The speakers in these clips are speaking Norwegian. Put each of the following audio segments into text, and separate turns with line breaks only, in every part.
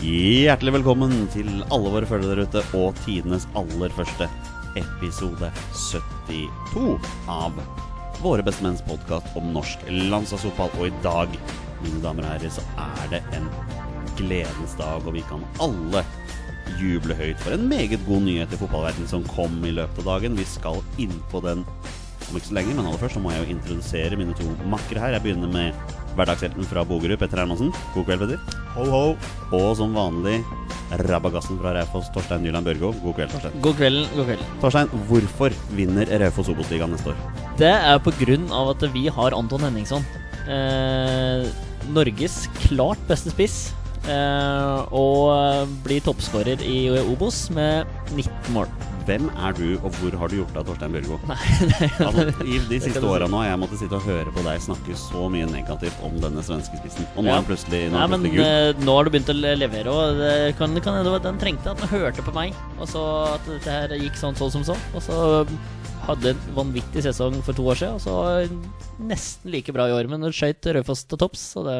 Hjertelig velkommen til alle våre følgere der ute og tidenes aller første episode 72 av Våre bestemenns podkast om norsk landslagsfotball. Og i dag, mine damer og herrer, så er det en gledens dag, og vi kan alle juble høyt for en meget god nyhet i fotballverdenen som kom i løpet av dagen. Vi skal inn på den om ikke så lenge, men aller først så må jeg jo introdusere mine to makkere her. Jeg begynner med hverdagshelten fra Bogerud, Petter Hermansen. God kveld, Petter.
Ho, ho.
Og som vanlig rabagassen fra Raufoss, Torstein Nyland Børgo. God kveld, Torstein.
God kvelden, god kvelden.
Torstein, hvorfor vinner Raufoss Obos-ligaen neste år?
Det er på grunn av at vi har Anton Henningson. Eh, Norges klart beste spiss. Eh, og blir toppskårer i Obos med 19 mål.
Hvem er du, og hvor har du gjort av Torstein Børgo?
Nei,
Altså, I de siste
kan du si.
åra nå har jeg måttet sitte og høre på deg snakke så mye negativt om denne svenske spissen. Og nå
Ja.
er han plutselig, nå
Nei,
er han
men
plutselig gul.
eh, nå har du begynt å le- levere, og det kan kan hende at den trengte at den hørte på meg, og så at dette her gikk sånn så som så. Og så hadde en vanvittig sesong for to år siden, og så nesten like bra i år, men skøyt Raufoss til topps, så det,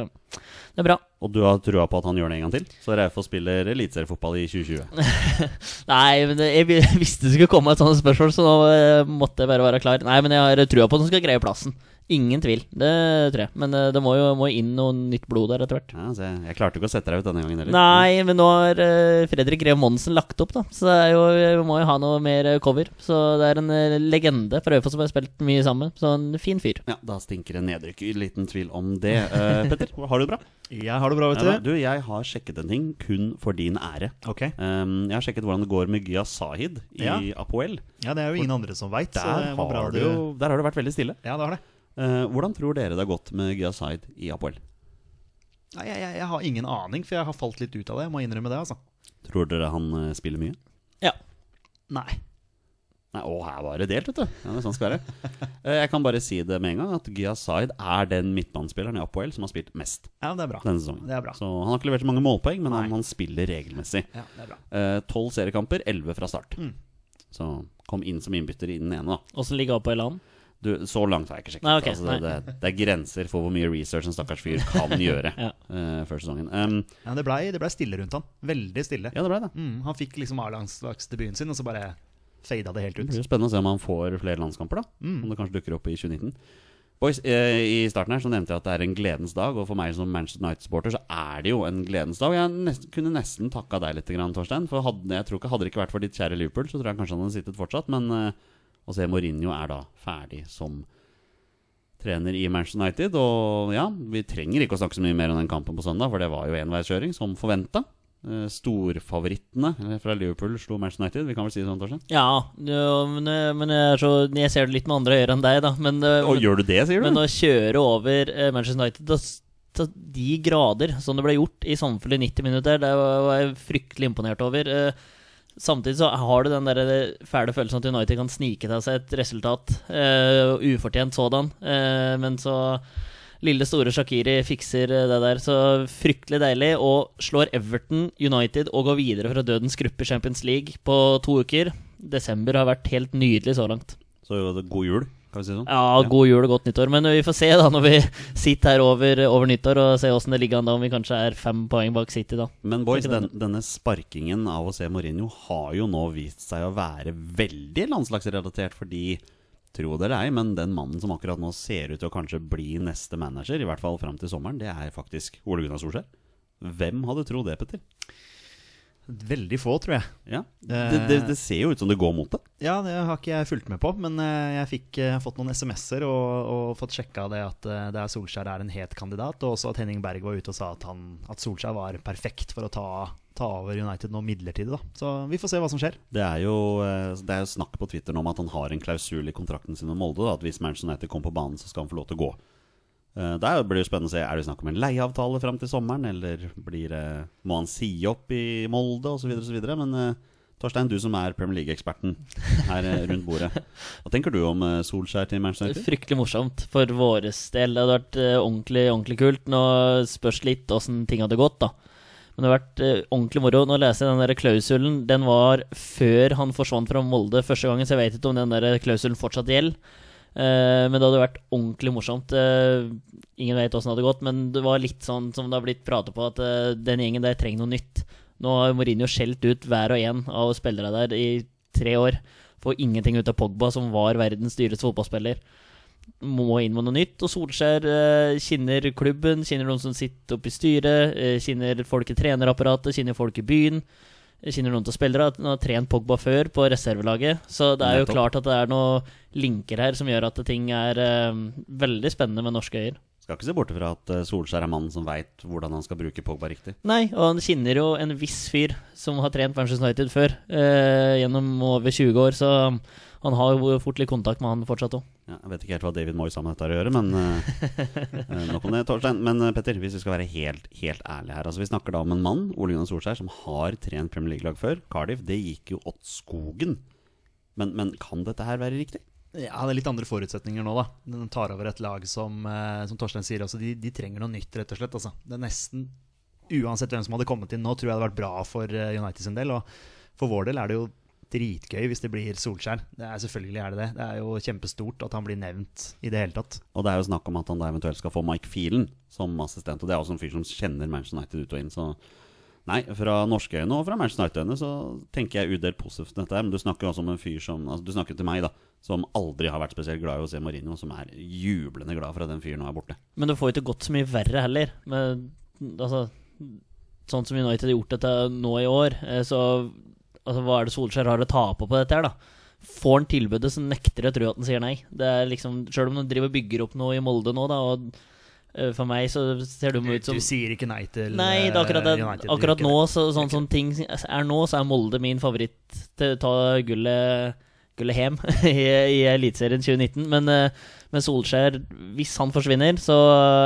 det er bra.
Og du har trua på at han gjør det en gang til? Så Raufoss spiller eliteseriefotball i 2020.
Nei, men det- jeg vi- visste det skulle komme et sånt spørsmål, så nå eh, måtte jeg bare være klar. Nei, men jeg har trua på at han skal greie plassen. Ingen tvil, det tror jeg. Men eh, det må jo må inn noe nytt blod der etter hvert.
Ja, så jeg, jeg klarte ikke å sette deg ut denne gangen heller.
Nei, men nå har eh, Fredrik Grev Monsen lagt opp, da. Så det er jo, vi må jo ha noe mer eh, cover. Så det er en eh, legende fra Øyfoss som har spilt mye sammen. Så en fin fyr.
Ja, Da stinker det nedrykk. Liten tvil om det. Eh, Petter, har du det bra?
Jeg har det bra,
Ja, da.
vet du.
du, jeg har sjekket en ting kun for din ære.
Ok.
Um, jeg har sjekket hvordan det går med Gya Sahid i
Ja.
Apoel.
Ja, det er jo ingen andre som veit, så
Der
det var bra
har,
du
det jo, der har det vært veldig stille.
Ja, det har det.
Eh, hvordan tror dere det har gått med Gya Sahid i Apoel?
Nei, jeg, jeg, jeg har ingen aning, for jeg har falt litt ut av det. Jeg må innrømme det, altså.
Tror dere han eh, spiller mye?
Ja.
Nei.
Nei, å, her var det delt, vet du. Ja, det er sånn skal det være. Eh, jeg kan bare si det med en gang, at Gya Sahid er den midtbanespilleren i Apoel som har spilt mest
Ja, men det er bra.
denne sesongen.
Det er bra.
Så han har ikke levert så mange målpoeng, men
Nei.
han, han spiller regelmessig. Eh,
Ja, det er bra.
Tolv seriekamper, elleve fra start.
Mm.
Så kom inn som innbytter i den ene, da.
Åssen ligger oppe i land?
Du, så langt har jeg ikke sjekket.
Nei, ok,
altså, det, det, det er grenser for hvor mye research en stakkars fyr kan gjøre
Ja.
eh, før sesongen. Um,
Ja, men det blei ble stille rundt han. Veldig stille.
ja, det ble det.
Mm, han fikk liksom A-landslagsdebuten sin, og så bare fada det helt ut.
Det
Mm.
blir jo spennende å se om han får flere landskamper, da. Om det kanskje dukker opp i 2019. Boys, eh, I starten her så nevnte jeg at det er en gledens dag, og for meg som Manchester United-supporter så er det jo en gledens dag. Jeg nest, kunne nesten takka deg litt, grann, Torstein. For hadde, jeg tror ikke, hadde det ikke vært for ditt kjære Liverpool, så tror jeg kanskje han hadde sittet fortsatt. Men eh, å se Mourinho er da ferdig som trener i Manchester United. Og ja, vi trenger ikke å snakke så mye mer om den kampen på søndag, for det var jo enveiskjøring, som forventa. Storfavorittene eh, fra Liverpool slo Manchester United. Vi kan vel si det sånn, Torstein?
Ja, jo, men, eh, men jeg, er så, jeg ser det litt med andre øyne enn deg, da. Men, eh,
Og gjør du det, sier du?
men å kjøre over eh, Manchester United da s- til de grader som det ble gjort i samfunnet i 90 minutter, det var var jeg fryktelig imponert over. Eh, Samtidig så har du den der eh, fæle følelsen at United kan snike til seg et resultat. eh, ufortjent sådan. eh, men så Lille store Shakiri fikser eh, det der, så fryktelig deilig. Og slår Everton, United og går videre fra dødens gruppe i Champions League på to uker. Desember har vært helt nydelig så langt.
Så jo, det- god jul, kan vi si det sånn.
Ja, god jul og godt nyttår. Men eh, vi får se da når vi sitter her over, over nyttår og ser åssen det ligger an da, om vi kanskje er fem poeng bak City da.
Men boys,
Ikke
den, denne sparkingen av å se Mourinho har jo nå vist seg å være veldig landslagsrelatert, fordi Tro det eller ei, men den mannen som akkurat nå ser ut til å kanskje bli neste manager, i hvert fall fram til sommeren, det er faktisk Ole Gunnar Solskjær. Hvem hadde trodd det, Petter?
Veldig få, tror jeg.
Ja.
Eh.
Det, det, det ser jo ut som det går mot det.
Ja, det har ikke jeg fulgt med på, men eh, jeg fikk eh, fått noen SMS-er og, og fått sjekka det at eh, det er Solskjær er en het kandidat, og også at Henning Berg var ute og sa at, han, at Solskjær var perfekt for å ta, ta over United nå midlertidig, da. Så vi får se hva som skjer.
Det er, jo, eh, det er jo snakk på Twitter nå om at han har en klausul i kontrakten sin med Molde. Da, at hvis Manchester United kommer på banen, så skal han få lov til å gå. Eh, Der blir det jo spennende å se. Er det snakk om en leieavtale fram til sommeren, eller blir det, må han si opp i Molde, osv. osv.? Men eh, Torstein, du som er Premier League-eksperten her eh, rundt bordet. Hva tenker du om eh, Solskjær til Manchester United?
Fryktelig morsomt for våres del. Det hadde vært eh, ordentlig, ordentlig kult. Nå spørs litt åssen ting hadde gått, da. Men det har vært eh, ordentlig moro. Nå leser jeg den der klausulen. Den var før han forsvant fra Molde første gangen, så jeg vet ikke om den der klausulen fortsatt gjelder. Eh, men det hadde vært ordentlig morsomt. Eh, ingen vet åssen det hadde gått, men det var litt sånn som det har blitt pratet på, at eh, den gjengen der trenger noe nytt. Nå har Mourinho skjelt ut hver og en av spillere der i tre år. Får ingenting ut av Pogba, som var verdens dyreste fotballspiller. Må inn med noe nytt. Og Solskjær eh, kinner klubben, kinner de som sitter oppe i styret, eh, kinner folk i trenerapparatet, kinner folk i byen. Kinner noen av spillere. Han har trent Pogba før på reservelaget. Så det er jo
Nettopp.
klart at det er noe linker her som gjør at ting er eh, veldig spennende med norske øyer.
Skal ikke se bort fra at eh, Solskjær er mannen som veit hvordan han skal bruke Pogba riktig.
Nei, og han kjenner jo en viss fyr som har trent Manchester United før, eh, gjennom over 20 år, så han har jo fort litt kontakt med han fortsatt òg.
Ja, jeg vet ikke helt hva David Moyes har med dette å gjøre, men eh, eh, nok om det, Torstein. Men eh, Petter, hvis vi skal være helt, helt ærlige her altså Vi snakker da om en mann, Ole Gunnar Solskjær, som har trent Premier League-lag før. Cardiff, det gikk jo åt skogen. Men, men kan dette her være riktig?
Ja, det er litt andre forutsetninger nå, da. Den tar over et lag som, eh, som Torstein sier, også, de, de trenger noe nytt, rett og slett. Altså. Det er nesten Uansett hvem som hadde kommet inn nå, tror jeg det hadde vært bra for eh, United sin del. Og for vår del er det jo dritgøy hvis det blir Solskjær. Det er selvfølgelig er det det. Det er jo kjempestort at han blir nevnt i det hele tatt.
Og det er jo snakk om at han da eventuelt skal få Mike Phelan som assistent. Og det er også en fyr som kjenner Manchester United ut og inn. Så nei, fra norske øyne og fra Manchester United-øyne så tenker jeg udelt positivt om dette her. Men du snakker jo også om en fyr som altså Du snakker til meg, da. Som aldri har vært spesielt glad i å se Mourinho, som er jublende glad for at den fyren nå er borte.
Men det får jo ikke gått så mye verre heller. Men, altså, sånn som United har gjort dette nå i år, eh, så altså, hva er det Solskjær har å tape på dette her, da? Får han tilbudet, så nekter jeg å tro at han sier nei. Det er liksom, Sjøl om han driver og bygger opp noe i Molde nå, da, og eh, for meg så ser de
Du,
ut som
sier ikke nei til
Nei, det er akkurat,
eh,
det.
United.
akkurat
Du
nå,
gjør ikke
så, sånn som ting er nå, så er Molde min favoritt til å ta gullet, gullet hjem i, i Eliteserien 2019. Men, eh, men Solskjær, hvis han forsvinner, så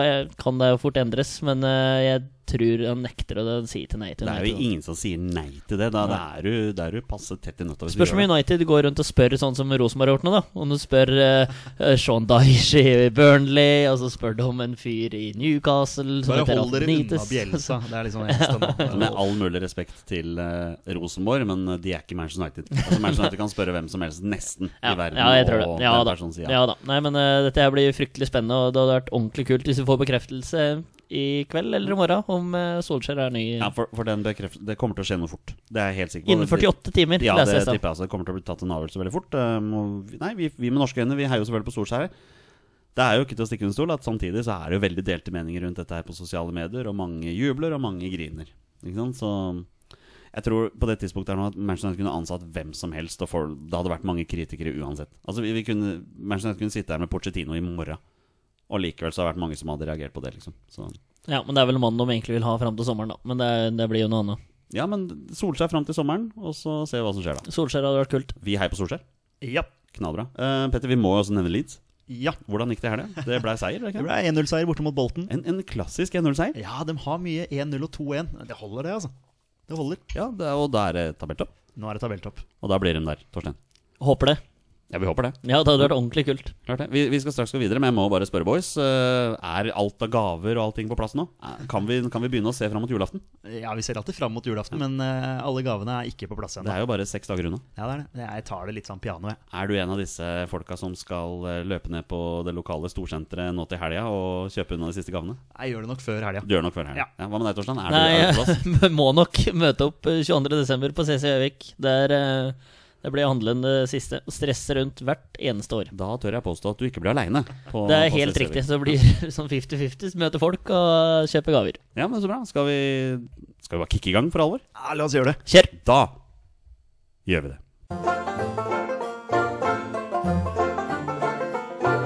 eh, kan det jo fort endres. Men eh, jeg tror han nekter å si til nei til
Det er jo
United.
ingen som sier nei til det. Da, da er du, da er du passe tett i nøtta. hvis du
Spørs om
gjør det.
United går rundt og spør sånn som Rosenborg har gjort nå, da. Om du spør eh, eh, Sean Dyche i Burnley, og så spør du om en fyr i Newcastle som
Bare
heter
hold dere unna
Antonitis.
Bjelsa. Det er liksom det eneste
Altså,
nå.
Med all mulig respekt til eh, Rosenborg, men eh, de er ikke Manchester United. Altså, Manchester United kan spørre hvem som helst, nesten, i verden.
Ja, jeg tror det.
og
Ja,
den
da.
personen sier ja.
ja da. Nei, men eh, dette her blir fryktelig spennende, og det hadde vært ordentlig kult hvis vi får bekreftelse i kveld eller i morgen om eh, Solskjær er ny.
Ja, for, for den bekreftelsen Det kommer til å skje noe fort. Det er jeg helt sikker på.
Innen 48 timer,
Ja, det
leser
tipper
jeg. Steff.
jeg altså. Det kommer til å bli tatt en avgjørelse veldig fort. Um, og vi- Nei, vi, vi med norske øyne Vi heier jo selvfølgelig på Solskjær. Det er jo ikke til å stikke under stol at samtidig så er det jo veldig delte meninger rundt dette her på sosiale medier, og mange jubler, og mange griner. Ikke sant? Så jeg tror på det tidspunktet her nå at Manchester United kunne ansatt hvem som helst, og for, det hadde vært mange kritikere uansett. Altså vi, vi kunne, Manchester United kunne sitte her med Pochettino i morgen, og likevel så har det vært mange som hadde reagert på det, liksom. Så
Ja, men det er vel mannen de egentlig vil ha fram til sommeren, da. Men det, er- det blir jo noe annet.
ja, men Solskjær fram til sommeren, og så ser vi hva som skjer da.
Solskjær hadde vært kult.
Vi heier på Solskjær.
Ja.
Knallbra. Eh, Petter, vi må jo også nevne Leeds.
ja.
Hvordan gikk det i helga? Det ble seier? ble det
Det
ikke det?
ble 1-0-seier borte mot Bolten.
En, en klassisk 1-0-seier.
Ja, de har mye 1-0 og 2-1. Det holder, det, altså. Det holder.
Ja, det, er- og da er det tabelltopp.
Nå er det tabelltopp.
Og da blir de der, Torstein.
Håper det.
Ja, vi håper det.
Ja, det hadde vært ordentlig kult.
Klart det. Vi, vi skal straks gå videre, men jeg må bare spørre, boys. eh, Er alt av gaver og allting på plass nå? Eh, Kan vi, kan vi begynne å se fram mot julaften?
Ja, vi ser alltid fram mot julaften, men eh, alle gavene er ikke på plass
Det
ennå.
er jo bare seks dager unna.
Ja, det er det. Jeg tar det litt sånn piano, jeg.
Er du en av disse folka som skal eh, løpe ned på det lokale storsenteret nå til helga og kjøpe unna de siste gavene?
Jeg gjør det nok før helga.
Du gjør nok før
Ja.
helga. Ja. hva med deg, Torstein? Er du, er du på plass?
Nei, må nok møte opp eh, 22. desember på CC Gjøvik. Der eh, det blir handelen det siste. Og stresse rundt hvert eneste år.
Da tør jeg påstå at du ikke blir aleine.
Det er helt riktig. Så det blir sånn 50-50. Møte folk og kjøpe gaver.
Ja, men så bra. Skal vi, skal vi bare kicke i gang for alvor?
Ja, la oss gjøre det.
Kjør!
Da gjør vi det.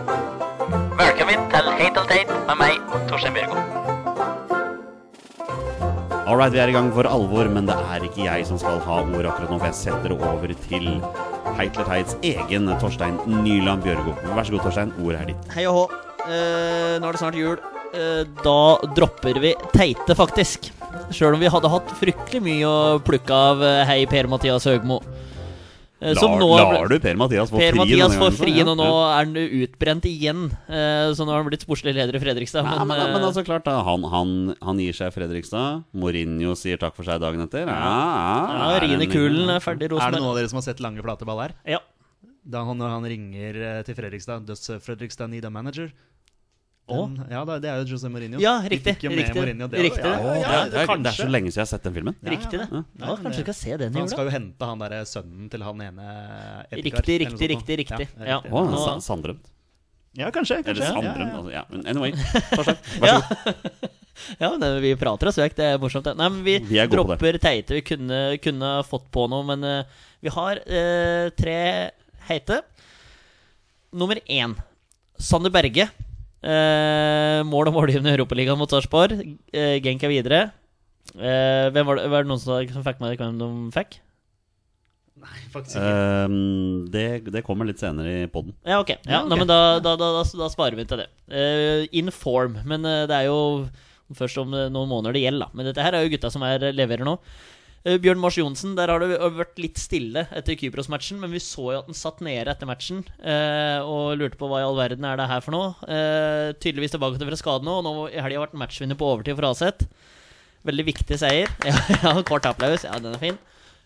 Velkommen til Heit eller teit med meg, Torstein Bjørgo.
All right, vi er i gang for alvor, men det er ikke jeg som skal ha ordet akkurat nå, for jeg setter det over til Heitler Teits egen Torstein Nyland Bjørgo. Vær så god, Torstein. Ordet er ditt.
Hei og hå. Eh, nå er det snart jul. Eh, da dropper vi teite, faktisk. Sjøl om vi hadde hatt fryktelig mye å plukke av eh, Hei Per-Mathias Høgmo. Eh,
Lar,
som nå er ble-
lar du Per-Mathias få frien?
Per-Mathias får frien, og
denne gangen,
nå
så?
er han utbrent igjen. Eh, så nå har han blitt sportslig leder i Fredrikstad.
Ja, men,
eh,
men altså klart da, han, han, han gir seg Fredrikstad. Mourinho sier takk for seg dagen etter. Ja, ja,
ja,
er det
Rine
en-
Kulen er ferdig i
Er det
Rosenborg.
noen av dere som har sett lange, flate ball her?
Ja.
Da han, når han ringer eh, til Fredrikstad Does eh, Fredrikstad need a manager? Den, ja, da, det er jo José Mourinho.
Ja,
De
riktig,
fikk jo med
riktig,
Mourinho, det var-
riktig.
Ja, ja,
Å,
ja,
det, er, det er så
kanskje.
lenge siden jeg har sett den filmen.
Ja, ja,
Riktig, det.
ja.
Ja, kanskje vi skal se den i
Han
år, da.
skal jo hente han derre sønnen til han ene Edgar,
Riktig,
eller noe
riktig,
sånt nå.
riktig. riktig.
Ja,
Ja,
riktig.
Å,
nå-
sa- Sandrømt.
Ja, kanskje.
Eller
kanskje. Ja, ja,
Sandrømt,
ja.
altså. Ja, men anyway.
ja. ja, men det- vi prater oss vekk. Det er morsomt. det. Nei, men vi,
Vi er gode på
dropper teite. Vi kunne, kunne fått på noe, men eh, vi har eh, tre heite. Nummer én, Sander Berge. Eh, mål og målgivende i Europaligaen mot Sarpsborg. Eh, Genk er videre. Eh, hvem var, det, var det noen som, som fikk med hvem de fikk?
Faktisk ikke.
Ehm, det, det kommer litt senere i poden.
Ja, ok. Ja,
ok.
nei, men da, da, da, da, da sparer vi til det. Eh, in form. Men eh, det er jo først om eh, noen måneder det gjelder, da. Men dette her er jo gutta som er, leverer nå. Eh, Bjørn Mars Johnsen, der har det jo vært litt stille etter Kypros-matchen, men vi så jo at han satt nede etter matchen eh, og lurte på hva i all verden er det her for noe. Eh, tydeligvis tilbake til fra skade nå, og nå i helga har vært matchvinner på overtid for Aset. Veldig viktig seier. Ja, ja kort applaus. Ja, den er fin.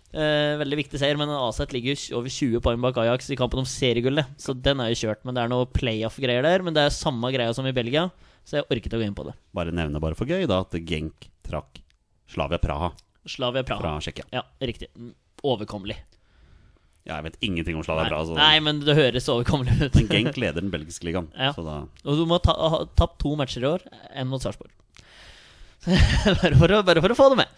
Eh, veldig viktig seier, men Aset ligger jo over 20 poeng bak Ajax i kampen om seriegullet. Så den er jo kjørt, men det er noe playoff-greier der. Men det er samme greia som i Belgia, så jeg orket å gå inn på det.
Bare nevne bare for gøy da at Genk trakk Slavia Praha
Slavia Praha.
fra Tsjekkia.
Ja, riktig. Mm, Overkommelig.
Ja, jeg vet ingenting om Slavia
Nei,
Praha. Så
nei, men det høres overkommelig ut.
altså. Men Genk leder den belgiske ligaen.
Ja.
Så da
Og du må ta, ha tapt to matcher i år, én mot Sarpsborg. bare, for å, bare for å få det med.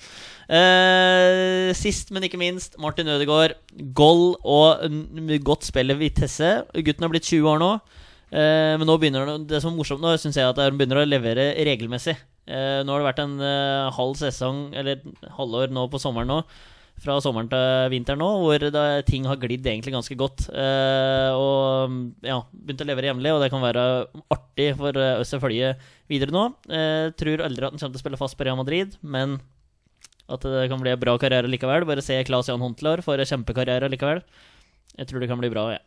Eh, sist, men ikke minst, Martin Ødegaard. Goal og mm, godt spill i Vitesse. Gutten har blitt 20 år nå. Eh, men nå begynner han, å- det som er morsomt nå, syns jeg at han begynner å levere regelmessig. Eh, nå har det vært en eh, halv sesong, eller halvår nå på sommeren nå, fra sommeren til vinteren nå, hvor da, ting har glidd egentlig ganske godt. Eh, og mm, ja, begynt å levere jevnlig, og det kan være artig for eh, oss å følge videre nå. Eh, tror aldri at han kommer til å spille fast på Real Madrid, men at det kan bli en bra karriere likevel. Bare se Claes Jan Huntelaar for en kjempekarriere likevel. Jeg tror det kan bli bra, jeg. Ja.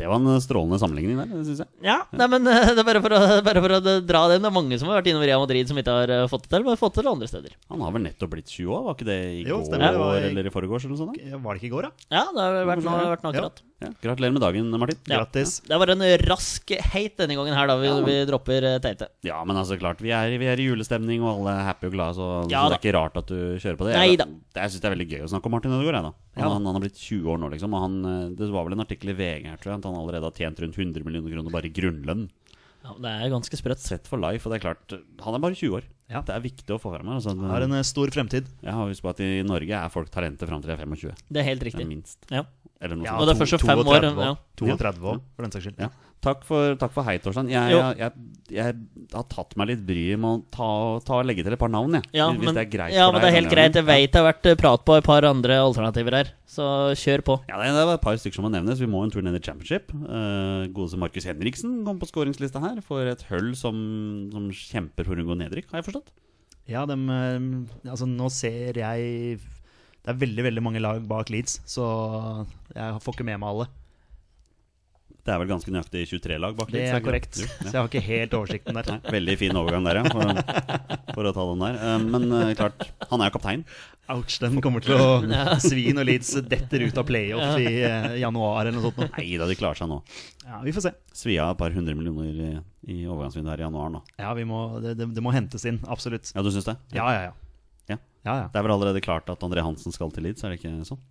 Det var en strålende sammenligning der, syns jeg.
Ja, nei, men eh, det er bare for å, bare for å dra den. Det er mange som har vært innom Real Madrid som ikke har eh, fått det til, men har fått det til andre steder.
Han har vel nettopp blitt 20 år, var ikke det i
Jo,
går
stemmer, det var i-
eller i forgårs eller noe sånt? da?
Var det ikke i går, da?
Ja, eh, det har vært noe, vært noe
Ja.
akkurat.
Ja. Gratulerer med dagen, Martin.
Ja.
Grattis.
Det var en rask heit denne gangen her, da. Vi, vi dropper eh, teite.
Ja, men altså klart, vi er, vi er i julestemning, og alle er happy og glade, så,
Ja
så det
da.
er ikke rart at du kjører på det.
Nei
Jeg-
da.
det- Jeg syns det er veldig gøy å snakke om Martin Ødegaard, jeg, da. Han,
Ja da.
han, han har blitt 20 år nå, liksom, og han, eh, det var vel en artikkel i VG her, tror jeg, at han allerede har tjent rundt 100 millioner kroner bare i grunnlønn.
Ja, det er ganske sprøtt.
Sett for life, og det er klart, han er bare 20 år.
Ja.
Det er viktig å få fram her. Altså,
Har en eh, stor fremtid.
Jeg har husk på at i Norge er folk talenter fram til de er 25,
Det er helt
det er
riktig.
minst.
Ja.
Eller noe
Ja,
sånt.
Og det er først om fem år.
32
Ja.
32 år, for den saks skyld.
Ja. Takk for, takk for hei, Torstein. Jeg,
Jo.
jeg, jeg, jeg har tatt meg litt bryet med å ta, ta og legge til et par navn, jeg.
Ja,
hvis hvis
men,
det er greit
ja,
for deg.
men det er helt greit. Jeg vet det har vært eh, prat på et par andre alternativer her, så kjør på.
Ja, det er- det var et par stykker som må nevnes. Vi må en tur ned i championship. Uh, Godeste Markus Henriksen kom på skåringslista her for et høll som, som kjemper for å unngå nedrykk, har jeg forstått.
Ja, dem, eh, altså nå ser jeg Det er veldig veldig mange lag bak Leeds, så jeg får ikke med meg alle.
Det er vel ganske nøyaktig 23 lag bak
Det
Leeds,
er
ikke
korrekt.
Jo,
Så jeg har ikke helt oversikten der.
Nei, veldig fin overgang der, ja. For, å- for å ta den der. Eh, men eh, klart, han er jo kaptein.
Ouch, den kommer til å svi når Leeds detter ut av playoff i eh, januar eller noe sånt. nå.
Nei da, de klarer seg nå.
Ja, vi får se.
Svi av et par hundre millioner i, i overgangsvinduet her i januar nå.
Ja, vi må, det, det, det må hentes inn. Absolutt.
Ja, du syns det?
Ja, ja, ja.
Ja.
ja, ja.
Det er vel allerede klart at André Hansen skal til Leeds, er det ikke sånn?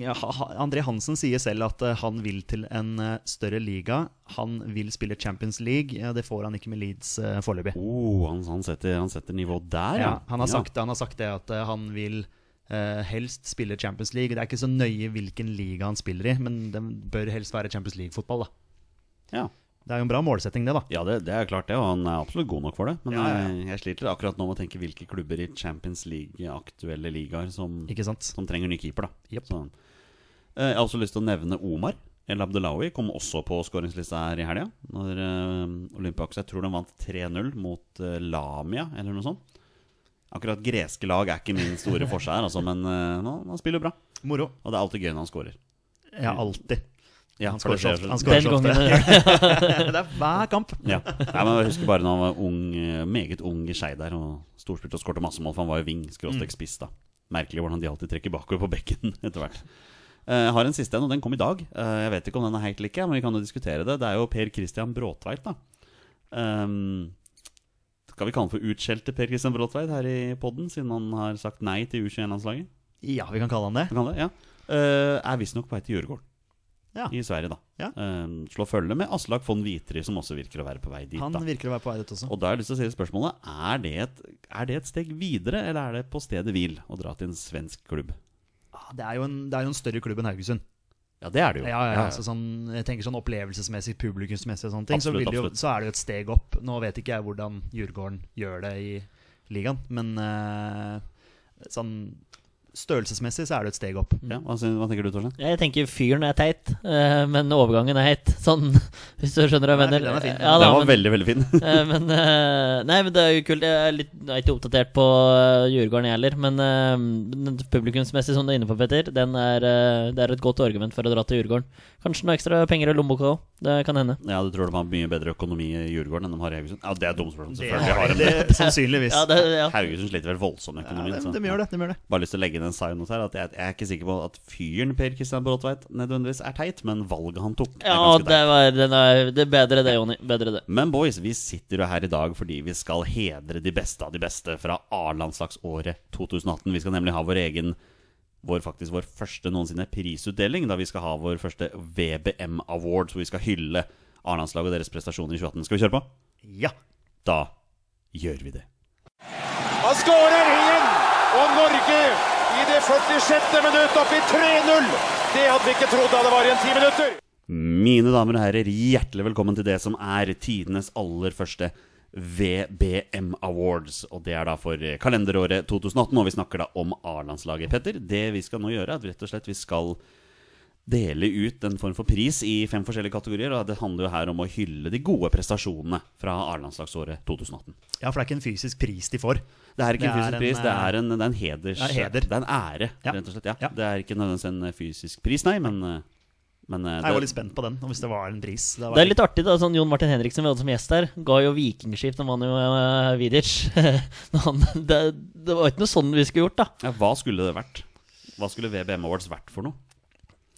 ja, ha- ha- André Hansen sier selv at eh, han vil til en eh, større liga. Han vil spille Champions League. Ja, det får han ikke med Leeds eh, foreløpig.
Oh, han, han, setter, han setter nivå der, ja.
Ja, han, har sagt, han har sagt det at eh, han vil eh, helst spille Champions League. Det er ikke så nøye hvilken liga han spiller i, men det bør helst være Champions League-fotball. da
Ja,
Det er jo en bra målsetting, det, da.
ja det, det er klart det, og han er absolutt god nok for det. Men
Ja, ja, ja.
eh, jeg sliter akkurat nå med å tenke hvilke klubber i Champions League-aktuelle ligaer som,
Ikke sant?
som trenger ny keeper. da
Jepp.
Så, eh, Jeg har også lyst til å nevne Omar. El Abdelawi kom også på skåringslista her i helga. Når eh, Olympiakos jeg tror de vant 3-0 mot eh, Lamia, eller noe sånt. Akkurat greske lag er ikke min store forskjell her, altså, men eh, han, han spiller bra.
Moro.
Og det er alltid gøy når han scorer.
Ja, alltid.
Ja,
Han
for det
scorer så
skjer-
ofte. Han scorer
Den
så ofte.
gangen.
Det er hver kamp.
Ja. Nei, men jeg husker bare da han var ung, eh, meget ung i Skei der, og storspilte og skårte masse mål, for han var jo wing, skråstrek spiss, da. Merkelig hvordan de alltid trekker bakover på bekken etter hvert. Eh, Jeg har en siste en, og den kom i dag. Eh, Jeg vet ikke om den er helt like, men vi kan jo diskutere det. Det er jo Per Christian Bråtveit, da. Ehm, skal vi kalle han for utskjelte Per Christian Bråtveit her i poden, siden han har sagt nei til U21-landslaget?
Ja, vi kan kalle han det.
Vi kan det, ja. Eh, er visstnok på vei til Djurgården
Ja.
i Sverige, da.
Ja.
Eh, slå følge med Aslak von Vitry, som også virker å være på vei dit.
Han
da.
virker å være på vei dit også.
Og da har jeg lyst til å si spørsmålet er det, et, er det et steg videre, eller er det på stedet hvil å dra til en svensk klubb?
Ah, Det er jo en, det er jo en større klubb enn Haugesund.
Ja, det er det jo.
Ja, ja, ja. Så sånn, jeg tenker sånn opplevelsesmessig, publikumsmessig og sånne ting, så, vil
Absolutt,
det jo,
absolutt.
så er det jo et steg opp. Nå vet ikke jeg hvordan Djurgården gjør det i ligaen, men eh, sånn størrelsesmessig så er det jo et steg opp.
Ja, hva, syn- hva tenker du, Torstein?
Jeg tenker fyren er teit, eh, men overgangen er heit. Sånn, hvis du skjønner hva
Den
jeg
er-
mener.
den er fin.
Ja,
det
da,
var
men-
veldig, veldig fin.
Eh, men, eh, nei, men det er jo kult. Jeg er, litt, jeg er ikke oppdatert på eh, Djurgården, jeg heller. Men eh, men publikumsmessig, som du er inne på, Petter, den er, eh, det er et godt argument for å dra til Djurgården. Kanskje noe ekstra penger i lommeboka òg. Det kan hende.
Ja, du tror de har mye bedre økonomi i Djurgården enn de har i Haugesund? Ja, det er dumt spørsmål,
Det
selvfølgelig. Har de det.
det, sannsynligvis.
Ja, det, ja.
Haugesund sliter vel voldsomt med
Ja, de, de
økonomien.
gjør det. de gjør det
Bare lyst til å legge inn en sign her at jeg, jeg er ikke sikker på at fyren Per Kristian Bråtveit nødvendigvis er teit, men valget han tok, er
ja
ganske
det,
teit.
var, den er, det er bedre det, Jonny. Bedre det.
Men boys, vi sitter jo her i dag fordi vi skal hedre de beste av de beste fra A-landslagsåret 2018. Vi skal nemlig ha vår egen vår, faktisk vår første noensinne prisutdeling, da vi skal ha vår første VBM Award, hvor vi skal hylle A-landslaget og deres prestasjoner i 2018. Skal vi kjøre på?
Ja.
Da gjør vi det.
Han skårer igjen! Og Norge i det 46. minutt opp i 3-0! Det hadde vi ikke trodd da det var igjen ti minutter.
Mine damer og herrer, hjertelig velkommen til det som er tidenes aller første VBM Awards. Og det er da for eh, kalenderåret 2018, og vi snakker da om A-landslaget. Petter, det vi skal nå gjøre, er at vi rett og slett vi skal dele ut en form for pris i fem forskjellige kategorier. Og det handler jo her om å hylle de gode prestasjonene fra A-landslagsåret 2018.
ja, for det er ikke en fysisk pris de får.
Det er ikke en
Det er
fysisk
en,
pris, det
eh,
er en, det er en heders...
det er heder.
Det er en ære,
Ja.
rett og slett. Ja.
Ja.
Det er ikke nødvendigvis en eh, fysisk pris, nei, men, eh, men eh,
Jeg var
det-
litt spent på den, hvis det var en pris. var
Det er litt artig, da. Sånn Jon Martin Henriksen, vi hadde som gjest her, ga jo vikingskip til Manu uh, Vidic. Men han, det, det var ikke noe sånn vi skulle gjort, da.
Ja, hva skulle det vært? Hva skulle VBM Awards vært for noe?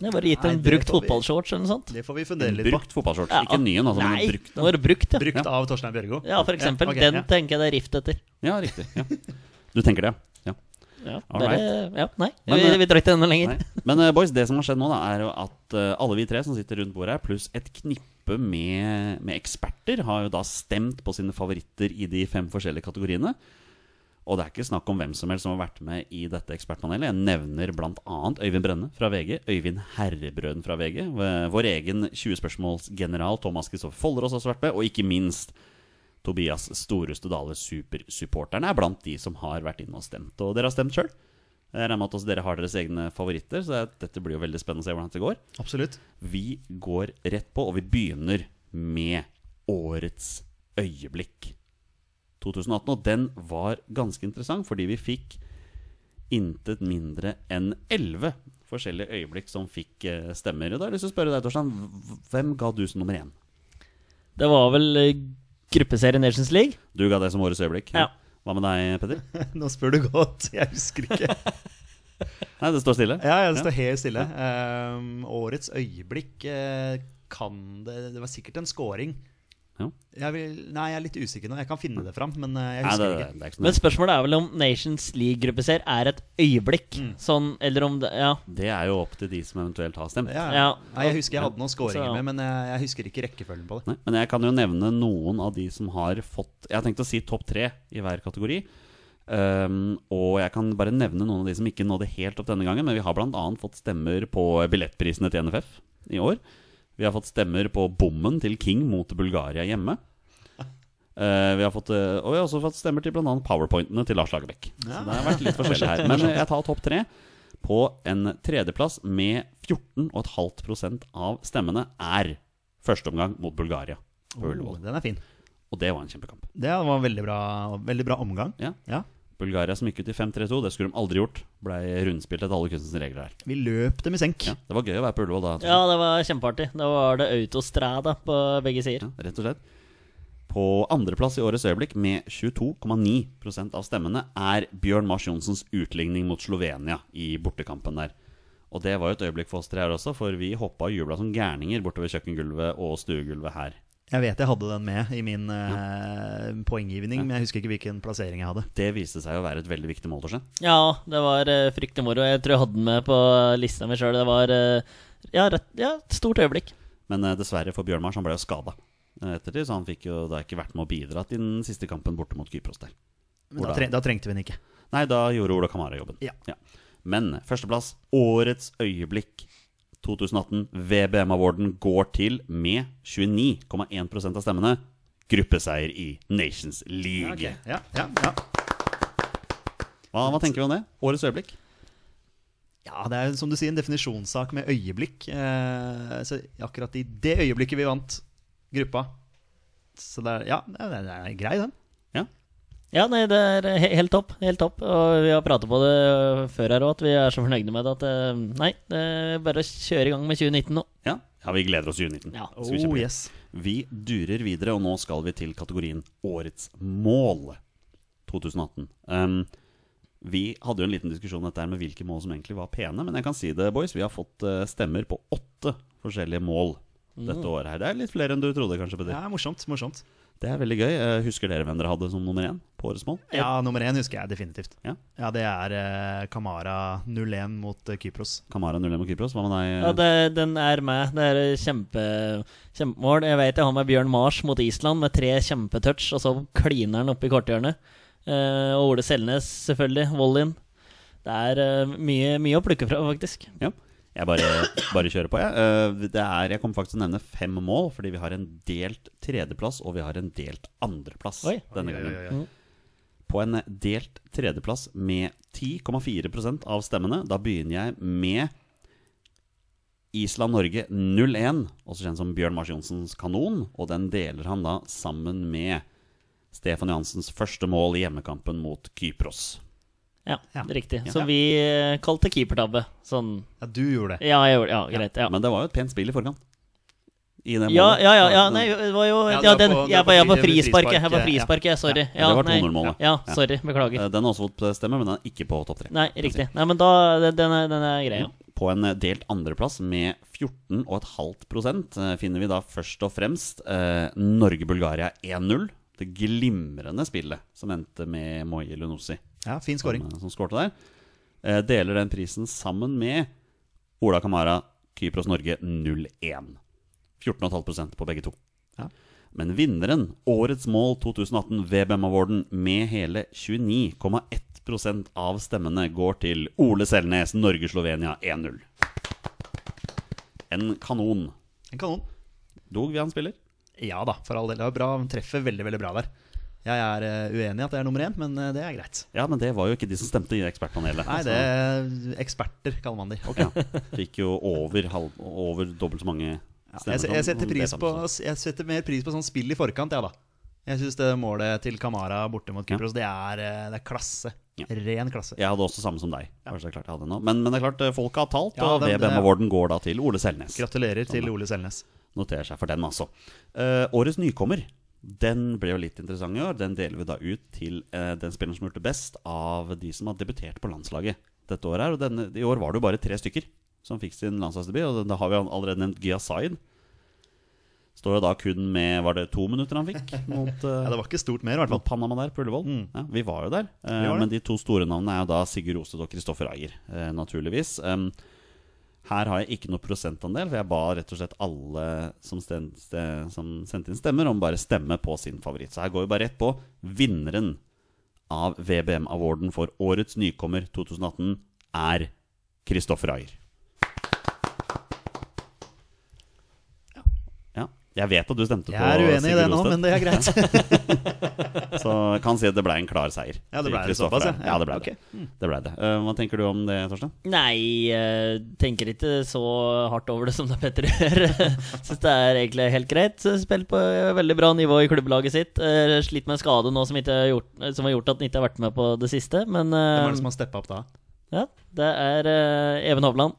Det er bare gitt
Nei,
en
det
brukt
får vi-
fotballshorts eller noe sånt.
Det får vi
En
fundere litt på.
brukt fotballshorts.
Ja.
Ikke en ny en, altså,
Nei,
men en brukt
nå
en.
er det brukt, ja.
Brukt av Torstein Bjørgo.
Ja, for eksempel.
ok,
den
ja.
tenker jeg det er rift etter.
Ja, riktig. Ja. Du tenker det, ja. ja.
Ja,
All
det er- ja nei,
Men,
vi,
eh,
vi drar ikke den lenger.
Nei. Men eh, boys, det som har skjedd nå, da, er jo at eh, alle vi tre som sitter rundt bordet her, pluss et knippe med, med eksperter, har jo da stemt på sine favoritter i de fem forskjellige kategoriene. Og det er ikke snakk om hvem som helst som har vært med i dette ekspertpanelet. Jeg nevner bl.a. Øyvind Brenne fra VG, Øyvind Herrebrøden fra VG, v- eh, vår egen 20-spørsmålsgeneral Thomas Kristoffer Follerås har også vært med, og ikke minst Tobias Storeste Dale, supersupporterne, er blant de som har vært inne og stemt. Og dere har stemt sjøl. Jeg Eh, regner med at også dere har deres egne favoritter, så det- dette blir jo veldig spennende å se hvordan dette går.
Absolutt.
Vi går rett på, og vi begynner med årets øyeblikk. 2018, og den var ganske interessant, fordi vi fikk intet mindre enn 11 forskjellige øyeblikk som fikk eh, stemmer. Og da har jeg lyst til å spørre deg, Torstein, hv- hvem ga du som nummer én?
Det var vel eh, gruppeserie Nations League.
Du ga det som årets øyeblikk.
Ja.
Hva med deg, Petter?
Nå spør du godt. Jeg husker ikke.
Nei, det står stille.
Ja, ja, det står helt stille. Ehm, årets øyeblikk eh, kan det Det var sikkert en scoring.
Ja.
Jeg vil, nei, jeg er litt usikker nå. Jeg kan finne det fram, men eh, jeg
Nei, det,
husker
det,
ikke.
det er ikke så
Men
nøye.
spørsmålet er vel om Nations League-gruppeserie er et øyeblikk.
Mm.
Sånn, eller om det Ja.
Det er jo opp til de som eventuelt har stemt.
Ja.
Ja.
Nei, jeg husker jeg hadde noen scoringer
Så-
med, men eh, jeg, jeg husker ikke rekkefølgen på det.
Nei, men jeg kan jo nevne noen av de som har fått Jeg har tenkt å si topp tre i hver kategori. Ehm, og jeg kan bare nevne noen av de som ikke nådde helt opp denne gangen. Men vi har bl.a. fått stemmer på billettprisene til NFF i år. Vi har fått stemmer på bommen til King mot Bulgaria hjemme. Eh, vi har fått, eh, og vi har også fått stemmer til bl.a. powerpointene til Lars Lagerbäck. Så det har vært litt forskjellig her. Men jeg tar topp tre. På en tredjeplass med 14,5 av stemmene er førsteomgang mot Bulgaria på
Oh,
Ullevål.
den er fin.
Og det var en kjempekamp.
Det var en veldig bra, veldig bra omgang.
Ja.
Ja.
Bulgaria som gikk ut i 5-3-2, det skulle de aldri gjort. Blei rundspilt etter alle kunstens regler her.
Vi løp dem i senk.
Ja, det var gøy å være på Ullevål da.
ja, det var kjempeartig. Da var det autostrada på begge sider.
Ja, rett og slett. På andreplass i årets øyeblikk, med 22,9 av stemmene, er Bjørn Mars Johnsens utligning mot Slovenia i bortekampen der. Og det var jo et øyeblikk for oss tre her også, for vi hoppa og jubla som gærninger bortover kjøkkengulvet og stuegulvet her.
Jeg vet jeg hadde den med i min eh, poenggivning, men jeg husker ikke hvilken plassering jeg hadde.
Det viste seg å være et veldig viktig mål, Torstein.
Ja, det var eh, fryktelig moro. Jeg tror jeg hadde den med på lista mi sjøl. Det var eh, ja, rett, ja, et stort øyeblikk.
Men eh, dessverre for Bjørnmars, han ble jo skada ettertid, så han fikk jo da ikke vært med å bidra til den siste kampen borte mot Kypros der.
Men da,
Hvordan?
tre da trengte vi den ikke.
Nei, da gjorde Ola Kamara jobben.
Ja.
Men førsteplass, årets øyeblikk 2018, VBM-awarden går til med 29,1 av stemmene gruppeseier i Nations League.
Ja, ja, ja.
Hva, hva tenker vi om det? Årets øyeblikk?
Ja, det er som du sier en definisjonssak med øyeblikk. Eh, så akkurat i det øyeblikket vi vant gruppa Så det er, ja, det er, det er grei, den.
Ja.
Ja, nei, det er he helt topp. Helt topp. Og vi har pratet på det eh, før her òg, at vi er så fornøyde med det at eh, Nei, det er bare å kjøre i gang med 2019 nå.
Ja, ja vi gleder oss til 2019.
Ja.
Skal vi kjempe-
Oh, yes.
Vi durer videre, og nå skal vi til kategorien Årets mål 2018. Um, vi hadde jo en liten diskusjon om dette her med hvilke mål som egentlig var pene, men jeg kan si det, boys. Vi har fått eh, stemmer på åtte forskjellige mål
Mm.
dette året her. Det er litt flere enn du trodde, kanskje, Peder.
Ja, morsomt. morsomt
Det er veldig gøy. Eh, Husker dere hvem dere hadde som nummer én på årets mål?
Ja, nummer én husker jeg definitivt.
Ja.
Ja, Det er eh, Kamara 01 mot eh, Kypros.
Kamara 01 og Kypros. Hva med deg?
Ja, det, den er med. Det er et kjempe, kjempemål. Jeg vet jeg har med Bjørn Mars mot Island med tre kjempetouch, og så kliner han oppe i korthjørnet. Eh, og Ole Selnes, selvfølgelig. Volleyen. Det er eh, mye, mye å plukke fra, faktisk.
Ja. Jeg bare, bare kjører på, jeg. Eh, Det er, jeg kommer faktisk til å nevne fem mål, fordi vi har en delt tredjeplass, og vi har en delt andreplass
Oi.
denne gangen. På en delt tredjeplass med 10,4 av stemmene. Da begynner jeg med Island-Norge 0-1, også kjent som Bjørn Mars Johnsens kanon. Og den deler han da sammen med Stefan Johansens første mål i hjemmekampen mot Kypros.
Ja,
Ja.
riktig.
Ja.
Så vi eh, kalte keepertabbe. Sånn.
Ja, du gjorde det.
Ja, jeg gjorde Ja, greit. Ja.
Men det var jo et pent spill i forkant. I det
Ja,
målet.
ja, ja, ja, nei, det var jo
Ja,
ja,
du er
den,
på- du
Jeg
er
er
på
på, jeg er på
fri-
frisparket. Jeg er på
frisparket,
frisparket, sorry.
Ja, det var
nei.
2-0-målet.
Ja,
Ja.
sorry. Beklager.
Eh, Den har også fått stemme, men den er ikke på topp tre.
Nei, riktig. Nei, men da Den er, den er grei. Ja.
På en eh, delt andreplass med 14,5 eh, finner vi da først og fremst eh, Norge-Bulgaria 1-0. Det glimrende spillet som endte med Moye Lunossi
Ja, Fin scoring.
som, som skårte der. Eh, deler den prisen sammen med Ola Kamara, Kypros-Norge 0-1. 14,5 på begge to.
Ja.
Men vinneren, årets mål 2018 VBM-awarden med hele 29,1 av stemmene går til Ole Selnes, Norge-Slovenia 1-0. En kanon.
En kanon.
Dog vi han spiller?
Ja da, for all del. Det var bra. Han treffer veldig, veldig bra der. Jeg er eh, uenig i at det er nummer én, men eh, det er greit.
Ja, men det var jo ikke de som stemte i ekspertpanelet.
Nei, det er eh, Eksperter, kaller man de.
Ja, fikk jo over, halv, over dobbelt så mange stemmer. sånn.
Jeg, se-
som-
jeg, setter pris
som-
på, jeg setter mer pris på sånn spill i forkant, jeg, da. Jeg syns det målet til Kamara borte mot Kypros, det, er, eh, det er klasse.
Ja.
Ren klasse.
Jeg hadde også samme som deg. Bare så det er klart jeg hadde nå. Men, men det er klart, eh, folket har talt,
Ja, eh,
og
det- det-
VBM-awarden går da til Ole Selnes.
Gratulerer til Ole Selnes.
Noterer seg for den, altså. Eh, årets nykommer den ble jo litt interessant i år. Den deler vi da ut til eh, den spilleren som har gjort det best av de som har debutert på landslaget dette året. her Og denne, I år var det jo bare tre stykker som fikk sin landslagsdebut, og da har vi allerede nevnt Gya Zaid. Står jo da kun med Var det to minutter han fikk mot eh,
Ja, det var ikke stort mer, i hvert
mot
fall.
Panama der, på Ullevål. Ja, Mm. vi var jo der. Eh,
Vi var det.
men de to store navnene er jo da Sigurd Osted og Kristoffer Ayer, eh, naturligvis. Um, her har jeg ikke noe prosentandel, for jeg ba rett og slett alle som, sten- ste- som sendte inn stemmer, om bare stemme på sin favoritt. Så her går vi bare rett på vinneren av VBM-awarden for årets nykommer 2018 er Kristoffer Ayer. Ja. Jeg vet at du stemte
Jeg
på
er uenig i det
Sigurd
nå,
Osted.
men det er greit.
Så jeg kan si at det ble en klar seier.
Ja, det
til
ble det
Kristoffer
såpass, ja.
Lein. ja. det ble
Ok.
det. det, ble det. Eh, hva tenker du om det, Torstein?
Nei, eh, tenker ikke så hardt over det som det Petter gjør. Syns det er egentlig helt greit. Spilt på eh, veldig bra nivå i klubblaget sitt. Eh, Slitt med en skade nå som, ikke har gjort, eh, som har gjort at han ikke har vært med på det siste, men
Hvem
eh,
er det som har steppa opp da?
ja, det er eh, Even Hovland.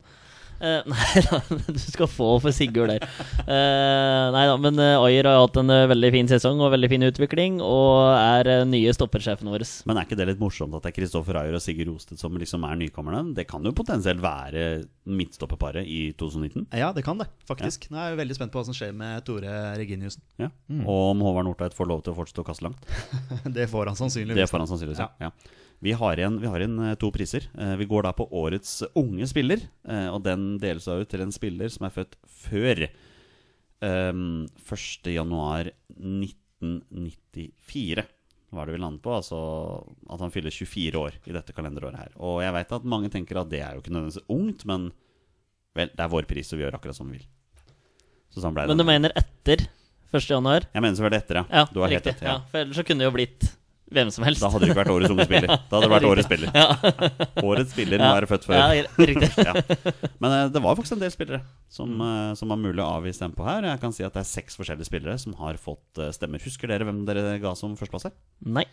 Eh, nei da, du skal få for Sigurd der. Eh, nei da, men eh, Ayer har hatt en eh, veldig fin sesong og veldig fin utvikling, og er eh, nye stoppersjefen vår.
Men er ikke det litt morsomt at det er Kristoffer Ayer og Sigurd Rosted som liksom er nykommerne? Det kan jo potensielt være midtstopperparet i 2019.
Ja, det kan det, faktisk. Nå er jeg veldig spent på hva som skjer med Tore Reginiussen.
Ja.
Mm.
Og om Håvard Nordtveit får lov til å fortsette å kaste langt.
Det får han
Det
sannsynligvis.
får han sannsynligvis, ja. ja. Vi har igjen, vi har igjen eh, to priser. Eh, Vi går da på årets unge spiller, eh, og den deles da ut til en spiller som er født før um, 1.1.1994. Hva er det vi lander på? Altså at han fyller 24 år i dette kalenderåret her. Og jeg veit at mange tenker at det er jo ikke nødvendigvis ungt, men vel, det er vår pris, og vi gjør akkurat som vi vil. Så sånn ble det.
Men du mener etter 1. januar?
Jeg mener så var det etter, ja.
Ja,
du har helt
riktig.
rett.
Ja.
Ja.
for ellers så kunne det jo blitt hvem som helst.
Da hadde det ikke vært årets unge spiller. Da hadde det vært årets spiller. Årets spiller må være født før.
Ja, riktig.
ja. Men eh, det var faktisk en del spillere som,
Mm.
eh, som var mulig å avgi stemme på her. Jeg kan si at det er seks forskjellige spillere som har fått eh, stemmer. Husker dere hvem dere ga som førsteplass her?
Nei.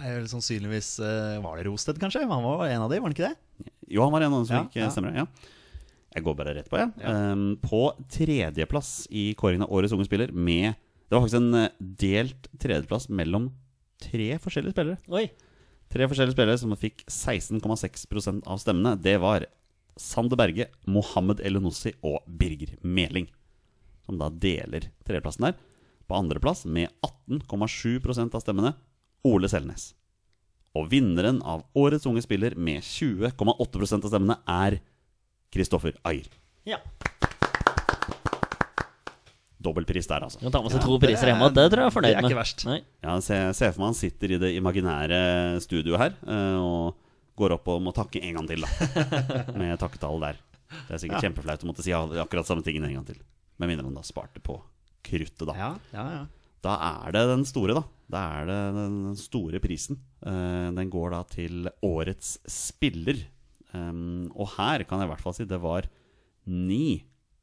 Er vel sannsynligvis eh, Var det Rosted, kanskje? Han var en av de, var han ikke det?
Jo, han var en av dem som
Ja,
fikk eh,
ja.
stemmer. Ja. Jeg går bare rett på, jeg. Ehm, på tredjeplass i kåringen av Årets unge spiller med Det var faktisk en eh, delt tredjeplass mellom tre forskjellige spillere.
Oi.
Tre forskjellige spillere som fikk 16,6 av stemmene. Det var Sander Berge, Mohammed Elenossi og Birger Meling. Som da deler tredjeplassen der. På andreplass, med 18,7 av stemmene, Ole Selnes. Og vinneren av Årets unge spiller med 20,8 av stemmene er Kristoffer Ayer.
Ja.
Dobbeltpris der, altså.
Du kan ta med seg to priser hjemme, det tror jeg er fornøyd
det er
med.
ikke verst.
Nei.
Ja, se, se for meg han sitter i det imaginære studioet her eh, og går opp og må takke en gang til, da. Med takketall der. Det er sikkert kjempeflaut å måtte si akkurat samme tingen en gang til. Med mindre han da sparte på kruttet, da.
Ja, ja, ja.
Da er det den store, da. Da er det den store prisen. Eh, Den går da til årets spiller. Um, Og her kan jeg i hvert fall si det var ni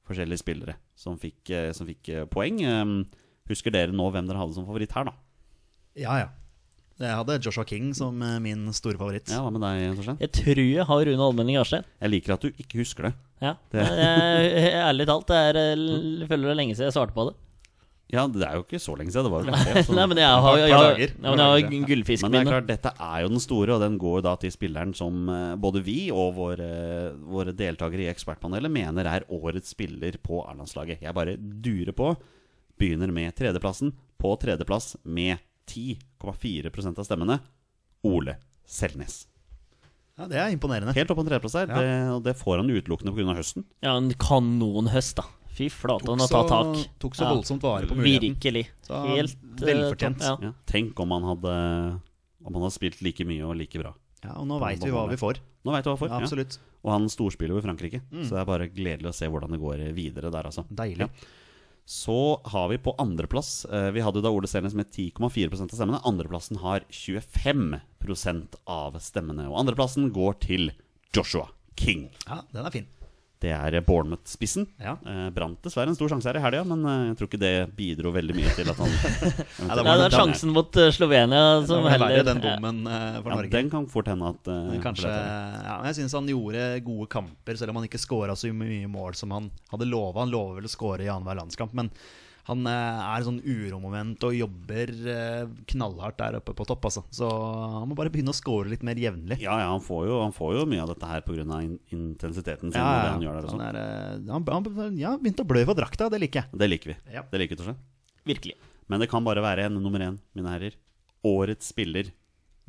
forskjellige spillere som fikk, eh, som fikk eh, poeng. Um, Husker dere nå hvem dere hadde som favoritt her, da?
ja, ja. Jeg hadde Joshua King som eh, min store favoritt.
Ja, Hva med deg, Torstein?
Jeg tror jeg har Rune Almenning Arstein.
Jeg liker at du ikke husker det.
Ja.
Det- Mm.
Jeg, jeg- ærlig talt, det er, jeg føler det er lenge siden jeg svarte på det.
Ja, Det er jo ikke så lenge siden. Det var jo lenge siden.
Nei, men jeg har, jeg,
Et par
har-
dager.
ja, men jeg har
Ja.
Men det er
gullfiskminne.
klart, dette er jo den store, og den går jo da til spilleren som eh, både vi og våre, våre deltakere i Ekspertpanelet mener er årets spiller på A-landslaget. Jeg bare durer på. Begynner med tredjeplassen. På tredjeplass med 10,4 av stemmene Ole Selnes.
Ja, det er imponerende.
Helt opp på en tredjeplass her.
Ja.
Det, og det får han utelukkende pga. høsten.
Ja, en kanonhøst, da. Fy flate, han har tatt tak.
tok så
Ja.
voldsomt vare på muligheten.
Virkelig.
Så
Helt eh,
velfortjent.
topp, Ja.
Ja. Tenk om han hadde Om han hadde spilt like mye og like bra.
Ja, og nå veit vi hva vi får.
Nå veit du hva jeg får.
Ja,
ja.
absolutt. Mm.
Og han storspiller jo i Frankrike, så det er bare gledelig å se hvordan det går videre der, altså.
Deilig.
Så har vi på andreplass eh, Vi hadde jo da Ole Selnes med 10,4 av stemmene. Andreplassen har 25 av stemmene. Og andreplassen går til Joshua King.
Ja, den er fin.
Det er Bournemouth-spissen.
Ja.
Eh, brant dessverre en stor sjanse her i helga, men eh, jeg tror ikke det bidro veldig mye til at han
det
Nei,
var
det er sjansen mot eh, Slovenia
Det
som
var
heller
verre den bommen eh, for
ja,
Norge.
Den kan fort hende at eh,
Men Kanskje,
for dette-
ja, men jeg synes han gjorde gode kamper, selv om han ikke skåra så mye mål som han hadde lova. Han lova vel å skåre i annenhver landskamp, men han eh, er sånn uromoment og jobber eh, knallhardt der oppe på topp, altså. Så han må bare begynne å skåre litt mer jevnlig.
Ja, ja, han får, jo, han får jo mye av dette her pga. In intensiteten sin.
Ja,
og det
ja,
han
ja.
gjør der og
Han
sånn.
er, eh, han, han, ja, begynte å blø for drakta, det liker jeg.
Det liker vi.
Ja.
Det liker vi, Torstein.
Virkelig.
Men det kan bare være en nummer én, mine herrer. Årets spiller,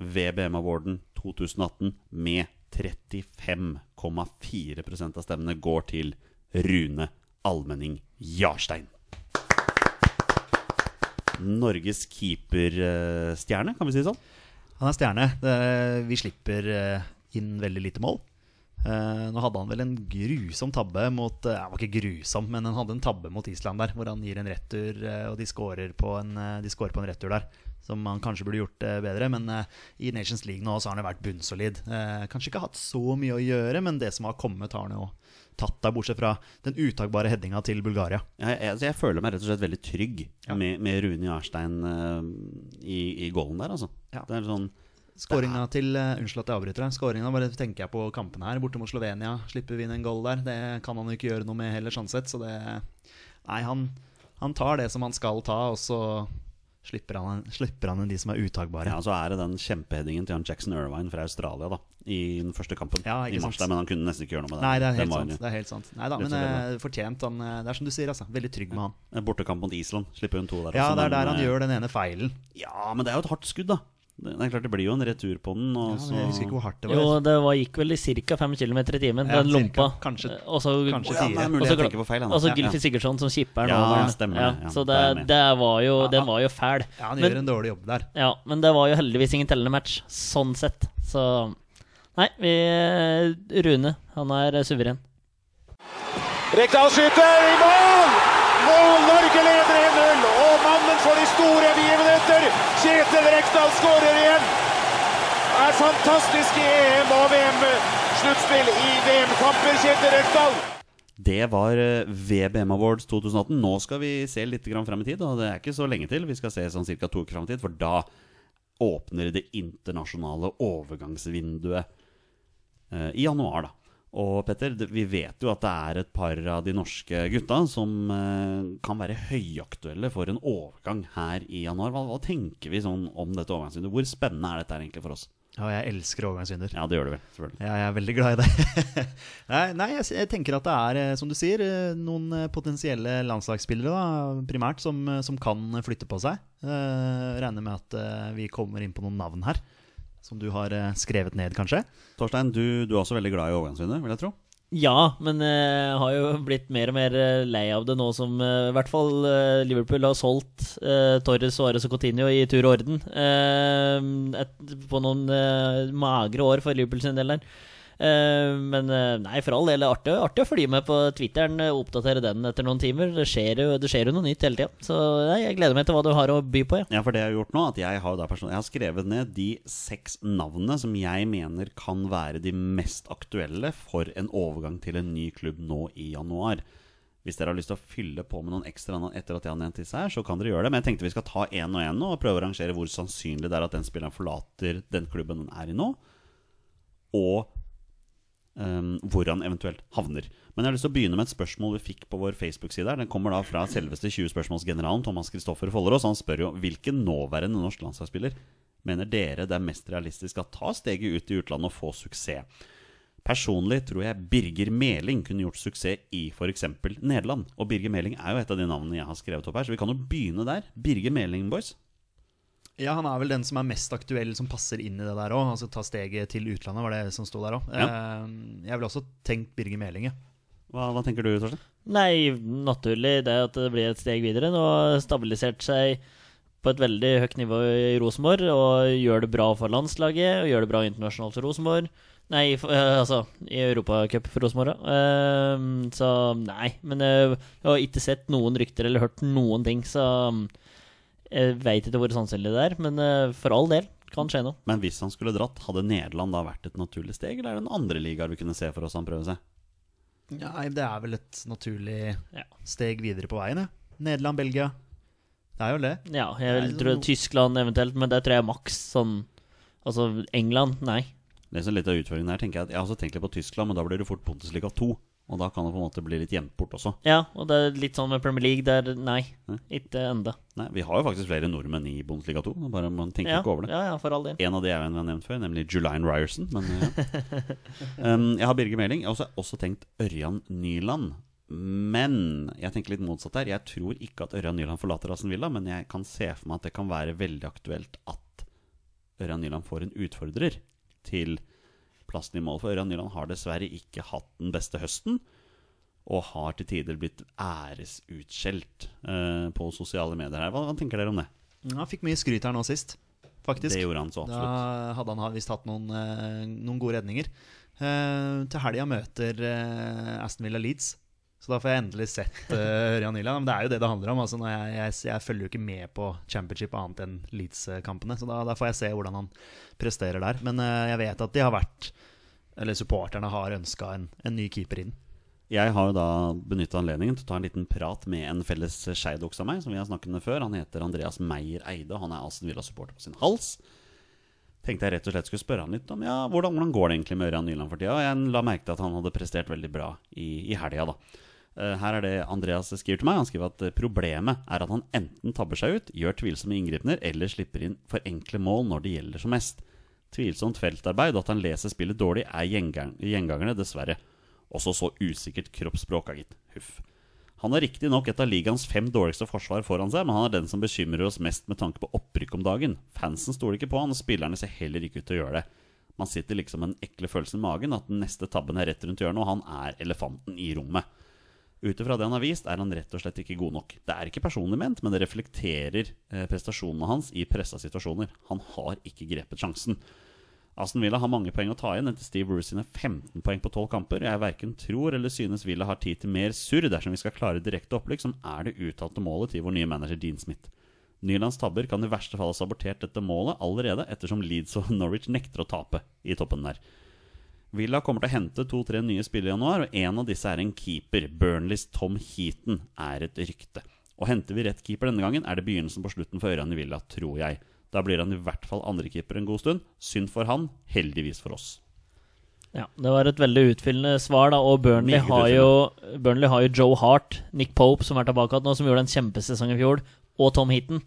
VBM-awarden 2018, med 35,4 av stemmene går til Rune Almenning Jarstein. Norges keeperstjerne, kan vi si det sånn?
Han er stjerne. Det- Vi slipper eh, inn veldig lite mål. Eh, Nå hadde han vel en grusom tabbe mot eh, Han var ikke grusom, men han hadde en tabbe mot Island der, hvor han gir en rettur, eh, og de scorer på en, eh, de scorer på en rettur der. Som han kanskje burde gjort eh, bedre, men eh, i Nations League nå så har han jo vært bunnsolid. Eh, Kanskje ikke hatt så mye å gjøre, men det som har kommet, har han jo tatt der, bortsett fra den uttagbare headinga til Bulgaria.
Jeg, jeg, altså jeg føler meg rett og slett veldig trygg med, med Rune Jarstein eh, i, i goalen der, altså.
Ja.
Det er sånn
Skåringa til eh, Unnskyld at jeg avbryter deg. Skåringa, bare tenker jeg på kampen her. Borte mot Slovenia slipper vi inn en goal der. Det kan han jo ikke gjøre noe med heller, sånn sett. Så det Nei, han, han tar det som han skal ta, og så slipper han, slipper han inn de som er
Ja,
utagbare.
så er det den kjempeheadingen til han Jackson Irvine fra Australia da i den første kampen.
Ja, ikke
I mars
sant.
der, Men han kunne nesten ikke gjøre noe med den.
Nei, det er
Den
helt
var
sant.
jo-
Det er helt sant. Nei da, men eh, fortjent. Han, eh, det er som du sier, altså. Veldig trygg med han.
eh, Bortekamp mot Island. Slipper hun to der.
Ja,
også,
det er
men,
der han
eh,
gjør den ene feilen.
Ja, men det er jo et hardt skudd, da. Det det er klart det blir jo en retur på den. Og
Ja, men jeg husker ikke hvor hardt det var.
Jo, det var, gikk vel i ca. 5 km i timen,
Ja,
den
cirka.
lumpa.
Kanskje-
Eh, Og så
kanskje
ja, det er mulig
Og så
jeg
gla-
tenker på feil.
Og så
altså,
ennå. Ja,
Gylfi Sigurdsson som skipper den
Ja,
over.
stemmer det. Ja,
så
det er
det,
med.
det var jo,
Ja,
den var jo fæl.
Ja, han
Men-
gjør en dårlig jobb der.
Ja, men det var jo heldigvis ingen tellende match, sånn sett. Så Nei, vi eh, Rune, han er eh, suveren.
Rekdal skyter i mål! Mål! Norge leder 1-0! Og mannen for de store begivenheter, Kjetil Rekdal, skårer igjen! Er fantastisk i EM- og VM-sluttspill i VM-kamper, Kjetil Rekdal!
Det var eh, VBM Awards 2018. Nå skal vi se litt grann frem i tid, og det er ikke så lenge til. Vi skal se sånn ca. to uker frem i tid, for da åpner det internasjonale overgangsvinduet eh, i januar, da. Og Petter, det- vi vet jo at det er et par av de norske gutta som eh, kan være høyaktuelle for en overgang her i januar. Hva, hva tenker vi sånn om dette overgangsvinduet? Hvor spennende er dette her egentlig for oss?
Ja, jeg elsker overgangsvinduer.
Ja, det gjør det vel, selvfølgelig.
Ja, jeg er veldig glad i det. nei, nei jeg, s- jeg tenker at det er, eh, som du sier, eh, noen eh, potensielle landslagsspillere da, primært som, eh, som kan flytte på seg. Eh, regner med at eh, vi kommer inn på noen navn her, som du har eh, skrevet ned, kanskje.
Torstein, du, du er også veldig glad i overgangsvinduet, vil jeg tro.
Ja, men eh, jeg har jo blitt mer og mer eh, lei av det nå som eh, I hvert fall eh, Liverpool har solgt eh, Torres, Suárez og Coutinho i tur og orden. eh, et, på noen eh, magre år for Liverpool sin del der. Eh, men eh, nei, for all del, det er artig, artig å følge med på Twitteren eh, og oppdatere den etter noen timer. Det skjer jo, det skjer jo noe nytt hele tida. Så nei, jeg gleder meg til hva du har å by på. Ja.
Ja, for det jeg har gjort nå, at jeg har, da person- jeg har skrevet ned de seks navnene som jeg mener kan være de mest aktuelle for en overgang til en ny klubb nå i januar. Hvis dere har lyst til å fylle på med noen ekstra navn etter at jeg har nevnt disse her, så kan dere gjøre det. Men jeg tenkte vi skal ta én og én nå, og prøve å rangere hvor sannsynlig det er at den spilleren forlater den klubben den er i nå, og um, hvor han eventuelt havner. Men jeg har lyst til å begynne med et spørsmål vi fikk på vår Facebook-side. her. Den kommer da fra selveste 20-spørsmålsgeneralen Thomas Kristoffer Follerås. Han spør jo hvilken nåværende norsk landslagsspiller mener dere det er mest realistisk at tar steget ut i utlandet og får suksess. Personlig tror jeg Birger Meling kunne gjort suksess i f.eks. Nederland. Og Birger Meling er jo et av de navnene jeg har skrevet opp her, så vi kan jo begynne der. Birger Meling, boys.
Ja, han er vel den som er mest aktuell, som passer inn i det der òg. Altså ta steget til utlandet, var det som sto der òg. Eh, jeg ville også tenkt Birger Melinge.
Hva, hva tenker du, Torstein?
Nei, naturlig det at det blir et steg videre. Nå har stabilisert seg på et veldig høyt nivå i Rosenborg og gjør det bra for landslaget og gjør det bra internasjonalt for Rosenborg. Nei, for, eh, altså i Europacup for Rosenborg, da. Ehm, så nei. Men eh, jeg har ikke sett noen rykter eller hørt noen ting, så mm, jeg veit ikke hvor sannsynlig det er. Men eh, for all del, kan skje noe.
Men hvis han skulle dratt, hadde Nederland da vært et naturlig steg, eller er det en andre ligaer vi kunne se for oss han prøver seg?
Nei, det er vel et naturlig
Ja.
steg videre på veien, ja. Nederland, Belgia. Det er jo det.
Ja, jeg vil
Nei,
tro
no-
Tyskland eventuelt, men det tror jeg er maks sånn Altså England, nei.
Det som er litt av utfordringen her, tenker jeg at jeg har også tenkt litt på Tyskland, men da blir det fort Bundesliga 2. Og da kan det på en måte bli litt gjemt bort også.
Ja, og det er litt sånn med Premier League der Nei,
Hæ?
ikke enda.
Nei, vi har jo faktisk flere nordmenn i Bundesliga 2, men bare man tenker
Ja,
ikke over det.
ja, ja, for all del.
En av de er jo en vi har nevnt før, nemlig Julian Ryerson. Men eh, ja. um, jeg har Birger Meling. Jeg har også, også tenkt Ørjan Nyland. Men jeg tenker litt motsatt her. Jeg tror ikke at Ørjan Nyland forlater Aston Villa, men jeg kan se for meg at det kan være veldig aktuelt at Ørjan Nyland får en utfordrer til plassen i mål. For Ørjan Nyland har dessverre ikke hatt den beste høsten. Og har til tider blitt æresutskjelt eh, på sosiale medier her. Hva, hva tenker dere om det?
Ja, han fikk mye skryt her nå sist, faktisk.
Det gjorde han så absolutt.
Da hadde han ha- visst hatt noen, eh, noen gode redninger. Eh, til helga møter eh, Aston Villa Leeds, så da får jeg endelig sett eh, Ørjan Nyland. Men det er jo det det handler om. Altså, når jeg, jeg, jeg følger jo ikke med på championship annet enn Leeds-kampene, så da, da får jeg se hvordan han presterer der. Men eh, jeg vet at de har vært eller supporterne har ønska en, en ny keeper inn.
Jeg har jo da benytta anledningen til å ta en liten prat med en felles skeidoks av meg, som vi har snakket med før. Han heter Andreas Meyer Eide, og han er Aston Villa-supporter på sin hals. tenkte jeg rett og slett skulle spørre han litt om ja, hvordan, hvordan går det egentlig med Ørjan Nyland for tida. Og Jeg la merke til at han hadde prestert veldig bra i, i helga, da. Eh, Her er det Andreas skriver til meg. Han skriver at eh, problemet er at han enten tabber seg ut, gjør tvilsomme inngripener, eller slipper inn for enkle mål når det gjelder som mest. Tvilsomt feltarbeid og at han leser spillet dårlig, er gjengang, gjengangerne, dessverre. Også så usikkert kroppsspråk, ah, gitt. Huff. Han har riktignok et av ligaens fem dårligste forsvar foran seg, men han er den som bekymrer oss mest med tanke på opprykk om dagen. Fansen stoler ikke på han, og spillerne ser heller ikke ut til å gjøre det. Man sitter liksom med den ekle følelsen i magen at den neste tabben er rett rundt hjørnet, og han er elefanten i rommet. Ut ifra det han har vist, er han rett og slett ikke god nok. Det er ikke personlig ment, men det reflekterer eh, prestasjonene hans i pressa situasjoner. Han har ikke grepet sjansen. Aston Villa har mange poeng å ta igjen etter Steve Bruce sine 15 poeng på 12 kamper. Jeg verken tror eller synes Villa har tid til mer surr dersom vi skal klare direkte opplegg, som er det uttalte målet til vår nye manager Dean Smith. Nylands tabber kan i verste fall ha sabotert dette målet allerede, ettersom Leeds og Norwich nekter å tape i toppen der. Villa kommer til å hente to-tre nye spillere i januar, og en av disse er en keeper. Burnleys Tom Heaton er et rykte. Og henter vi rett keeper denne gangen, er det begynnelsen på slutten for Ørjan i Villa, tror jeg. Da blir han i hvert fall andrekeeper en god stund. Synd for han, heldigvis for oss.
Ja, Det var et veldig utfyllende svar, da. Og Burnley
Meget
har, jo, Burnley har jo Joe Hart, Nick Pope, som er tilbake igjen nå, som gjorde en kjempesesong i fjor, og Tom Heaton.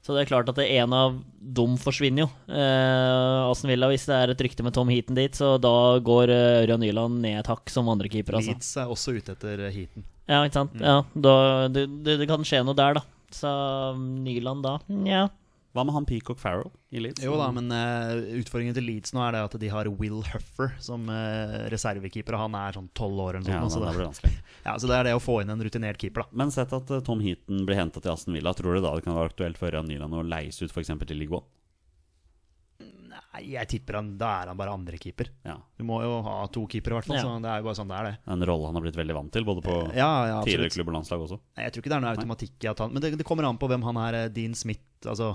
Så det er klart at det en av dem forsvinner jo. Eh, Aston Villa, hvis det er et rykte med Tom Heaton dit, så da går eh, Ørjan Nyland ned et hakk som andrekeeper, altså.
Leeds er også ute etter heaten.
Ja, ikke
Mm.
sant. Ja, da, det, det, det kan skje noe der, da. Så mm, Nyland da, nja.
Hva med han Peacock Farrell i Leeds?
Jo da, men eh, utfordringen til Leeds nå er det at de har Will Huffer som eh, reservekeeper, og han er sånn tolv år eller
Ja,
noe
da,
sånt.
da blir det
så,
vanskelig.
det, ja, så det er det å få inn en rutinert keeper, da.
Men sett at eh, Tom Heaton blir henta til Aston Villa, tror du da det kan være aktuelt for Ørjan Nyland å leies ut f.eks. til Liguan?
Nei, jeg tipper han, da er han bare andrekeeper.
Ja.
Du må jo ha to keepere, i hvert fall.
Ja.
Så det er jo bare sånn det er, det.
En rolle han har blitt veldig vant til, både på
Ja, ja,
tidligere
absolutt.
klubb og landslag også.
Nei, Jeg tror ikke det er noe automatikk i at han Men det, det kommer an på hvem han er, eh, Dean Smith. Altså,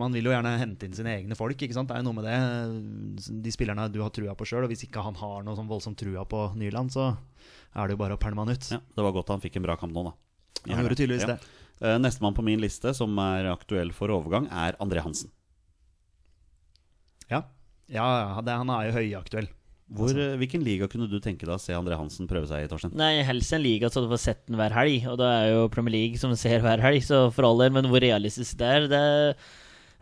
man vil jo gjerne hente inn sine egne folk. ikke sant? Det er jo noe med det. De spillerne du har trua på sjøl. Og hvis ikke han har noe sånn voldsomt trua på Nyland, så er det jo bare å pælme han ut.
Ja, det var godt han fikk en bra kamp nå, da.
Han gjorde tydeligvis det.
Eh, Nestemann på min liste som er aktuell for overgang, er André Hansen.
Ja, ja ja, det, han er jo høyaktuell.
Hvor,
Altså.
eh, hvilken liga kunne du tenke deg å se André Hansen prøve seg i, Torstein?
Nei, helst en liga så du får sett den hver helg. Og det er jo Premier League som ser hver helg, så for all del. Men hvor realistisk det er, det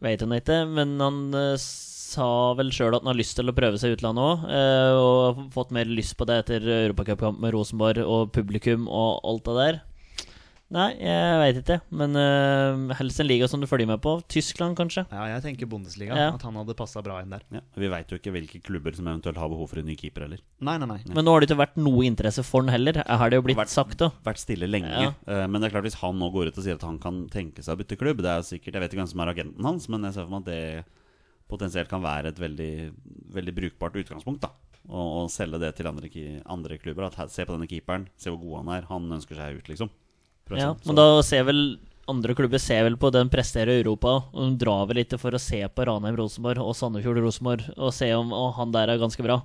vet han ikke. Men han eh, sa vel sjøl at han har lyst til å prøve seg i utlandet òg. og har fått mer lyst på det etter europacupkamp med Rosenborg og publikum og alt det der. Nei, jeg veit ikke. Men eh, helst en liga som du følger med på. Tyskland, kanskje.
Ja, jeg tenker Bundesliga.
Ja.
At han hadde passa bra inn der.
Ja, vi veit jo ikke hvilke klubber som eventuelt har behov for en ny keeper heller.
Nei, nei, nei.
Men nå har det ikke vært noe interesse for den heller, har det jo blitt
Vært-
sagt. da
vært stille lenge.
Ja.
Eh, Men det er klart hvis han nå går ut og sier at han kan tenke seg å bytte klubb Det er jo sikkert, Jeg vet ikke hvem som er agenten hans, men jeg ser for meg at det potensielt kan være et veldig, veldig brukbart utgangspunkt. da Å å selge det til andre, ki- andre klubber. At her- Se på denne keeperen, se hvor god han er. Han ønsker seg ut, liksom. For å
Ja,
si det
men
sånn.
da ser vel andre klubber ser vel på den presterer i Europa, og de drar vel litt for å se på Ranheim Rosenborg og Sandefjord Rosenborg og se om å, han der er ganske bra.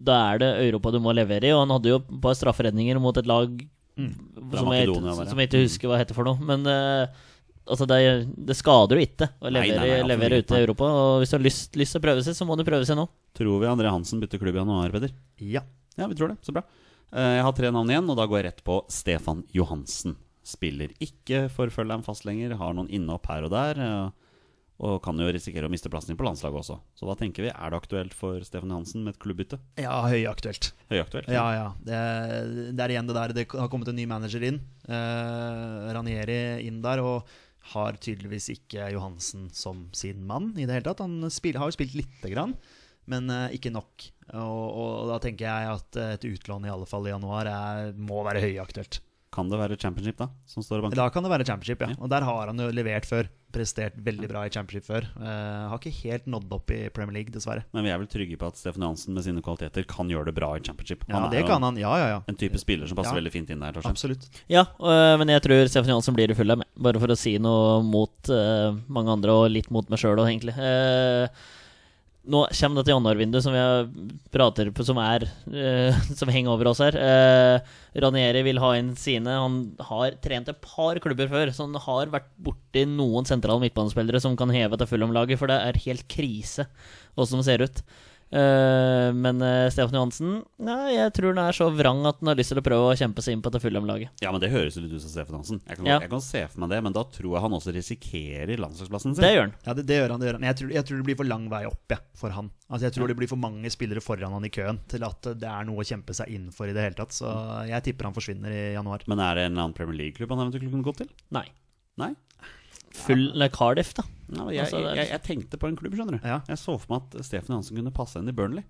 Da er det Europa du må levere i, og han hadde jo et par strafferedninger mot et lag
Fra
som,
Mm. Makedonia
jeg,
Mm. der, ja.
ikke- som jeg ikke husker hva heter for noe, men eh, altså det, det skader jo ikke
Nei,
å
nei,
levere,
nei, absolutt
levere
ikke.
ute i Europa. Og hvis du har lyst, lyst til å prøve seg, så må du prøve seg nå.
Tror vi André Hansen bytter klubb i januar, Peder?
Ja.
Ja, vi tror det. Så bra. Eh, Jeg har tre navn igjen, og da går jeg rett på Stefan Johansen. Spiller ikke for Fulham fast lenger, har noen innhopp her og der. eh, Og kan jo risikere å miste plassen din på landslaget også. Så hva tenker vi? Er det aktuelt for Stefan Johansen med et klubbbytte?
Ja, høyaktuelt.
Høyaktuelt.
Ja, ja. Det, det er igjen det der. Det har kommet en ny manager inn. Eh, Ranieri inn der. Og har tydeligvis ikke Johansen som sin mann i det hele tatt. Han spil, har jo spilt lite grann, men eh, ikke nok. Og, og da tenker jeg at et utlån i alle fall i januar er, må være høyaktuelt.
Kan det være championship, da? Som står i banken?
Da kan det være championship, ja. Og der har han jo levert før. Prestert veldig bra i championship før. Eh, har ikke helt nådd opp i Premier League, dessverre.
Men vi er vel trygge på at Stefan Johansen med sine kvaliteter kan gjøre det bra i championship.
Ja,
er
det
jo
kan han. Ja, ja, ja.
En type spiller som passer
Ja.
veldig fint inn der. Torstein.
Absolutt.
Ja, øh, men jeg tror Stefan Johansen blir i fulle med. Bare for å si noe mot øh, mange andre, og litt mot meg sjøl òg, egentlig. Eh, Nå kommer dette januarvinduet som vi prater på, som er eh, Som henger over oss her. Eh, Ranieri vil ha inn sine. Han har trent et par klubber før, så han har vært borti noen sentrale midtbanespillere som kan heve til fullomlaget, for det er helt krise åssen det ser ut. Eh, men eh, Stefan Johansen Nei, jeg tror han er så vrang at han har lyst til å prøve å kjempe seg inn på dette fullomlaget.
Ja, men Det høres jo litt ut som Stefan Hansen. Jeg kan,
Ja.
jeg kan se for meg det, men da tror jeg han også risikerer landslagsplassen sin.
Det gjør han.
Ja, det, det gjør han, det gjør han. Men jeg tror, jeg tror det blir for lang vei opp ja, for han. Altså, jeg tror det blir for mange spillere foran han i køen til at eh, det er noe å kjempe seg inn for i det hele tatt. Så jeg tipper han forsvinner i januar.
Men er det en eller annen Premier League-klubb han eventuelt kunne gått til?
Nei.
Nei?
Full eller Cardiff, da.
Nei, men jeg,
Altså, det er-
jeg, jeg tenkte på en klubb, skjønner du.
Ja.
Jeg så for meg at Stefan Johansen kunne passe inn i Burnley.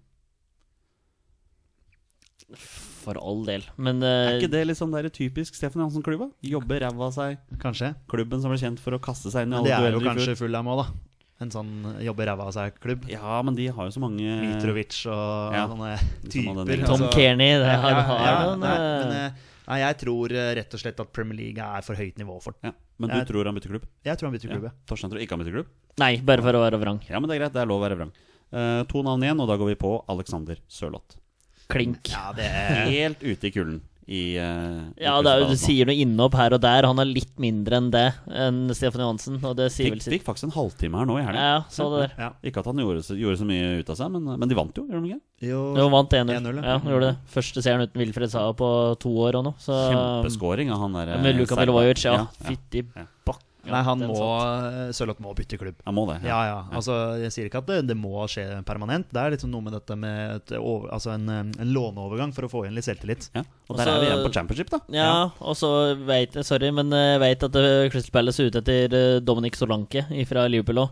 For all del. Men
Er
eh,
ikke det litt sånn der typisk Stefan Johansen-klubba? Jobbe ræva av seg.
Kanskje.
Klubben som ble kjent for å kaste seg inn i
Men
alle
det er
dueller
jo
i fjor.
kanskje full av mål, da. En sånn jobbe ræva av seg-klubb.
Ja, men de har jo så mange
Mitrovic og
Ja.
sånne
Liksom
typer. Altså,
alle den-
Tom Kearney, det
Ja,
har
ja,
har
ja,
noen,
nei,
eh,
men, eh, nei, jeg tror eh, rett og slett at Premier League er for høyt nivå for den.
Ja, men du
Jeg-
tror han bytter klubb?
Jeg tror han bytter klubb.
Ja.
ja.
Torstein tror ikke han bytter klubb?
Nei, bare for å være vrang.
Ja, men det er greit. Det er lov å være vrang. Eh, to navn igjen, og da går vi på Alexander Sørloth.
Klink.
Ja, det
Helt ute i kulden i eh, i
Ja, det er jo, du
Crystal Palace nå.
sier noe innhopp her og der. Han er litt mindre enn det enn Stefan Johansen, og det sier
Fikk,
vel sitt.
fikk faktisk en halvtime her nå i helga.
Ja, så det der.
ja.
Ikke at han gjorde så, gjorde så mye ut av seg, men, men de vant jo, gjorde de ikke?
Jo,
Jo,
vant 1-0.
1-0, ja.
Ja, han gjorde det. Første seieren uten Wilfred Saa på to år og noe. Så
Kjempeskåring av han der. eh,
Med Luka
Serba.
Milovojevic, ja.
Ja, ja.
Fytti
Ja.
bakk.
nei, han
den
må eh,
satt.
Sørloth må bytte klubb.
Han må det.
Ja, ja. Altså, jeg sier ikke at det, det må skje permanent. Det er liksom noe med dette med et over, altså en, eh, en låneovergang for å få igjen litt selvtillit.
Ja, Og
Også-
der er vi igjen på championship, da.
Ja, og så vet jeg Sorry, men jeg vet at eh, Crystal Palace er ute etter eh, Dominic Solanke fra Liverpool òg.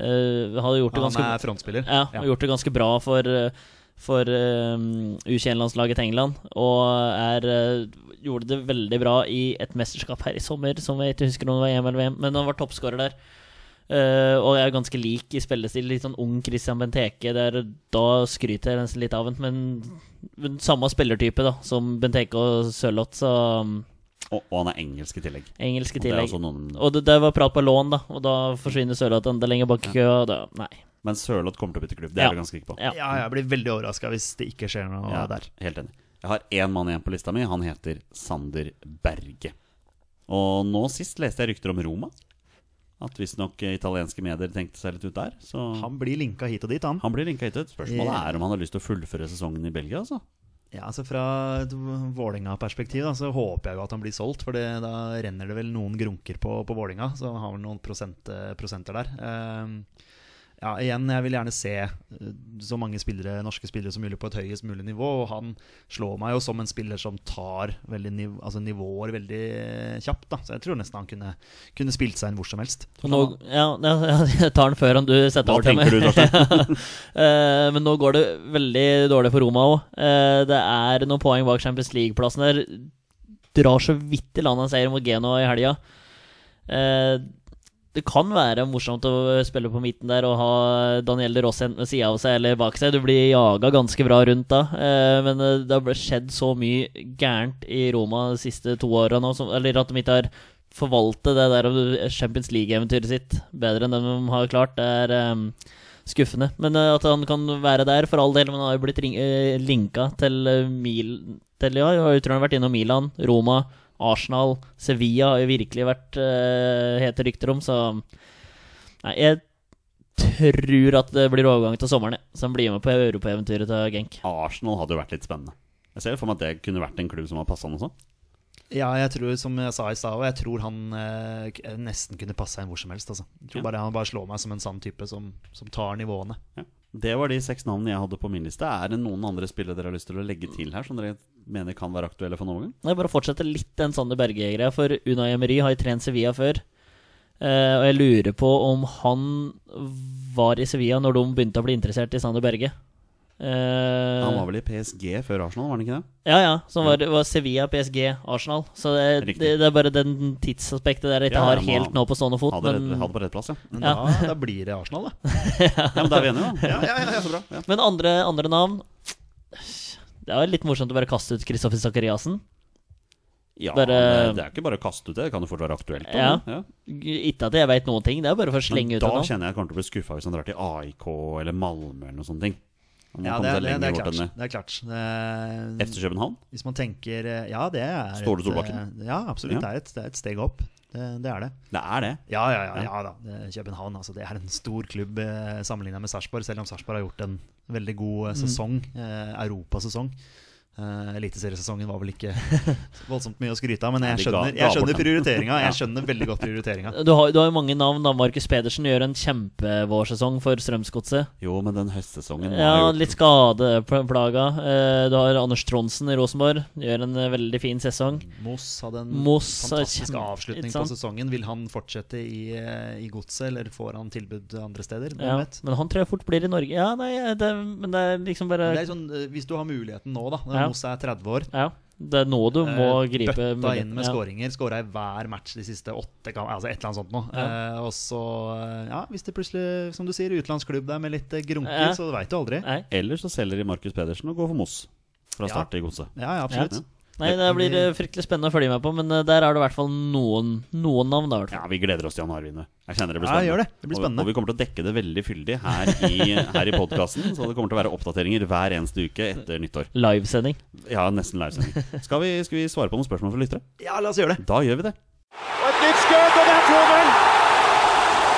hadde gjort det
Han
ganske
er frontspiller.
Ja, og gjort det ganske bra for, eh, for eh, U21-landslaget til England. Og er, eh, gjorde det veldig bra i et mesterskap her i sommer, som jeg ikke husker om det var EM eller VM, men han var toppskårer der. Eh, og er ganske lik i spillestil. Litt sånn ung Christian Benteke. Der, da skryter jeg nesten litt av ham, men, men samme spillertype da som Benteke og Sørloth, så um,
Og, og han er engelsk i tillegg.
engelske
Og det er
tillegg.
også noen-
Og det, det var prat på lån, da, og da forsvinner Sørloth enda lenger bak i køa. og da- Nei.
Men Sørloth kommer til å bytte klubb, det
Ja.
er du ganske sikker på.
Ja.
Ja, jeg blir veldig overraska hvis det ikke skjer noe
Ja,
der.
Helt enig. Jeg har én mann igjen på lista mi. Han heter Sander Berge. Og nå sist leste jeg rykter om Roma. At visstnok eh, italienske medier tenkte seg litt ut der. Så han,
Han blir linka hit og dit, han.
blir linka hit ut. Spørsmålet er om han har lyst til å fullføre sesongen i Belgia, altså.
Ja, altså Fra et Vålinga-perspektiv da, så håper jeg jo at han blir solgt. For det- da renner det vel noen grunker på, på Vålinga, så han har vel noen prosent, eh, prosenter der. Ehm, ja, igjen, jeg vil gjerne se eh, så mange spillere, norske spillere som mulig på et høyest mulig nivå. Og han slår meg jo som en spiller som tar veldig niv altså nivåer veldig eh, kjapt. da Så jeg tror nesten han kunne, kunne spilt seg inn hvor som helst.
Og Nå, ja, ja, ja, jeg tar den før han du setter
Hva
over til
tenker du,
Torstein? Men nå går det veldig dårlig for Roma òg. Det er noen poeng bak Champions League-plassen der. Drar så vidt i land en seier mot Genoa i helga. Eh, Det kan være morsomt å spille på midten der og ha Daniel De Rossi enten ved sida av seg eller bak seg. Du blir jaga ganske bra rundt da. Eh, Men eh, det har ble- skjedd så mye gærent i Roma de siste to åra nå, som- eller at de ikke har forvalte det der Champions League-eventyret sitt bedre enn det de har klart, det er ehm, skuffende. Men eh, at han kan være der, for all del, men han har jo blitt ring eh, linka til eh, Mil... Til, ja, jeg tror han har vært innom Milan, Roma, Arsenal, Sevilla har jo virkelig vært eh, hete rykter om, så Nei, jeg tror at det blir overgang til sommeren, jeg. Så han blir med på europaeventyret til Genk.
Arsenal hadde jo vært litt spennende. Jeg ser for meg at det kunne vært en klubb som var passende også.
Ja, jeg tror, som jeg sa i stad, og jeg tror han eh, k- nesten kunne passa inn hvor som helst. Altså. Jeg tror
Ja.
bare Han bare slår meg som en sann type som, som tar nivåene.
Ja. Det var de seks navnene jeg hadde på min liste. Er det noen andre spillere dere har lyst til å legge til her, som dere mener kan være aktuelle for en overgang?
Jeg bare fortsetter litt den Sander Berge-greia, for Unai Emery har jo trent Sevilla før. Eh, og jeg lurer på om han var i Sevilla når de begynte å bli interessert i Sander Berge. Eh,
Han var vel i PSG før Arsenal, var han ikke det?
Ja, ja. Som var, var Sevilla, PSG, Arsenal. Så det,
Riktig.
det, det er bare den tidsaspektet der jeg ikke
Ja,
har
ja, men
helt
han-
nå på stående fot.
Hadde,
men,
rett, hadde på rett plass, ja. Mm.
Men
Ja.
da, da blir det Arsenal, da.
ja men da er vi enige, da. Ja, ja, ja, ja, så bra. Ja.
men andre, andre navn Det er jo litt morsomt å bare kaste ut Kristoffer Sakariassen.
Ja, det,
Bare-
det er ikke bare å kaste ut det, det kan jo fort være aktuelt. da.
Ja.
Ja.
Ikke at jeg veit noen ting, det er bare for å
Men
slenge ut
da
det nå.
kjenner jeg jeg kommer til å bli skuffa hvis han drar til AIK eller Malmö eller noe sånt. ting. Han må
Ja, det, er-
komme seg
det, er- det er
lenger bort
klart.
enn det.
Det er klart. Det,
FC København?
hvis man tenker eh, Ja, det er et,
Ståle Solbakken?
eh, Ja, absolutt.
Ja.
Det, er et, det er et steg opp. Det, det er det.
Det er det.
Ja, ja, ja, ja da. Det- København altså, det er en stor klubb eh, sammenligna med Sarpsborg, selv om Sarpsborg har gjort en veldig god eh, sesong. Eh, europasesong. Eh, eliteseriesesongen var vel ikke voldsomt mye å skryte av, men
Nei, de
jeg
ga-
skjønner,
ga
jeg skjønner
bort den.
prioriteringa. Jeg skjønner veldig godt prioriteringa.
Du har, du har jo mange navn. da. Markus Pedersen gjør en kjempevårsesong for Strømsgodset.
Jo, men den høstsesongen var
Ja,
jo-
litt skadeplaga. Eh, Du har Anders Tronsen i Rosenborg. Gjør en eh, veldig fin sesong.
Moss hadde en
Moss er
fantastisk
kjempe-
avslutning
ikke
på
sant?
sesongen. Vil han fortsette i, eh, i godset, eller får han tilbud andre steder? Hvem
Ja,
vet?
men han tror jeg fort blir i Norge. Ja, nei, eh, det, men det er liksom bare
Men Det er sånn, eh, hvis du har muligheten nå, da.
Ja.
når Moss er 30 år.
Ja, det er nå du
eh,
må gripe
Bøtta
muligheten,
inn med
ja.
skåringer. Skåra i hver match de siste åtte kam- Altså et eller annet sånt nå. Eh, og så, eh, ja, hvis det plutselig, som du sier, utenlandsklubb der med litt eh, grunker,
Ja.
så veit du aldri.
Nei,
Eller så selger de Markus Pedersen og går for Moss fra
Ja.
start til godset.
Ja, ja, absolutt.
nei, det blir eh, fryktelig spennende å følge med på, men eh, der er det i hvert fall noen, noen navn. Da, i hvert fall.
Ja, vi gleder oss til januarvinduet. Jeg kjenner det blir
Ja,
spennende.
gjør det. Det blir spennende.
Og, og vi kommer til å dekke det veldig fyldig her i, her i podkasten. Så det kommer til å være oppdateringer hver eneste uke etter nyttår.
Livesending.
Ja, nesten livesending. Skal, vi- skal vi svare på noen spørsmål fra lyttere?
Ja, la oss gjøre det.
Da gjør vi det.
Og et nytt skudd, og det er 2-0!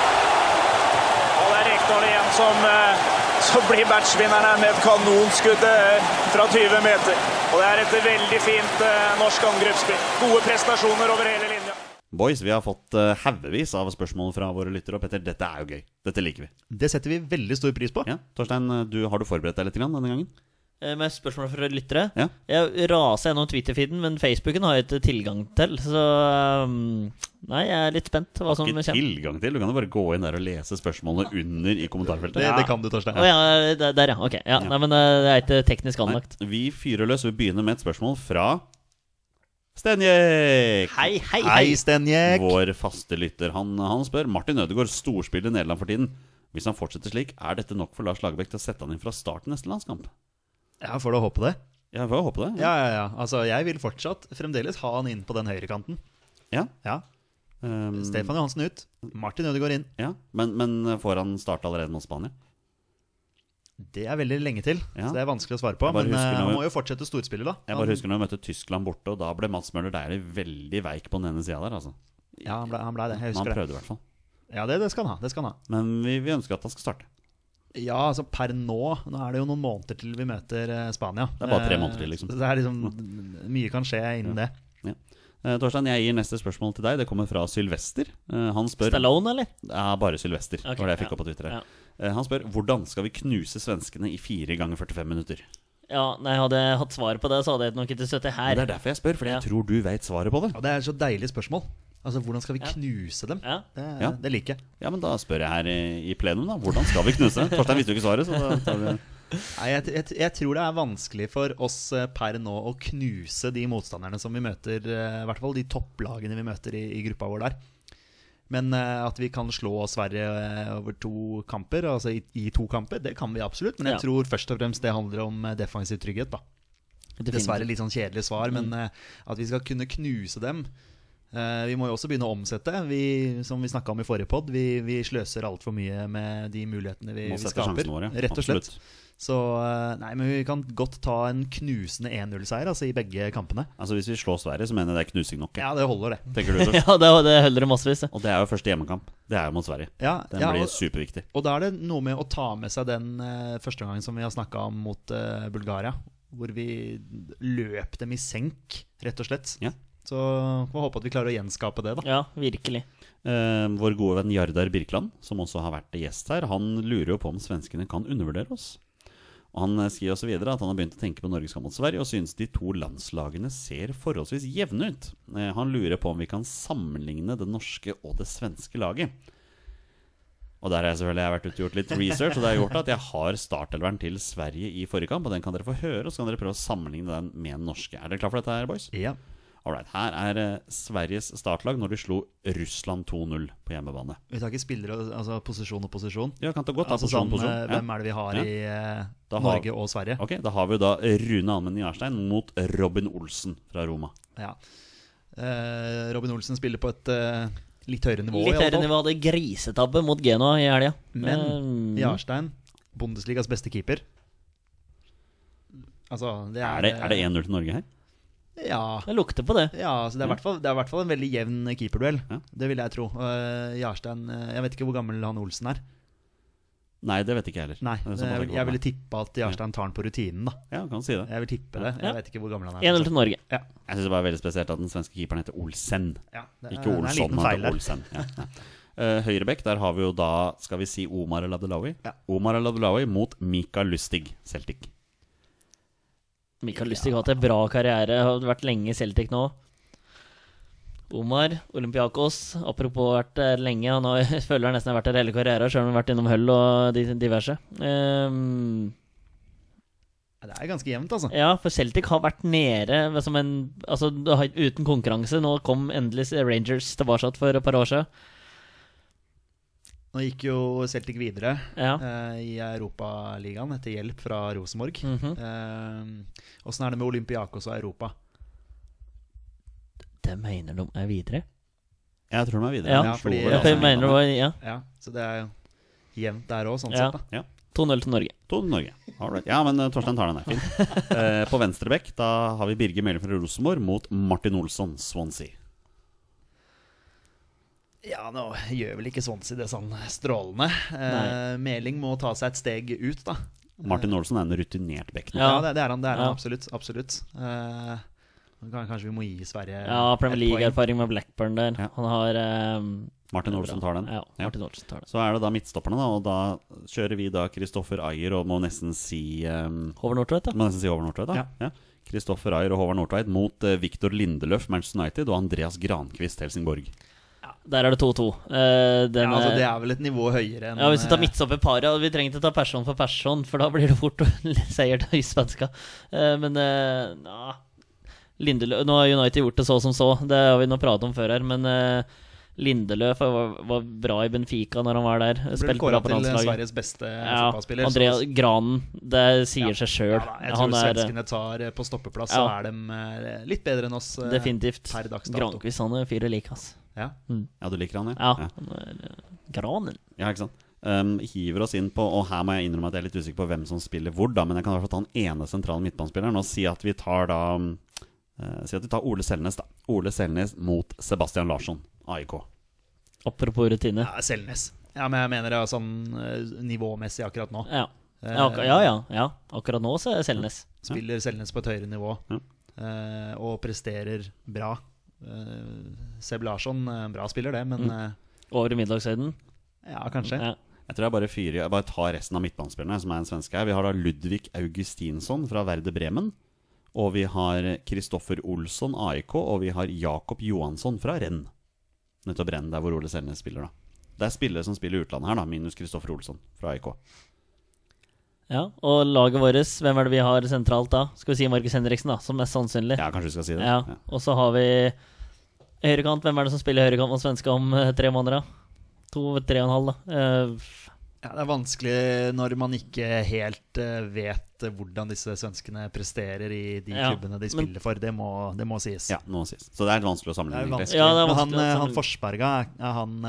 Og det er Rekdal igjen som, eh, som blir matchvinneren her med et kanonskudd eh, fra 20 meter. Og det er et veldig fint eh, norsk angrepsspill. Gode prestasjoner over hele linja.
Boys, vi har fått eh, haugevis av spørsmål fra våre lyttere. Og Petter, dette er jo gøy. Dette liker vi.
Det setter vi veldig stor pris på.
Ja, Torstein, eh, du, har du forberedt deg litt grann denne gangen?
Eh, Med spørsmål fra lyttere.
Ja.
Jeg raser gjennom Twitter-feeden, men Facebooken har jeg ikke tilgang til. Så um, nei, jeg er litt spent hva som
Ikke
kommer.
tilgang til. Du kan jo bare gå inn der og lese spørsmålene under i kommentarfeltet.
Det, det kan du, Torstein.
Å ja, der, der, ja. Ok. Ja, Nei, men eh, det er ikke teknisk
Nei,
anlagt.
vi fyrer løs. Vi begynner med et spørsmål fra Stenjek.
Hei, hei, hei!
Hei, Stenjek.
Vår faste lytter. Han, han spør Martin Ødegaard, storspiller i Nederland for tiden. Hvis han fortsetter slik, er dette nok for Lars Lagerbäck til å sette han inn fra start i neste landskamp?
Ja, får du håpe det.
Ja, vi får håpe
Mm.
det.
Ja, ja, ja. Altså, jeg vil fortsatt fremdeles ha han inn på den høyrekanten.
Ja.
Ja.
Ehm,
Stefan Johansen ut. Martin Ødegaard inn.
ja. Men, men får han starte allerede mot Spania?
Det er veldig lenge til,
Ja.
så det er vanskelig å svare på.
Jeg bare
Men eh,
husker når-
han må jo fortsette storspiller, da.
Jeg bare husker når jeg møtte Tyskland borte, og da ble Mats Møller Dæhlie veldig veik på den ene sida der, altså.
Ja, han ble, han ble det. Jeg
Men han
husker det.
prøvde i hvert fall.
Ja, det, det skal han ha. Det skal han ha.
Men vi, vi ønsker at han skal starte.
Ja, altså per nå Nå er det jo noen måneder til vi møter eh, Spania.
Det er bare tre
Eh,
måneder til, liksom.
så Det er liksom Mye kan skje innen det.
Ja. Eh, Torstein, jeg gir neste spørsmål til deg. Det kommer fra Sylvester. Eh, han spør
Stallone, eller?
Ja, bare Sylvester.
Ok,
det var det jeg fikk
ja.
opp på Twitter. her.
Ja.
Eh, han spør hvordan skal vi knuse svenskene i 4 ganger 45 minutter.
Ja, nei, Hadde jeg hatt svar på det, så hadde jeg nok ikke sittet
Men
her.
det er derfor jeg spør, for jeg
Ja.
tror du veit svaret på det.
Og det er så deilig spørsmål. Altså, Hvordan skal vi knuse dem?
Ja.
Det,
Ja.
det liker jeg.
Ja, men da spør jeg her i, i plenum, da. Hvordan skal vi knuse? Torstein visste jo ikke svaret, så da tar vi
Nei, jeg, jeg, jeg tror det er vanskelig for oss eh, per nå å knuse de motstanderne som vi møter, eh, i hvert fall de topplagene vi møter i, i gruppa vår der. Men eh, at vi kan slå Sverige eh, over to kamper, altså i, i to kamper, det kan vi absolutt. Men jeg
Ja.
tror først og fremst det handler om eh, defensiv trygghet, da. Dessverre litt sånn kjedelig svar, men
Mm.
eh, at vi skal kunne knuse dem. Eh, vi må jo også begynne å omsette. Vi, som vi snakka om i forrige pod, vi, vi sløser altfor mye med de mulighetene vi,
Må
vi
sette
skaper.
sjansene våre,
Rett og slett.
absolutt.
Så eh, nei, men vi kan godt ta en knusende 1-0-seier altså, i begge kampene.
Altså, hvis vi slår Sverige, så mener jeg det er knusing nok.
Ja, det holder, det.
Tenker du, Torstein?
Ja, det, det holder det massevis. det.
Og det er jo første hjemmekamp. Det er jo mot Sverige.
Ja,
Den
ja,
blir
og,
superviktig.
og da er det noe med å ta med seg den eh, første gangen som vi har snakka om mot eh, Bulgaria, hvor vi løp dem i senk, rett og slett.
Ja.
Så får håpe at vi klarer å gjenskape det, da.
Ja, virkelig.
Eh, vår gode venn Jardar Birkeland, som også har vært gjest her, han lurer jo på om svenskene kan undervurdere oss. Og Han eh, skriver også videre at han har begynt å tenke på Norges kamp mot Sverige, og synes de to landslagene ser forholdsvis jevne ut. Eh, han lurer på om vi kan sammenligne det norske og det svenske laget. Og der har jeg selvfølgelig vært ute og gjort litt research, og det har gjort at jeg har startelveren til Sverige i forrige kamp, og den kan dere få høre, og så kan dere prøve å sammenligne den med den norske. Er dere klar for dette her, boys?
Ja.
Alright, her er eh, Sveriges startlag når de slo Russland 2-0 på hjemmebane.
Vi tar ikke spillere, altså posisjon og posisjon.
Ja, kan ta godt, da,
altså
posisjon,
sånn,
posisjon.
eh,
Ja.
Hvem er det vi har
Ja.
i eh,
Da har-
Norge og Sverige?
Ok, Da har vi jo da Rune Almen Jarstein mot Robin Olsen fra Roma.
Ja. Eh, Robin Olsen spiller på et eh, litt høyere nivå. i
Litt
alle
høyere
fall.
nivå hadde grisetabbe mot Genoa i helga.
Men
Mm.
Eh,
Jarstein, Bundesligas beste keeper Altså, det er
Er det, er det 1-0 til Norge her?
Ja.
Det lukter på det.
Ja, så det er i hvert fall- det er i hvert fall en veldig jevn keeperduell.
Ja.
Det vil jeg tro. Eh, Jarstein eh, Jeg vet ikke hvor gammel han Olsen er.
Nei, det vet ikke jeg heller.
Nei,
Det er sånn såpass
jeg,
ikke
jeg ville
på meg.
tippe at Jarstein tar den på rutinen, da.
Ja, kan si det.
Jeg vil tippe det.
Ja.
Jeg vet ikke hvor gammel han
1-0
er.
til Norge.
Ja.
Jeg syns det var veldig spesielt at den svenske keeperen heter Olsen.
Ja, det er-
Ikke
det Eh, er en
Olsson,
liten
men
feil
heter
der.
Olsen. Ja, ja. Eh, Høyrebekk, der har vi jo da, skal vi si, Omar El Abdelawi.
Ja.
Omar El Abdelawi mot Mika Lustig, Celtic.
Mikael Lustig har hatt en bra karriere. Har vært lenge i Celtic nå. Omar, Olympiakos. Apropos vært der lenge. Han har, jeg føler han nesten har vært der hele karrieren, sjøl om han har vært innom Hull og de diverse. Ehm,
Ja, Det er ganske jevnt, altså.
ja, for Celtic har vært nede men som en Altså det har- uten konkurranse. Nå kom endelig Rangers tilbake for et par år siden.
Nå gikk jo Celtic videre
Ja.
eh, i Europaligaen etter hjelp fra Rosenborg.
Mm.
Eh,
Mhm.
Åssen er det med Olympiakos og Europa?
Det mener de er videre.
Jeg tror de er videre.
Ja.
De
Ja, fordi-
slo vel
Ja, for jeg
altså
mener det
England.
var ja,
Ja, Så det er jevnt der òg, sånn
Ja.
sett. da
2-0 til Norge.
To til Norge. All right. Ja, men eh, Torstein tar den der. Fint. Eh, på venstrebekk da har vi Birger Meling fra Rosenborg mot Martin Olsson, Swansea.
Ja, nå gjør vel ikke Swansea det sånn strålende. Eh, Meling må ta seg et steg ut, da.
Martin Olsson er en rutinert bekk nå.
Ja,
Ja.
det, det er han, det er han
Ja.
absolutt. absolutt. Eh, kan- kanskje vi må gi Sverige
Ja, Premier
et poeng.
League-erfaring med Blackburn der.
Ja.
Han har ehm,
Martin
det er
Olsen
bra.
tar den.
Ja,
Ja.
Martin Olsen tar den.
Så er det da midtstopperne, da, og da kjører vi da Kristoffer Ayer og må nesten si um,
Håvard Nordtvedt, da.
Må nesten si Håvard Nordtveit, da.
Ja.
Ja. Kristoffer Ayer og Håvard Nordtveit mot eh, Viktor Lindeløf, Manchester United, og Andreas Grankvist, Helsingborg.
Der er det 2-2. Eh,
Ja,
den
altså,
er-
det er vel et nivå høyere enn
ja, Hvis du tar
eh,
midtstopperparet og Vi trenger ikke ta person for person, for da blir det fort seier til svenska. Eh, men eh, ja. Lindelø Nå har United gjort det så som så, det har vi nå pratet om før her. Men eh, Lindeløf var, var bra i Benfica når han var der.
ble vel
Spilte bra
kåret
på
til
landslaget.
Sveriges beste
Ja,
fotballspiller.
Andrea
så-
Granen. Det sier
Ja.
seg sjøl.
ja, da, jeg tror svenskene tar eh, på stoppeplass, så
Ja.
er de eh, litt bedre enn oss. eh,
definitivt
per dags dato.
Grankvist. Han er fyret lik, ass.
Ja.
Ja, du liker han,
Ja. han er, eh, Granen.
Ja, ikke sant? Um, hiver oss inn på Og her må jeg innrømme at jeg er litt usikker på hvem som spiller hvor, da, men jeg kan i hvert fall ta den ene sentrale midtbanespilleren og si at vi tar da um, eh, Si at vi tar Ole Selnes, da. Ole Selnes mot Sebastian Larsson, AIK.
Apropos rutine.
ja, Selnes. Ja, men jeg mener det er sånn eh, nivåmessig akkurat nå.
Ja. Ja, ak- ja, ja, ja. Akkurat nå så er Selnes.
Spiller Selnes på et høyere nivå
Ja.
eh, og presterer bra. Eh, Seb Larsson, eh, bra spiller det, men
Over i middagshøyden.
eh, ja, kanskje.
Mm. Ja.
Jeg tror jeg bare fyrer Jeg bare tar resten av midtbanespillerne, som er en svenske her. Vi har da Ludvig Augustinsson fra Verde Bremen. Og vi har Kristoffer Olsson, AIK. Og vi har Jakob Johansson fra Renn. Nettopp Renn, der hvor Ole Selnes spiller, da. Det er spillere som spiller i utlandet her, da, minus Kristoffer Olsson fra AIK.
ja. Og laget vårt, hvem er det vi har sentralt da? Skal vi si Markus Henriksen, da, som mest sannsynlig.
Ja, kanskje vi skal si det.
Ja.
Ja.
Og så har vi høyrekant. Hvem er det som spiller høyrekant mot svenska om eh, tre måneder, da? To, tre og en halv, da. Eh,
Ja, det er vanskelig når man ikke helt eh, vet eh, hvordan disse svenskene presterer i de
Ja,
klubbene de
men-
spiller for. Det må, det må sies.
Ja, nå sies. Så det er litt vanskelig å
Det er jo
sammenligne, egentlig.
vanskelig.
Ja, det er
men han,
vanskelig å
eh, han
sammenligne.
Forsberga, er han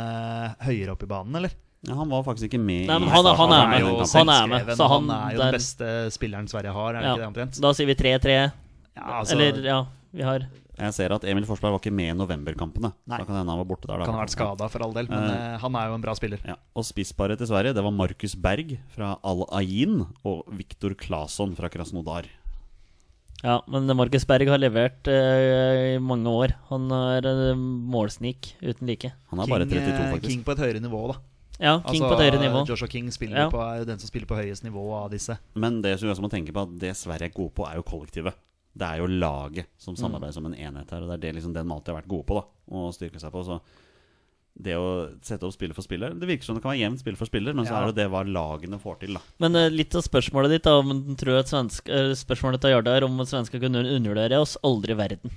eh, høyere opp i banen, eller?
Ja, han var faktisk ikke med
Nei,
i
men han er-
starten.
han er med.
jo
Han
selv-
er med,
selvskreven,
så
og
han
er jo
der-
den beste spilleren Sverige har, er det
Ja.
ikke det omtrent?
Da sier vi 3-3.
Ja, altså,
Eller, ja, vi har
Jeg ser at Emil Forsberg var ikke med i novemberkampene.
Nei.
Da kan det hende han var borte der. Da.
Kan ha vært skada for all del, men
Eh,
eh, han er jo en bra spiller.
Ja. Og spissparet til Sverige, det var Markus Berg fra Al Ain og Viktor Claesson fra Krasnodar.
Ja, men Markus Berg har levert eh, i mange år. Han er eh, målsnik uten like.
Han er bare
King, eh,
32, faktisk.
King på et høyere nivå, da. Altså,
Ja, King på et høyere nivå.
Joshua King spiller
Ja.
på, er jo den som spiller på høyest nivå av disse.
Men det som vi også må tenke på, at det Sverige er gode på, er jo kollektivet. Det er jo laget som samarbeider som en enhet her, og det er det liksom den alltid har vært gode på, da, å styrke seg på. Så det å sette opp spiller for spiller Det virker som det kan være jevnt spiller for spiller, men så
Ja.
er det jo det hva lagene får til, da.
Men eh, litt av spørsmålet ditt da, om den tror at svensk, eh, spørsmålet til Jardar om at svensker kunne undervurdere oss, aldri i verden.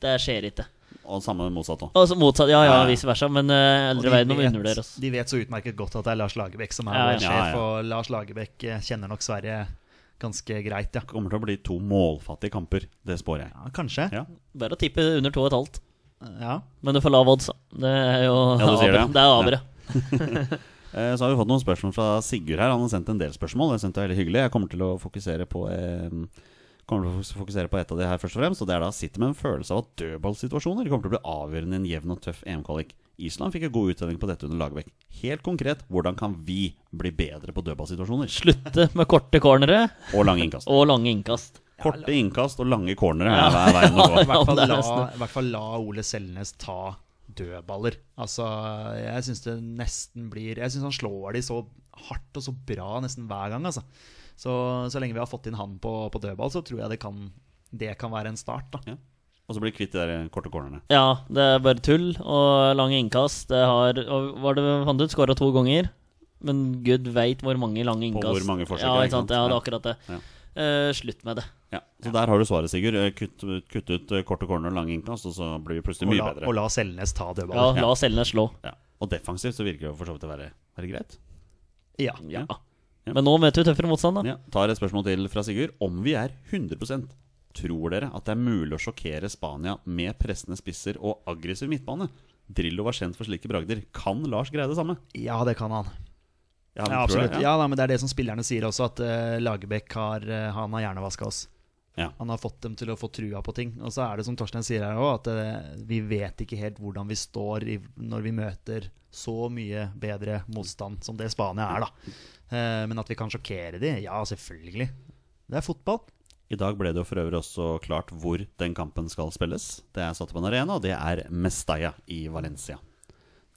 Det skjer ikke.
Og samme motsatt òg.
Altså motsatt, ja ja,
Ja, ja.
vice versa, men eh,
Og
aldri i verden om å undervurdere oss.
de vet så utmerket godt at det er Lars Lagerbäck som er vår
altså. Ja, ja.
Ja,
sjef,
ja.
og Lars Lagerbäck eh, kjenner nok Sverige ganske greit, ja.
kommer til å bli to målfattige kamper. Det spår jeg.
ja kanskje.
Ja.
Bare å tippe under to og et halvt.
Ja.
Men du får lav odds, da. Det er jo
Ja, du sier
aber.
det,
Det er
ja.
abere.
Eh, Så har vi fått noen spørsmål fra Sigurd her. Han har sendt en del spørsmål. Det synes jeg er veldig hyggelig. Jeg kommer til å fokusere på eh, Kommer til å fokus- fokusere på ett av de her først og fremst. Og det er da sitter med en følelse av at dødballsituasjoner kommer til å bli avgjørende i en jevn og tøff EM-kvalik. Island fikk en god uttelling på dette under Lagerbäck. Helt konkret, hvordan kan vi bli bedre på dødballsituasjoner?
Slutte med korte cornere
Og lange innkast.
og lange innkast.
Korte innkast og lange cornere er hver veien å
I
gå.
hvert fall,
det er
la,
nesten-
i hvert fall la Ole Selnes ta dødballer. Altså, jeg syns det nesten blir Jeg syns han slår de så hardt og så bra nesten hver gang, altså. Så, så lenge vi har fått inn han på, på dødball, så tror jeg det kan, det kan være en start, da.
Ja. Og så blir vi kvitt de der eh, korte cornerne.
Ja, det er bare tull og lange innkast. Det har og Hva var det fant ut? Skåra to ganger. Men gud veit hvor mange lange
På
innkast.
hvor mange forsøk,
ja,
ja, ikke
ikke sant?
sant? Ja.
Ja, det er akkurat det.
Ja.
Eh, slutt med det.
Ja, Så der har du svaret, Sigurd. Eh, Kutt, ut- kutt ut eh, korte corner og lange innkast, og så blir vi plutselig
Og
mye
la,
bedre.
og la Selnes ta
Ja,
dødballer.
La Selnes slå.
Ja. Og defensivt så virker det jo for så vidt å være, være greit.
Ja.
Ja. Ja.
Men nå møter vi tøffere motstand, da.
Ja. Tar et spørsmål til fra Sigurd. Om vi er 100 tror dere at det er mulig å sjokkere Spania med pressende spisser og aggressiv midtbane? Drillo var kjent for slike bragder. Kan Lars greie det samme?
ja, det kan han.
Ja,
Ja,
tror
absolutt.
det,
Ja, da, men Det er det som spillerne sier også, at eh, Lagerbäck har, eh, han har hjernevaska oss.
Ja.
Han har fått dem til å få trua på ting. Og så er det som Torstein sier her òg, at eh, vi vet ikke helt hvordan vi står i, når vi møter så mye bedre motstand som det Spania er, da. Eh, men at vi kan sjokkere de, ja, selvfølgelig. Det er fotball.
I dag ble det jo for øvrig også klart hvor den kampen skal spilles. Det er satt på en arena, og det er Mestalla i Valencia.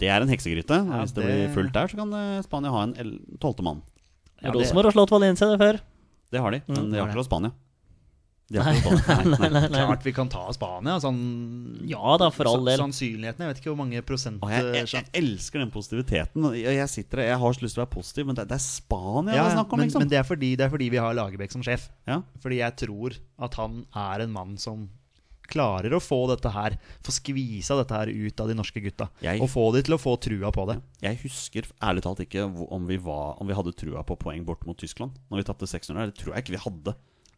Det er en heksegryte. og
Ja,
Hvis det
det-
blir fullt der, så kan eh, Spania ha en el- tolvte mann.
Ja, det-
Rosenborg har slått Valencia det før.
Det har de, men de har
Mm, det.
ikke slått Spania. De har ikke slått Spania. Nei, nei.
Klart vi kan ta Spania. Sånn,
Ja da, for
sa-
all del.
Sannsynligheten, jeg vet ikke hvor mange prosent
Og jeg, jeg,
eh,
jeg elsker den positiviteten. og Jeg, jeg sitter her, jeg har så lyst til å være positiv, men det, det er Spania
Ja,
det er snakk om,
men,
liksom.
men det, er fordi, det er fordi vi har Lagerbäck som sjef.
ja.
Fordi jeg tror at han er en mann som klarer å få dette her Få skvisa dette her ut av de norske gutta.
Jeg-
Og få de til å få trua på det.
Jeg husker ærlig talt ikke hvor- om vi, var, om vi hadde trua på poeng bort mot Tyskland når vi tapte 600. Det tror jeg ikke vi hadde.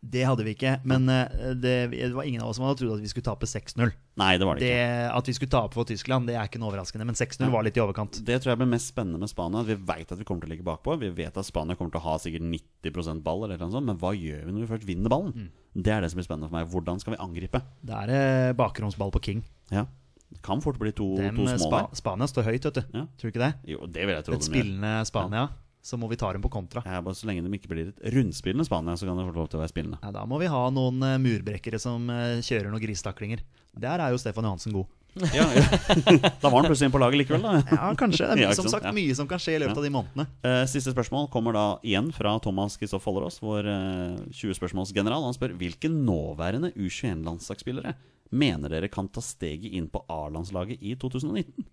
Det hadde vi ikke, men eh, det, det var ingen av oss som hadde trodd at vi skulle tape 6-0.
Nei, det var det
Det,
ikke.
at vi skulle tape for Tyskland, det er ikke noe overraskende, men 6-0 var litt i overkant.
Det tror jeg blir mest spennende med Spania. at Vi vet at vi kommer til å ligge bakpå. Vi vet at Spania kommer til å ha sikkert 90 ball, eller noe sånt, men hva gjør vi når vi først
Mm.
vinner ballen? Det er det som blir spennende for meg. Hvordan skal vi angripe?
Det er eh, bakromsball på King.
Ja. Det kan fort bli to,
Dem, eh,
to små
Spa
der.
Spania står høyt, vet du.
Ja.
Tror du ikke det?
Jo, det vil jeg tro
Et
de gjør.
spillende Spania, så må vi ta dem på kontra.
Ja, bare Så lenge de ikke blir et rundspill med Spania, så kan de få lov til å være spillende.
Nei, da må vi ha noen eh, murbrekkere som eh, kjører noen gristaklinger. Der er jo Stefan Johansen god.
Ja, ja. Da var han plutselig inne på laget likevel, da.
Ja, kanskje. Det
Ja,
er
ikke
som
sant?
sagt
Ja.
mye som kan skje i løpet av de månedene.
Eh, Siste spørsmål kommer da igjen fra Thomas Kristoff Follerås, vår eh, 20-spørsmålsgeneral. Han spør hvilke nåværende U21-landslagsspillere mener dere kan ta steget inn på A-landslaget i 2019?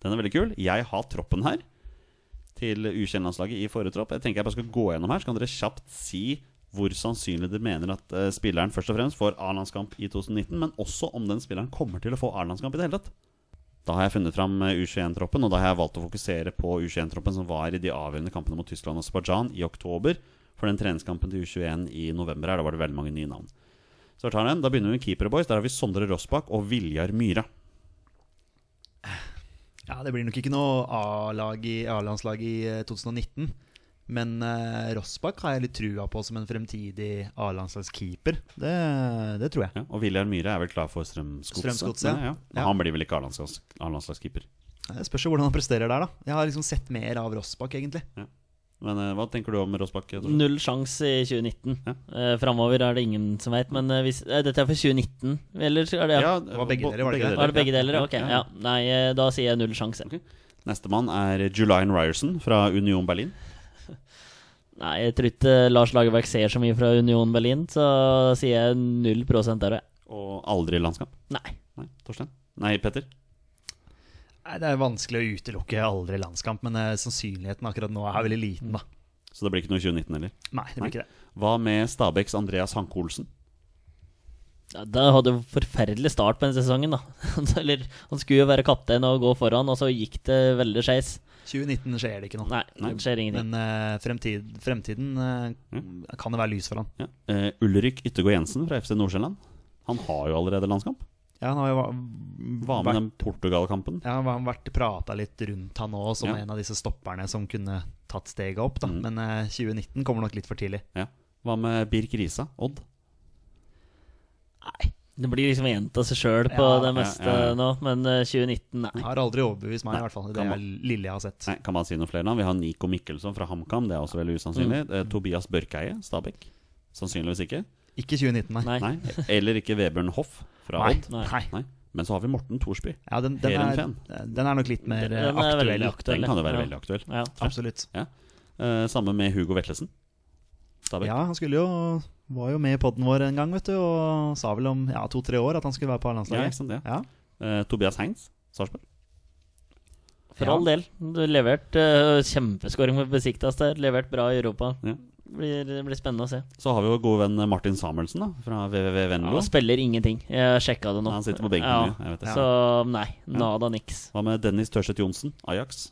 Den er veldig kul. Jeg har troppen her til U21-landslaget i forrige tropp. Jeg tenker jeg bare skal gå gjennom her, så kan dere kjapt si hvor sannsynlig dere mener at eh, spilleren først og fremst får A-landskamp i 2019, men også om den spilleren kommer til å få A-landskamp i det hele tatt. Da har jeg funnet fram eh, U21-troppen, og da har jeg valgt å fokusere på U21-troppen som var i de avgjørende kampene mot Tyskland og Aserbajdsjan i oktober. For den treningskampen til U21 i november her, da var det veldig mange nye navn. Så jeg tar den. Da begynner vi med Keepere Boys. Der har vi Sondre Rossbakk og Viljar Myhra.
Ja, Det blir nok ikke noe A-lag i- A-landslag i eh, 2019. Men eh, Rossbakk har jeg litt trua på som en fremtidig A-landslagskeeper. Det, det tror jeg.
Ja, og Viljar Myhra er vel klar for Strømsgodset?
Strømsgodset, ja.
ja. Men
Ja.
Han blir vel ikke A-landslags- A-landslagskeeper.
Det spørs jo hvordan han presterer der, da. Jeg har liksom sett mer av Rossbakk, egentlig.
Men eh, hva tenker du om Rossbakk? Tore?
Null sjanse i 2019.
Ja.
Eh, Framover er det ingen som veit, men eh, hvis, eh, dette er for 2019, eller så er det
Ja,
var begge
bo-
deler, var det ikke det?
Var det begge deler?
Ja,
Ok, ja. Nei, eh, da sier jeg null sjanse.
Ok. Nestemann er Julian Ryerson fra Union Berlin.
Nei, jeg tror ikke eh, Lars Lagerbäck ser så mye fra Union Berlin, så da sier jeg null prosent der, og jeg.
Og aldri landskamp.
Nei.
Nei, Torstein? Nei, Petter?
Nei, Det er vanskelig å utelukke aldri landskamp, men eh, sannsynligheten akkurat nå er veldig liten, da.
Så det blir ikke noe i 2019 heller?
Nei, det blir ikke det.
Hva med Stabæks Andreas Hanke Olsen?
Ja, Da hadde jo forferdelig start på den sesongen, da. Eller, han skulle jo være kaptein og gå foran, og så gikk det veldig skeis.
2019 skjer det ikke noe.
Nei, det skjer ingenting.
Men eh, fremtid, fremtiden eh,
Mm.
kan det være lys for han.
Ja. Eh, Ulrik Yttergård Jensen fra FC Nordsjælland. Han har jo allerede landskamp.
Ja, han har jo va-
Hva med den Portugal-kampen?
Ja, han har vært prata litt rundt han òg, som
Ja.
en av disse stopperne som kunne tatt steget opp. da
Mm.
Men eh, 2019 kommer nok litt for tidlig.
Ja. Hva med Birk Risa? Odd?
Det blir liksom gjenta seg sjøl på
Ja,
det
ja,
meste
ja, ja.
nå, men eh, 2019, nei.
Har aldri overbevist meg, i hvert fall. i Det
kan
jeg, lille jeg har sett.
Nei, kan man si noe flere navn? Vi har Nico Mikkelsson fra HamKam, det er også veldig usannsynlig. Eh, Tobias Børkeie, Stabæk. Sannsynligvis ikke.
Ikke 2019, nei.
Nei.
Nei. Eller ikke Vebjørn Hoff fra
Nei.
Odd.
Nei.
Nei.
Nei. Men så har vi Morten Thorsby.
Ja, den, den,
Heerenveen.
er, den er nok litt mer
Den
eh,
er
aktuell.
veldig
ja.
aktuell.
Den kan jo være
ja.
veldig aktuell.
Ja.
Absolutt.
Ja. Eh, samme med Hugo Vetlesen. Stabæk.
Ja, han skulle jo var jo med i podden vår en gang, vet du, og sa vel om ja, to-tre år at han skulle være på
Ja,
A-landslaget.
ikke sant, ja.
Ja.
Eh, Tobias Heins, Sarpsborg.
For
Ja.
all del. Du levert uh, kjempeskåring med Besiktas der. Levert bra i Europa.
Ja.
Blir, det blir spennende å se.
Så har vi vår gode venn Martin Samuelsen, da, fra WWW Venlo.
Han spiller ingenting. Jeg sjekka det nå.
Han sitter på benken, ja, jeg vet det.
Så nei. Nada niks.
Hva med Dennis Tørseth Johnsen, Ajax?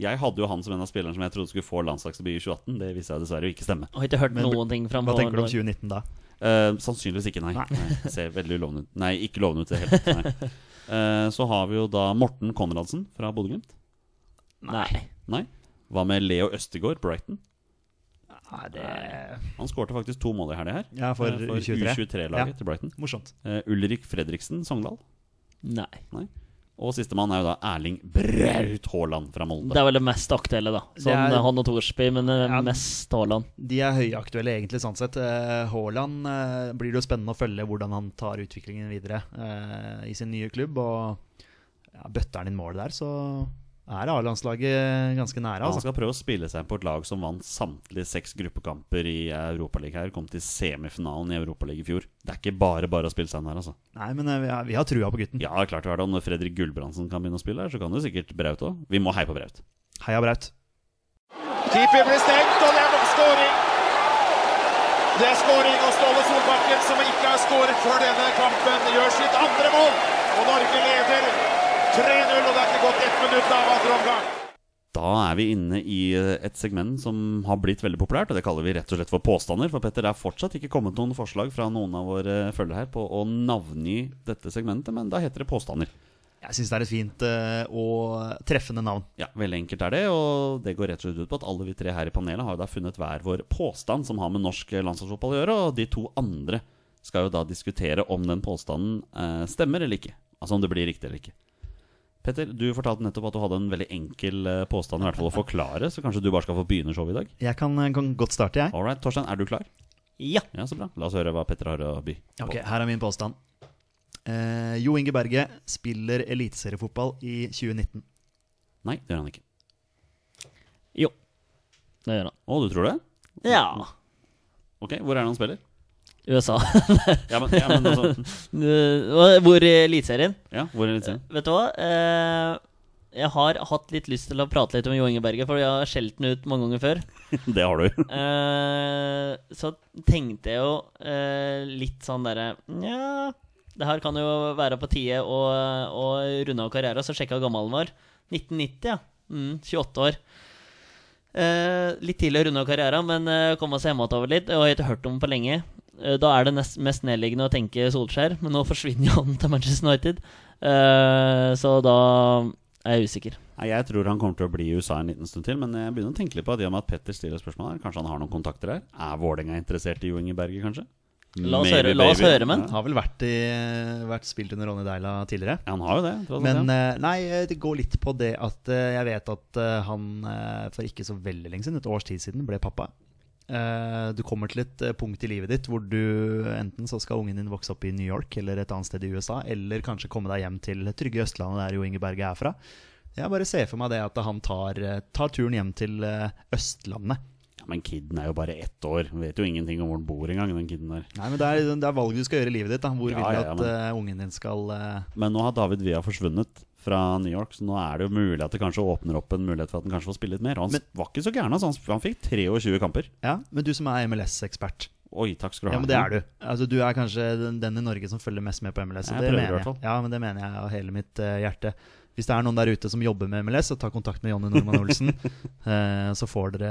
Jeg hadde jo han som en av spillerne som jeg trodde skulle få landslagsdebut i 2018. Det viste jeg dessverre å ikke stemme.
Jeg har ikke hørt
Men-
noen ting fra ham
Hva
på
tenker du om
noen-
2019 da?
Eh, sannsynligvis ikke, nei. nei. Ser veldig lovende ut. Nei, ikke lovende ut i det hele tatt. Nei. Eh, så har vi jo da Morten Konradsen fra Bodø-Glimt.
Nei.
Nei. Hva med Leo Østegård, Brighton?
Nei, det
Han skårte faktisk to mål i helga her.
Ja, for
Eh, for
U23.
U23-laget
Ja.
til Brighton.
Morsomt.
Eh, Ulrik Fredriksen, Sogndal.
nei.
Nei. Og sistemann er jo da Erling Braut Haaland fra
Det
Molde.
er vel det mest aktuelle, da.
Det
Sånn
er-
han og Thorsby, men eh,
Ja.
mest Haaland.
De er høyaktuelle egentlig, sånn sett. Eh, Haaland eh, blir det jo spennende å følge hvordan han tar utviklingen videre eh, i sin nye klubb. Og ja, bøtter han inn mål der, så er A-landslaget ganske nære,
Han
altså.
skal prøve å spille seg på et lag som vant samtlige seks gruppekamper i Europaligaen her. Kom til semifinalen i Europaligaen i fjor. Det er ikke bare bare å spille seg inn her, altså.
Nei, men eh, vi har- vi har trua på gutten.
Ja, klart det er det. Og Når Fredrik Gulbrandsen kan begynne å spille her, så kan det sikkert Braut òg. Vi må heie på Braut.
Heia Braut.
Keeper blir stengt, og det er skåring. Det er skåring, og Ståle Solbakken, som ikke har skåret før denne kampen, gjør sitt andre mål. Og Norge leder 3-0, og det er ikke gått ett minutt av andre omgang.
Da er vi inne i eh, et segment som har blitt veldig populært, og det kaller vi rett og slett for påstander. For Petter, det er fortsatt ikke kommet noen forslag fra noen av våre følgere her på å navngi dette segmentet, men da heter det påstander.
Jeg syns det er et fint eh, og treffende navn.
Ja, veldig enkelt er det, og det går rett og slett ut på at alle vi tre her i panelet har jo da funnet hver vår påstand som har med norsk eh, landslagsfotball å gjøre, og de to andre skal jo da diskutere om den påstanden eh, stemmer eller ikke. Altså om det blir riktig eller ikke. Petter, du fortalte nettopp at du hadde en veldig enkel eh, påstand i hvert fall å forklare, så kanskje du bare skal få begynne showet i dag.
Jeg kan, eh, kan godt starte, jeg.
All right, Torstein, er du klar?
Ja.
Ja, så bra. La oss høre hva Petter har å by på.
Ok, Her er min påstand. Eh, jo Inge Berge spiller eliteseriefotball i 2019.
Nei, det gjør han ikke.
Jo. Det gjør han.
Å, du tror det?
Ja.
Ok, hvor er det han spiller?
USA.
Ja, men, ja, men altså,
Eh, Hvor i Eliteserien?
ja, hvor er det litt siden?
Vet du hva? Eh, jeg har hatt litt lyst til å prate litt om Jo Inge Berge, for jeg har skjelt den ut mange ganger før.
Det har du.
Eh, så tenkte jeg jo eh, litt sånn derre Nja, det her kan jo være på tide å, å runde av karrieren. Så sjekka jeg hvor gammel han var. 1990, ja. Mm, 28 år. Eh, litt tidlig å runde av karrieren, men eh, komme seg hjemover litt. Og jeg har ikke hørt om ham på lenge. Eh, da er det nest, mest nedliggende å tenke Solskjær, men nå forsvinner jo han til Manchester United. Eh, så da er jeg usikker.
Nei, Jeg tror han kommer til å bli i USA en liten stund til, men jeg begynner å tenke litt på at i og med at Petter stiller spørsmål her, kanskje han har noen kontakter her? Er Vålerenga interessert i Jo Inge Berger, kanskje?
La oss
Maybe,
høre- la oss
baby.
høre med han.
Ja.
Har vel vært, i, vært spilt under Ronny Deila tidligere.
Ja, han har jo det. Tross alt,
Men
ja.
eh, nei, eh, det går litt på det at eh, jeg vet at eh, han eh, for ikke så veldig lenge siden, et års tid siden, ble pappa. Eh, Du kommer til et eh, punkt i livet ditt hvor du enten så skal ungen din vokse opp i New York eller et annet sted i USA, eller kanskje komme deg hjem til trygge Østlandet, der Jo Inge Berge er fra. Jeg bare ser for meg det at han tar, eh, tar turen hjem til eh, Østlandet.
ja, Men kiden er jo bare ett år. Han Vet jo ingenting om hvor han bor engang, den kiden der.
Nei, men Det er, det er valget du skal gjøre i livet ditt. Da. Hvor
Ja,
vil du
ja, ja,
at
men-
eh, ungen din skal eh,
Men nå har David Villa forsvunnet fra New York, så nå er det jo mulig at det kanskje åpner opp en mulighet for at han kanskje får spille litt mer. Og han
Men-
var ikke så gæren, altså. Han, han fikk 23 kamper.
Ja, men du som er MLS-ekspert.
Oi, takk skal du ha.
Ja, men det er du. Altså, du er kanskje den, den i Norge som følger mest med på MLS. og
Jeg
det
prøver i
mener
hvert
jeg.
fall.
Ja, men det mener jeg av hele mitt eh, hjerte. Hvis det er noen der ute som jobber med MLS, så ta kontakt med Jonny Normann Olsen. eh, så får dere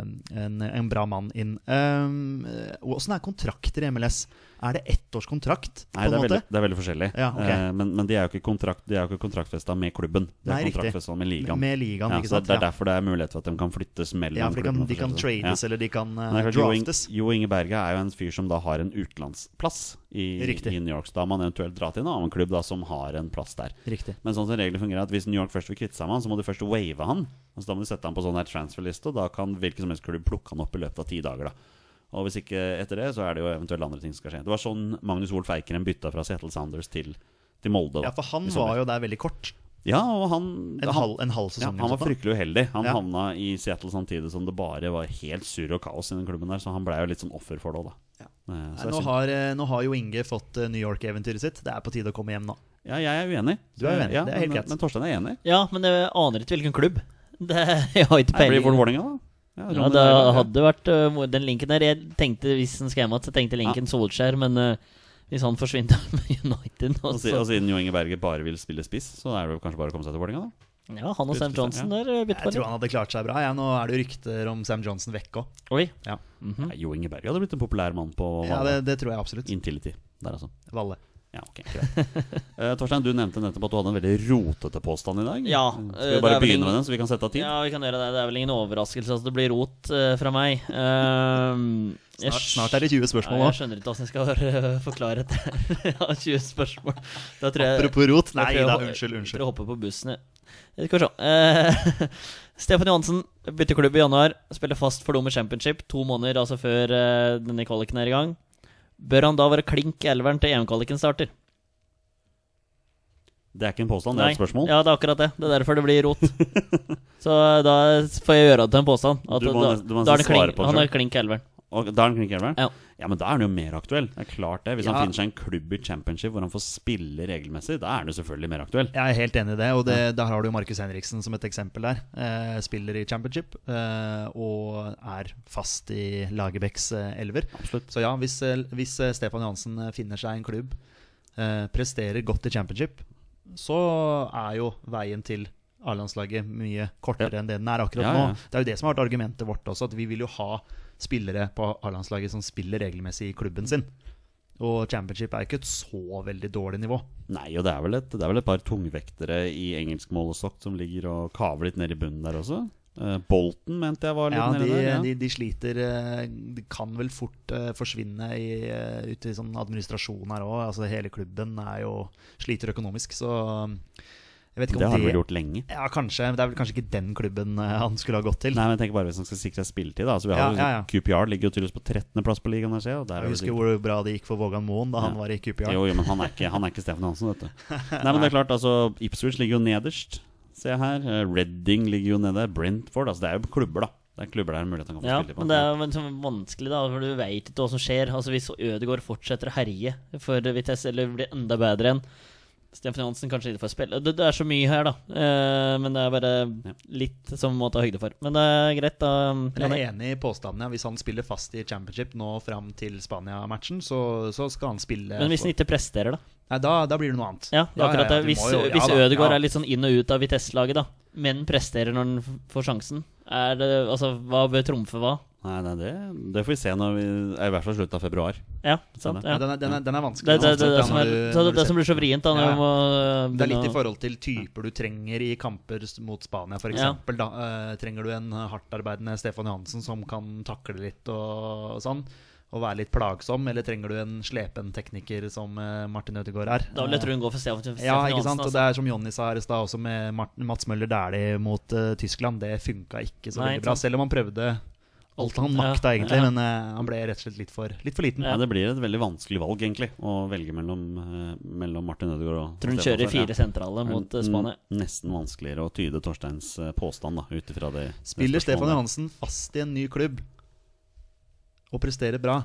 eh, en, en bra mann inn. Um, Åssen er kontrakter i MLS? Er det ettårskontrakt?
Nei,
på en
det er, veldig,
måte?
det er veldig forskjellig.
Ja, ok.
Eh, men, men de er jo ikke, kontrakt, de er jo ikke kontraktfesta med klubben. De
Nei,
er
riktig.
kontraktfesta med ligaen.
Med ligaen,
ja,
ikke
så
sant?
det er derfor det er mulighet for at de kan flyttes mellom
ja, for de kan,
klubbene
de kan
forskjellig.
trades,
sånn. Ja.
eller de kan eh,
Men det er klart, Jo, Inge,
draftes.
jo Inge Berge er jo en fyr som da har en utenlandsplass i,
Riktig.
i New York. Så da har man eventuelt dra til en annen klubb da som har en plass der.
Riktig.
Men sånn som reglene fungerer er at hvis New York først vil kvitte seg med han, så må du først wave han. Altså, da må du sette han på sånn her transferliste, og da kan hvilken som helst klubb plukke han opp i løpet av ti dager. da og hvis ikke etter det, så er det jo eventuelt andre ting som skal skje. Det var sånn Magnus Wolff Eikrem bytta fra Seattle Sounders til, til Molde. Da,
Ja, for han
i sommer.
var jo der veldig kort.
Ja, og han,
En
han,
halv, en halv
ja,
sesong.
han var
eller noe sånt,
fryktelig uheldig. Han
Ja.
havna i Seattle samtidig som det bare var helt surr og kaos i den klubben der, så han blei jo litt sånn offer for det òg, da.
da.
Eh, så
Nei,
det er
nå,
synd.
har, eh, nå har jo Inge fått eh, New York-eventyret sitt. Det er på tide å komme hjem nå.
Ja, jeg er uenig.
Du er uenig,
Ja,
det er helt
men-
greit.
Men Torstein er enig.
Ja, men jeg aner ikke hvilken klubb. Det, jeg har ikke
Nei, blir det
peiling.
Vålerenga, da? Ja,
Ja,
Ronny
det
Deila, ja.
hadde vært øh, mor- den linken der. Jeg tenkte hvis den skal hjem igjen, så tenkte jeg linken Solskjær, men øh, hvis han forsvinner med United nå,
Og si-
så
og siden Jo Inge Berge bare vil spille spiss, så er det jo kanskje bare å komme seg til Vålerenga, da.
Ja, han og Sam
Bytte,
Johnson der øh,
Jeg
bytter
tror
bare.
han hadde klart seg bra. Ja, nå er det jo rykter om Sam Johnson vekk òg.
Oi.
Ja.
Mhm.
Nei, Jo Inge Berge hadde blitt en populær mann på
Ja,
Valle.
det, det tror jeg absolutt.
Intility. Der, altså.
Valle.
Ja, ok, greit. Eh, Torstein, du nevnte nettopp at du hadde en veldig rotete påstand i dag.
Ja,
Skal
eh,
vi bare
det er vel
begynne
ingen-
med den, så vi kan sette av tid?
Ja, vi kan gjøre det. Det er vel ingen overraskelse at det blir rot eh, fra meg. Ehm, jeg
Snart, snart er det 20 spørsmål
Ja,
nå.
jeg skjønner ikke hvordan jeg skal eh, forklare det. ja, 20 spørsmål. Da tror jeg,
Apropos rot.
da
Nei
tror jeg-
da, unnskyld.
Tror
unnskyld
jeg hopper på bussen, jeg. Eh, Skal vi se. Eh, Stefan Johansen bytter klubb i januar. Spiller fast for dem i championship to måneder altså før eh, denne kvaliken er i gang. Bør han da være klink i elveren til EM-kvaliken starter?
Det er ikke en påstand, det er et spørsmål.
Ja, det er akkurat det. Det er derfor det blir rot. Så eh, da får jeg gjøre det til en påstand. At
Du må
da,
nesten- du må
da er
nesten
det klink,
svare på det
han er
selv.
klink i elveren.
Og da er han kring
Ja.
ja. ja, men da er han jo mer aktuell. Det er klart det. Hvis
Ja.
han finner seg en klubb i championship hvor han får spille regelmessig, da er han jo selvfølgelig mer aktuell.
Jeg er helt enig i det, og det, der har du Markus Henriksen som et eksempel der. Eh, spiller i championship eh, og er fast i Lagerbäcks eh, elver.
Absolutt.
Så ja, hvis, eh, hvis eh, Stefan Johansen eh, finner seg en klubb, eh, presterer godt i championship, så er jo veien til A-landslaget mye kortere enn det den er akkurat
Ja, ja.
nå. Det er jo det som har vært argumentet vårt også, at vi vil jo ha spillere på A-landslaget som spiller regelmessig i klubben sin. Og championship er jo ikke et så veldig dårlig nivå.
Nei, og det er vel et, det er vel et par tungvektere i engelsk målestokk som ligger og kaver litt nede i bunnen der også. Eh, Bolton mente jeg var litt
Ja,
nede
de,
der. Ja.
De, de sliter eh, De kan vel fort eh, forsvinne i, eh, ute i sånn administrasjon her òg. Altså, hele klubben er jo, sliter økonomisk, så um, jeg vet ikke om
det har de
det
vel gjort lenge.
Ja, kanskje. men Det er vel kanskje ikke den klubben eh, han skulle ha gått til.
Nei, men jeg tenker bare hvis han skal sikre seg spilletid. Da. Altså, vi
Ja,
har, jo-
ja, ja.
QPR ligger jo tydeligvis på 13. plass på ligaen. her, ser jeg, Og der er
Jeg
det
husker
sikkert-
hvor bra det gikk for Vågan Moen da han
Ja.
var i QPR.
Jo, jo, men han er ikke, han er ikke Stefan Hansen, vet du. Nei, men det er klart, altså, Ipswich ligger jo nederst. Se her. eh, Reading ligger jo nede. Brentford. Altså, det er jo klubber, da. Det er klubber der mulighet han kan få
Ja,
spille på.
men det er jo sånn vanskelig, da, for du veit ikke hva som skjer. Altså Hvis Ødegaard fortsetter å herje for Vitesse, eller blir enda bedre enn Stefan Johansen, kanskje ikke får spille. Det, det er så mye her, da. Eh, men det er bare
Ja.
litt som må ta høyde for. Men det er greit, da. um,
Men jeg er enig i påstanden. Ja. Hvis han spiller fast i championship nå fram til Spania-matchen, så, så skal han spille
Men hvis han ikke presterer, da?
Nei, da, da blir det noe annet.
Ja, det er akkurat det.
du
Hvis,
må jo-
hvis
da,
Ødegaard
ja.
er litt sånn inn og ut av Vitesse-laget, da, men presterer når han f- får sjansen, er det Altså, hva bør trumfe hva?
Nei, nei, det, det får vi se når vi I hvert fall slutten av februar.
Ja,
Sånn,
sant?
ja,
Ja. Det,
den, er, den, er, den er vanskelig.
det, det, det,
Ja,
det, som,
når
er,
du-
så
når
det,
du
det
ser-
som blir så vrient, da, når
Ja.
du må
Det er litt i
begynne å-
forhold til typer du trenger i kamper s- mot Spania, f.eks.
Ja.
eksempel Da, eh, trenger du en eh, hardtarbeidende Stefan Johansen som kan takle litt og, og sånn, og være litt plagsom, eller trenger du en slepen tekniker som eh, Martin Ødegaard er? Eh,
Da vil jeg tro hun går for Stefan Stefan
Ja, ikke
Johansen,
sant? Og
altså.
det er som Jonny sa her i stad, også med Mart- Mats Møller Dæhlie mot eh, Tyskland. Det funka ikke så
Nei,
veldig bra,
ikke sant.
selv om han prøvde alt han
Ja,
makta, egentlig.
ja.
Men eh, han ble rett og slett litt for, litt for liten.
Ja. det blir et veldig vanskelig valg, egentlig, å velge mellom, eh, mellom Martin Ødegaard og
Tror hun
Stefan
kjører
Hansen. Ja.
fire sentrale mot eh, Spania.
N- Nesten vanskeligere å tyde Torsteins eh, påstand, da, ut ifra det. det
Spiller Stefan
spørsmålet.
Johansen fast i en ny klubb og presterer bra,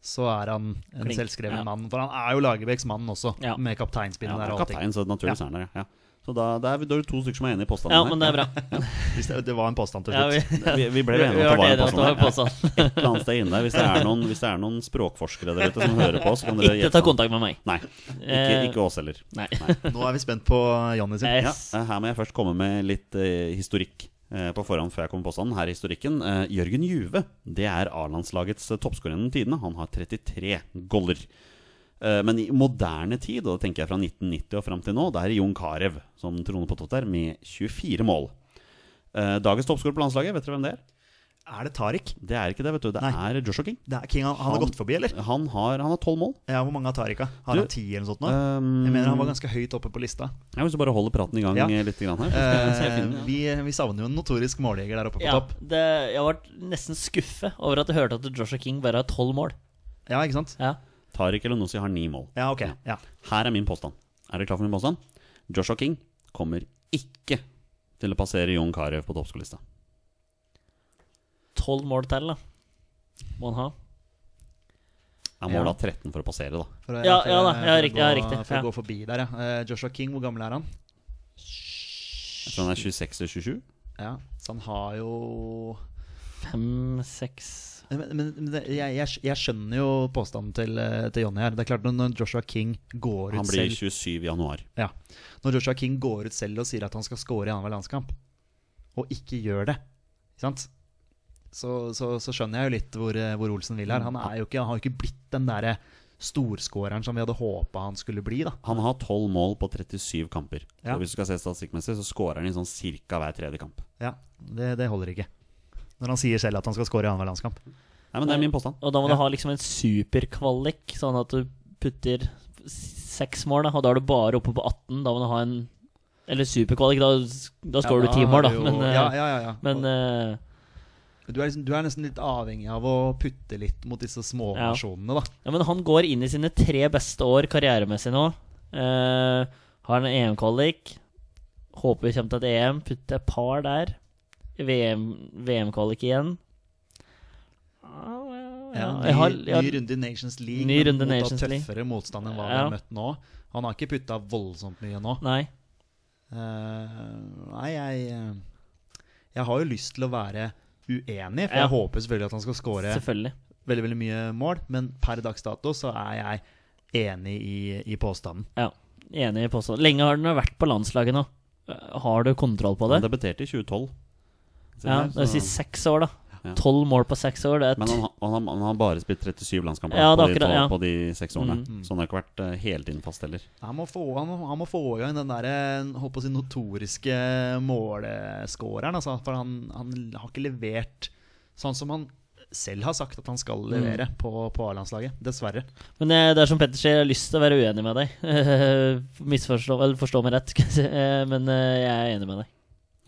så er han en
Klink,
selvskreven
ja.
mann. For han er jo Lagerbäcks mann også,
Ja.
med kapteinspinnet
Ja,
der.
han
og
er
allting.
kaptein, så naturligvis er han der. Ja. Så da, da er vi da er det to stykker som er enige i påstanden
Ja,
her.
men det er bra.
Hvis det, det var en påstand til
Ja,
slutt.
vi,
Vi, vi ble
vi
enige om at det var
ble enige
en
om at det var
påstand.
en påstand.
Et eller annet sted inne der. Hvis det er noen, hvis det er noen språkforskere der ute som hører på, så kan dere
Ikke ta kontakt med meg.
Nei. Ikke,
Eh,
ikke oss heller.
Nei.
Nå er vi spent på Jonny sin.
Ja,
Yes.
eh, her må jeg først komme med litt eh, historikk eh, på forhånd før jeg kommer på påstanden. Her i historikken. Eh, Jørgen Juve det er A-landslagets eh, toppskårer gjennom tidene. Han har 33 goller. Eh, men i moderne tid, og da tenker jeg fra 1990 og fram til nå, det er Jon Carew som troner på topp der, med 24 mål. Eh, dagens toppskårer på landslaget, vet dere hvem det er?
Er det Tariq?
Det er ikke det, vet du. Det
Nei.
er Joshua King.
Det er King, han, han har gått forbi, eller?
Han har tolv mål.
Ja, Hvor mange har Tariq? da? Har
Du,
han ti eller noe sånt? nå?
Um,
Jeg mener han var ganske høyt oppe på lista.
Jeg vil så bare holde praten i gang
Ja.
eh, litt grann her. så skal jeg
Eh,
finne den.
vi, vi savner jo en notorisk måljeger der oppe på
Ja,
topp.
det, jeg ble nesten skuffet over at jeg hørte at Joshua King bare har tolv mål.
Ja, ikke sant?
Ja.
Tariq eller Nossi har ni mål.
Ja, ok. Ja.
Her er min påstand. Er dere klar for min påstand? Joshua King kommer ikke til å passere Jon Carew på toppskolelista.
Tolv mål til, da. Må han ha.
Han må
Ja.
da 13 for å passere, da.
For, å-
Ja,
for
ja
å-
da. Ja,
for å gå,
riktig, ja, riktig.
For
Ja.
å gå forbi der, ja. Eh, Joshua King, hvor gammel er han?
Jeg tror han er 26 eller 27.
Ja, Så han har jo
Fem, seks
Men, men, men det, jeg, jeg, jeg skjønner jo påstanden til, eh, til Jonny her. Det er klart når- Når Joshua King går ut
Han blir
selv
27 i januar.
ja. Når Joshua King går ut selv og sier at han skal score i annenhver landskamp, og ikke gjør det, ikke sant? Så, så, så skjønner jeg jo litt hvor, eh, hvor Olsen vil her. Han, er jo ikke, han har jo ikke blitt den derre storskåreren som vi hadde håpa han skulle bli, da.
Han har 12 mål på 37 kamper.
Ja.
Og hvis du skal se statistikkmessig, så scorer han i sånn cirka hver tredje kamp.
Ja, Det, det holder ikke. Når han sier selv at han skal score i annenhver landskamp.
Nei, men det er min påstand.
Og da må
Ja.
du ha liksom en superkvalik, sånn at du putter seks mål, da, og da er du bare oppe på 18. Da må du ha en Eller superkvalik, da, da skårer
Ja,
du ti mål, da.
er det jo-
Men, eh,
ja, ja, ja, ja.
men eh,
Du er, liksom, du er nesten litt avhengig av å putte litt mot disse små
Ja.
nasjonene, da.
ja, men han går inn i sine tre beste år karrieremessig nå. Eh, har en EM-kvalik. Håper vi kommer til et EM. Putter et par der. VM-kvalik igjen.
Ja,
Ja,
ny,
jeg har,
ny
jeg,
runde i Nations League,
Ny runde i
mot da
Nations League.
tøffere motstand enn hva vi
Ja.
har møtt nå. Han har ikke putta voldsomt mye nå.
nei.
Eh, nei, jeg eh, Jeg har jo lyst til å være uenig, for
Ja.
jeg håper selvfølgelig at han skal skåre
Selvfølgelig.
veldig veldig mye mål, men per dags dato så er jeg enig i, i påstanden.
Ja, enig i påstanden. Lenge har den vært på landslaget nå. Eh, Har du kontroll på det?
Han debuterte i 2012. Se
Ja,
her,
det vil si
så-
seks år,
Ja.
da. Tolv mål på seks år, det er
Men
et
han, har- han, har- han har bare spilt 37 landskamper på,
Ja, det er
de
akkurat,
12
ja.
på de seks årene.
Mm.
Så han har ikke vært eh, hele tiden fast heller.
Han må få, han, må- han må få i gang den der, eh, holdt på å si, notoriske måleskåreren. Altså, for han, han har ikke levert sånn som han selv har sagt at han skal levere på, på A-landslaget. Dessverre.
Men eh, det er som Petter sier, jeg har lyst til å være uenig med deg. Misforstå Eller forstå meg rett, skal jeg si. Eh, men eh, jeg er enig med deg.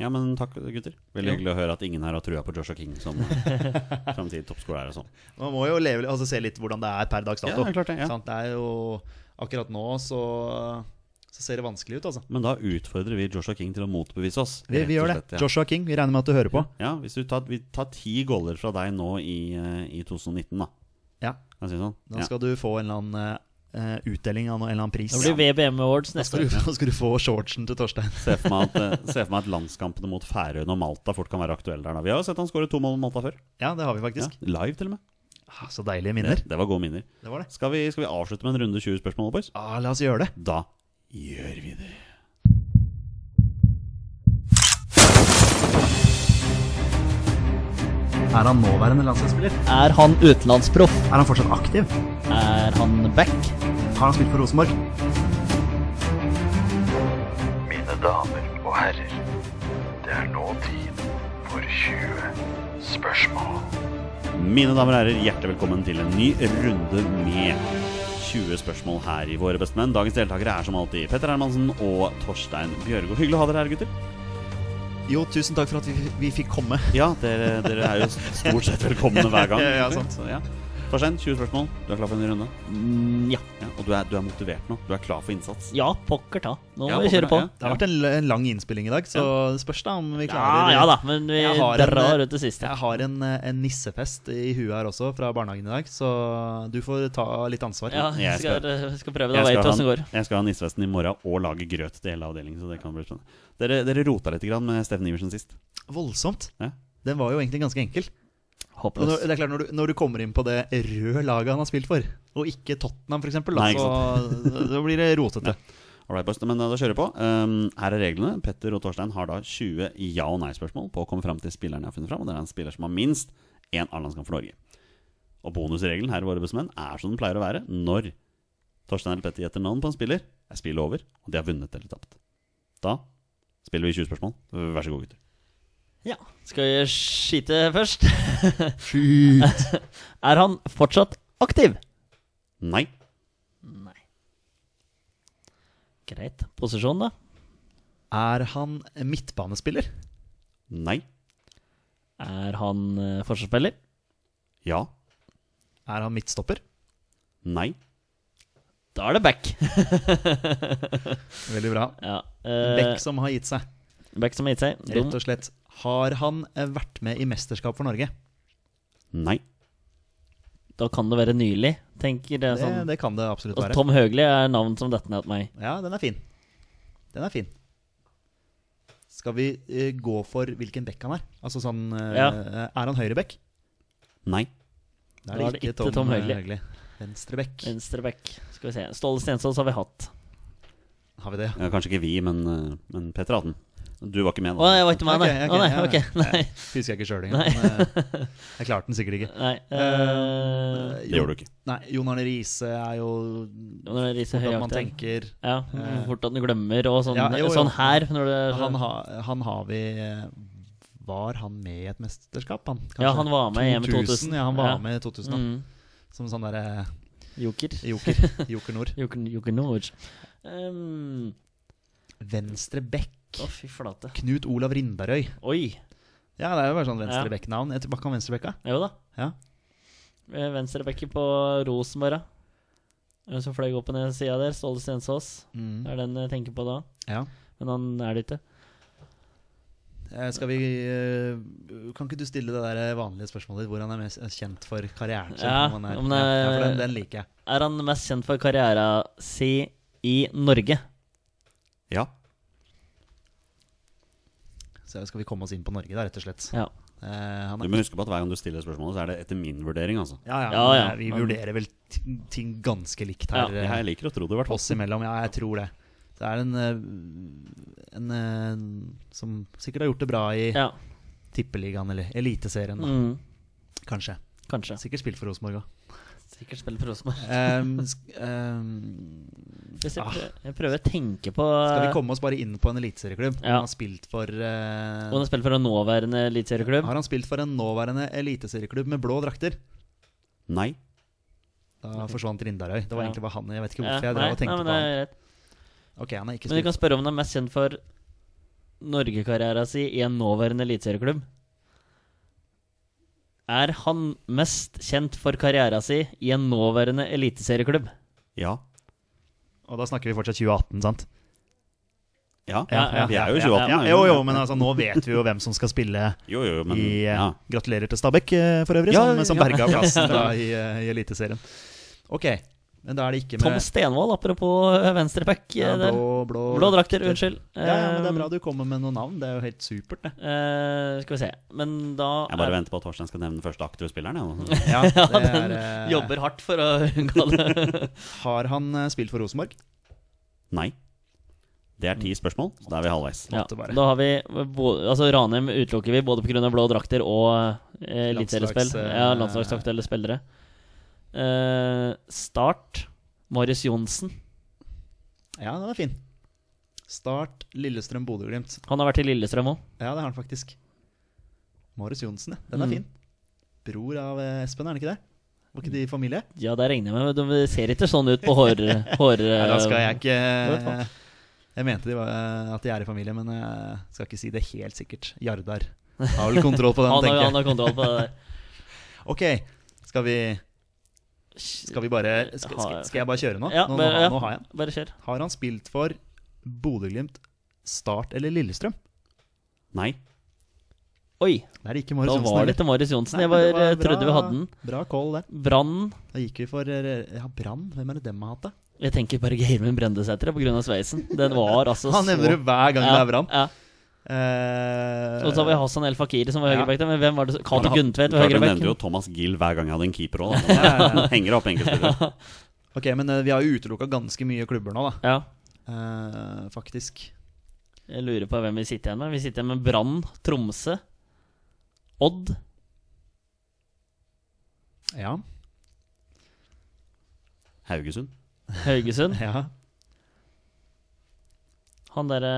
Ja, men takk, gutter. Veldig
Jo.
hyggelig å høre at ingen her har trua på Joshua King som framtidig toppskårer. og sånn.
Man må jo leve, altså, se litt hvordan det er per dags dato.
Ja, det er klart det, ja.
Sant? det er jo Akkurat nå så, så ser det vanskelig ut, altså.
Men da utfordrer vi Joshua King til å motbevise oss.
Vi, vi gjør det.
rett og slett, ja.
Joshua King, vi regner med at du hører på.
Ja, hvis du tar, vi tar ti goller fra deg nå i, eh, i 2019, da.
Ja,
Kan jeg si det sånn?
Da skal du få en eller annen eh, utdeling av noe- en eller annen pris.
Det blir VBM Awards
Da
neste
skal
år.
du, da skal du få shortsen til Torstein.
ja. se, for meg at, eh, se for meg at landskampene mot Færøyene og Malta fort kan være aktuelle der. da Vi har jo sett han skåre to mål mot Malta før.
Ja, det har vi
Ja,
faktisk.
live, til og med.
Ah, Så deilige minner.
Det var gode minner.
Det var det.
Skal vi, skal vi avslutte med en runde 20 spørsmål, boys?
Ah, la oss gjøre det.
Da gjør vi det.
Er han nåværende landslagsspiller?
Er han utenlandsproff?
Er han fortsatt aktiv?
Er han back?
Har han spilt for Rosenborg?
Mine damer og herrer, det er nå tid for 20 spørsmål.
Mine damer og herrer, hjertelig velkommen til en ny runde med 20 spørsmål her i Våre bestemenn. Dagens deltakere er som alltid Petter Hermansen og Torstein Bjørgo. Hyggelig å ha dere her, gutter.
Jo, tusen takk for at vi, vi fikk komme.
Ja, dere, dere er jo stort sett velkomne hver gang.
Ja, ja, sant.
Så, ja. Torstein, 20 spørsmål. Du er klar for en ny runde?
Mm, ja.
Ja, og du er, du er motivert nå. Du er klar for innsats.
ja, pokker ta. Nå
Ja,
må vi
pokker
kjøre på.
ta,
Det har vært en, l- en lang innspilling i dag, så det spørs da om vi
Ja,
klarer
ja da, men vi
Jeg har en-
drar ut det siste.
Jeg har en, eh, en nissefest i huet her også, fra barnehagen i dag, så du får ta litt ansvar.
Ja,
Jeg
jeg skal, skal prøve det.
Jeg
Jeg
skal,
vet
ha,
åssen det går.
jeg skal ha nissevesten i morgen og lage grøt til hele avdelingen. Så det kan bli spennende Dere, dere rota litt grann med Steffen Iversen sist.
Voldsomt.
Ja.
Den var jo egentlig ganske enkel. Og når,
Håpløs.
det er klart, når du, når du kommer inn på det røde laget han har spilt for, og ikke Tottenham f.eks.,
Nei,
så, så blir det rotete.
Alright, boys, men eh, da kjører vi på. Um, her er reglene. Petter og Torstein har da 20 ja- og nei-spørsmål på å komme fram til spilleren jeg har funnet fram. Og det er en spiller som har minst én A-landskamp for Norge. Og bonusregelen her i Våre bestemenn er som den pleier å være når Torstein eller Petter gjetter navn på en spiller, er spillet over, og de har vunnet eller tapt. Da spiller vi 20 spørsmål. Vær så god, gutter.
Ja. Skal vi skyte først? er han fortsatt aktiv?
Nei.
Nei. Greit. Posisjon, da?
Er han midtbanespiller?
Nei.
Er han eh, forsvarsspiller?
Ja.
Er han midtstopper?
Nei.
Da er det back.
Veldig bra.
ja. eh,
Beck som har gitt seg,
back som har gitt seg. Dum.
rett og slett. Har han eh, vært med i mesterskap for Norge?
Nei.
Da kan det være nylig, tenker jeg
Det,
sånn.
det kan det absolutt
Og
være.
Tom Høgli er navn som detter ned til meg.
Ja, den er fin. Den er fin. Skal vi eh, gå for hvilken Beck han er? Altså sånn eh,
Ja.
Er han høyreback?
Nei.
Da er det ikke, Tom, Tom Høgli. Venstreback.
Venstreback. Skal vi se. Ståle Stensås har vi hatt.
Har vi det?
Ja, kanskje ikke vi, men, eh, men Petter hadde den. Du var ikke med,
Å,
da.
jeg var ikke med, nei.
Ok, ok,
Å, nei,
ja,
ok, nei.
Husker jeg ikke sjøl engang. men, eh, Jeg klarte den sikkert ikke.
nei. eh,
Det gjorde du ikke.
Nei, Jon Arne Riise er jo
når det riser
hvordan man
høyaktig.
tenker. Eh,
Ja, fort at du glemmer, og sånn,
Ja, jo, jo.
sånn her når det,
Han, ha, han har vi eh, Var han med i et mesterskap, han? Kanskje?
Ja, han var med i EM i 2000.
Ja, han var
Ja.
med i 2000, da.
Mm.
Som sånn derre
Joker.
joker. Joker Nord.
Joker, Joker Norge. Um,
Venstre bekk.
Å, fy flate.
Knut Olav Rindarøy.
Oi.
Ja, det er jo bare sånn venstre bekk-navn. Jeg tror- Hva kan venstre bekka?
Jo da.
Ja.
Eh, Venstrebekken på Rosenborg, da. Hvem som fløy opp på den sida der? Ståle Stensås.
Mm.
Det er den jeg tenker på da.
ja.
Men han er det ikke.
Eh, Skal vi eh, Kan ikke du stille det der eh, vanlige spørsmålet ditt? Hvor han er mest eh, kjent for karrieren sin?
Ja,
om han er,
om det-
ja, for den, den liker jeg.
Er han mest kjent for karriera si i Norge?
Ja.
Så skal vi komme oss inn på Norge, da, rett og slett.
Ja.
Eh, han
Du
er,
må huske på at hver gang du stiller spørsmålet, så er det etter min vurdering, altså.
ja, ja,
Ja, ja,
men, eh, Vi
men-
vurderer vel t- ting ganske likt
Ja,
her.
Jeg,
eh,
jeg liker å tro det, i hvert fall.
oss imellom. Ja, jeg tror det. Det er en, eh, en eh, som sikkert har gjort det bra i
Ja.
Tippeligaen eller Eliteserien, da.
Mm,
kanskje.
kanskje.
Sikkert spilt for Rosenborg Ehm, òg.
Sikkert spiller for Rosenborg. Hvis jeg,
Ah.
prøver, jeg prøver å tenke på
skal vi komme oss bare inn på en eliteserieklubb?
Ja.
Han har spilt for eh,
om han spiller for en nåværende eliteserieklubb?
Har han spilt for en nåværende eliteserieklubb med blå drakter?
Nei.
Da forsvant Rindarøy. Det var
Ja.
egentlig bare han. Jeg vet ikke
Ja,
hvorfor jeg drev og tenkte på
men det
han.
er greit.
Ok, han er ikke
Men du kan
spilt
spørre om han er mest kjent for Norgekarriera si i en nåværende eliteserieklubb. Er han mest kjent for karriera si i en nåværende eliteserieklubb?
Ja.
Og da snakker vi fortsatt 2018, sant?
Ja.
Ja, ja,
Vi er jo
ja,
28.
ja. Jo, jo, men altså, nå vet vi jo hvem som skal spille
Jo, jo, jo, men
i eh,
ja.
Gratulerer til Stabæk, eh, for øvrig,
Ja,
som, som
ja.
berga plassen da, i, eh, i Eliteserien. Ok, men da er det ikke med
Tom Stenvold, apropos venstreback.
ja,
eh, der.
blå, blå,
Blå eh, drakter, unnskyld.
Ja, ja, men det er bra du kommer med noen navn. Det er jo helt supert, det.
Eh, skal vi se. Men da
Jeg bare venter på at Torstein skal nevne den første aktive spilleren. Jeg. altså. nå.
Ja,
Ja,
det
den
er, eh,
jobber hardt for å unngå det.
Har han eh, spilt for Rosenborg?
Nei. Det er ti spørsmål, så da er vi halvveis.
ja,
Måtte bare.
da har vi bo, Altså Ranheim utelukker vi både pga. blå drakter og eh, eliteseriespill.
Landslags, eh,
ja, landslagsaktuelle spillere. Eh, start Marius Johnsen.
Ja, den er fin. Start Lillestrøm-Bodø-Glimt.
Han har vært i Lillestrøm òg.
Ja, det har han faktisk. Marius Johnsen, ja. Den er
Mm.
fin. Bror av eh, Espen, er han ikke det? Var ikke de i familie?
Ja, det regner jeg med. men Det ser ikke sånn ut på hår... hår
Nei, da skal jeg ikke
Eh, vet man.
Jeg mente de var, at de er i familie, men jeg skal ikke si det helt sikkert. Jardar har vel kontroll på den,
han, har, han
tenker jeg.
har kontroll på det der.
Ok, skal vi Skal, vi bare, skal, skal, skal jeg bare kjøre nå?
Ja,
nå, nå,
bare- ja.
har- nå har jeg den.
Bare kjør.
Har han spilt for Bodø-Glimt, Start eller Lillestrøm?
Nei.
Oi,
Det er ikke Marius
da
Johnsen.
var det
heller.
til Marius Johnsen.
Nei,
Jeg var,
det var bra-
trodde vi hadde den.
Bra call der.
Brann
Da gikk vi for eh, ja, Brann. Hvem er det dem har hatt, da?
Jeg tenker bare Geirmund Brendesæter på grunn av sveisen. Den var altså
Han nevner det hver gang det er Brann.
Ja.
Eh,
Og så har vi Hassan El Fakiri som var
Ja.
høyreback der, men hvem var det som- Cato
Men han-
Gundtvedt var
Klart, jeg
høyreback.
nevnte jo Thomas Gill hver gang jeg hadde en keeper òg.
ja, ja.
Henger opp enkeltspillere.
Ok, men eh, vi har jo utelukka ganske mye klubber nå, da.
Ja.
Eh, faktisk.
Jeg lurer på hvem vi sitter igjen med. Vi sitter igjen med Brann, Tromsø, Odd.
Ja.
Haugesund.
Haugesund.
ja.
Han derre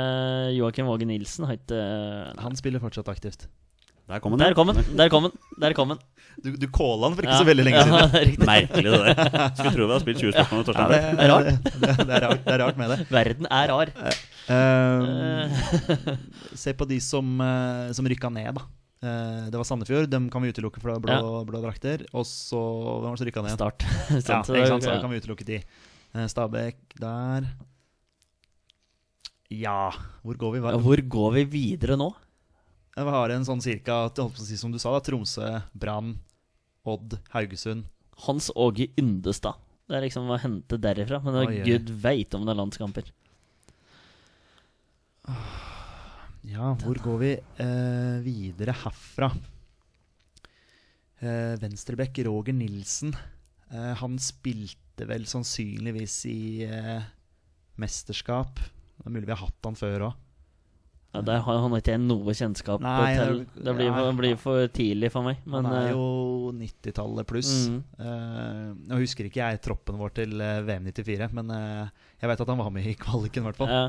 eh, Joakim Våge Nilsen har ikke eh,
Han spiller fortsatt aktivt.
Der kom han, ja.
Der kom han! Der kom han! Der kom han.
Du, du calla han for ikke
Ja.
så veldig lenge siden.
Ja, det er riktig.
Merkelig, det der. Skulle tro vi hadde spilt 20 spørsmål med Torstein.
det,
Berg.
er rart. Det, det, er rart. det er rart med det.
Verden er rar.
Eh, se på de som, eh, som rykka ned, da. Eh, det var Sandefjord, dem kan vi utelukke for det var blå, blå drakter. Og så Hvem var det som rykka ned?
Start.
Ja,
Sant, så
ikke
det er-
sant, så da kan vi utelukke de. Eh, Stabæk der. Ja Hvor går vi? Hva,
Ja, Hvor går vi videre nå?
Vi har en sånn cirka at- jeg holdt på å si som du sa, da. Tromsø, Brann, Odd, Haugesund.
Hans Åge Yndestad. Det er liksom å hente derifra. Men
Oi, oi.
gud veit om det er landskamper.
Ja, hvor går vi eh, videre herfra? Eh, Venstrebekk Roger Nilsen. Eh, han spilte vel sannsynligvis i eh, mesterskap. Det er mulig vi har hatt han før òg.
Ja, der har han ikke jeg noe kjennskap
Nei,
til.
det-
Det blir,
nei.
det blir for tidlig for meg. Men
Han
eh,
er jo 90-tallet pluss.
Mm.
Eh, nå husker ikke jeg troppen vår til eh, VM 94, men eh, jeg vet at han var med i kvaliken, i hvert fall.
ja,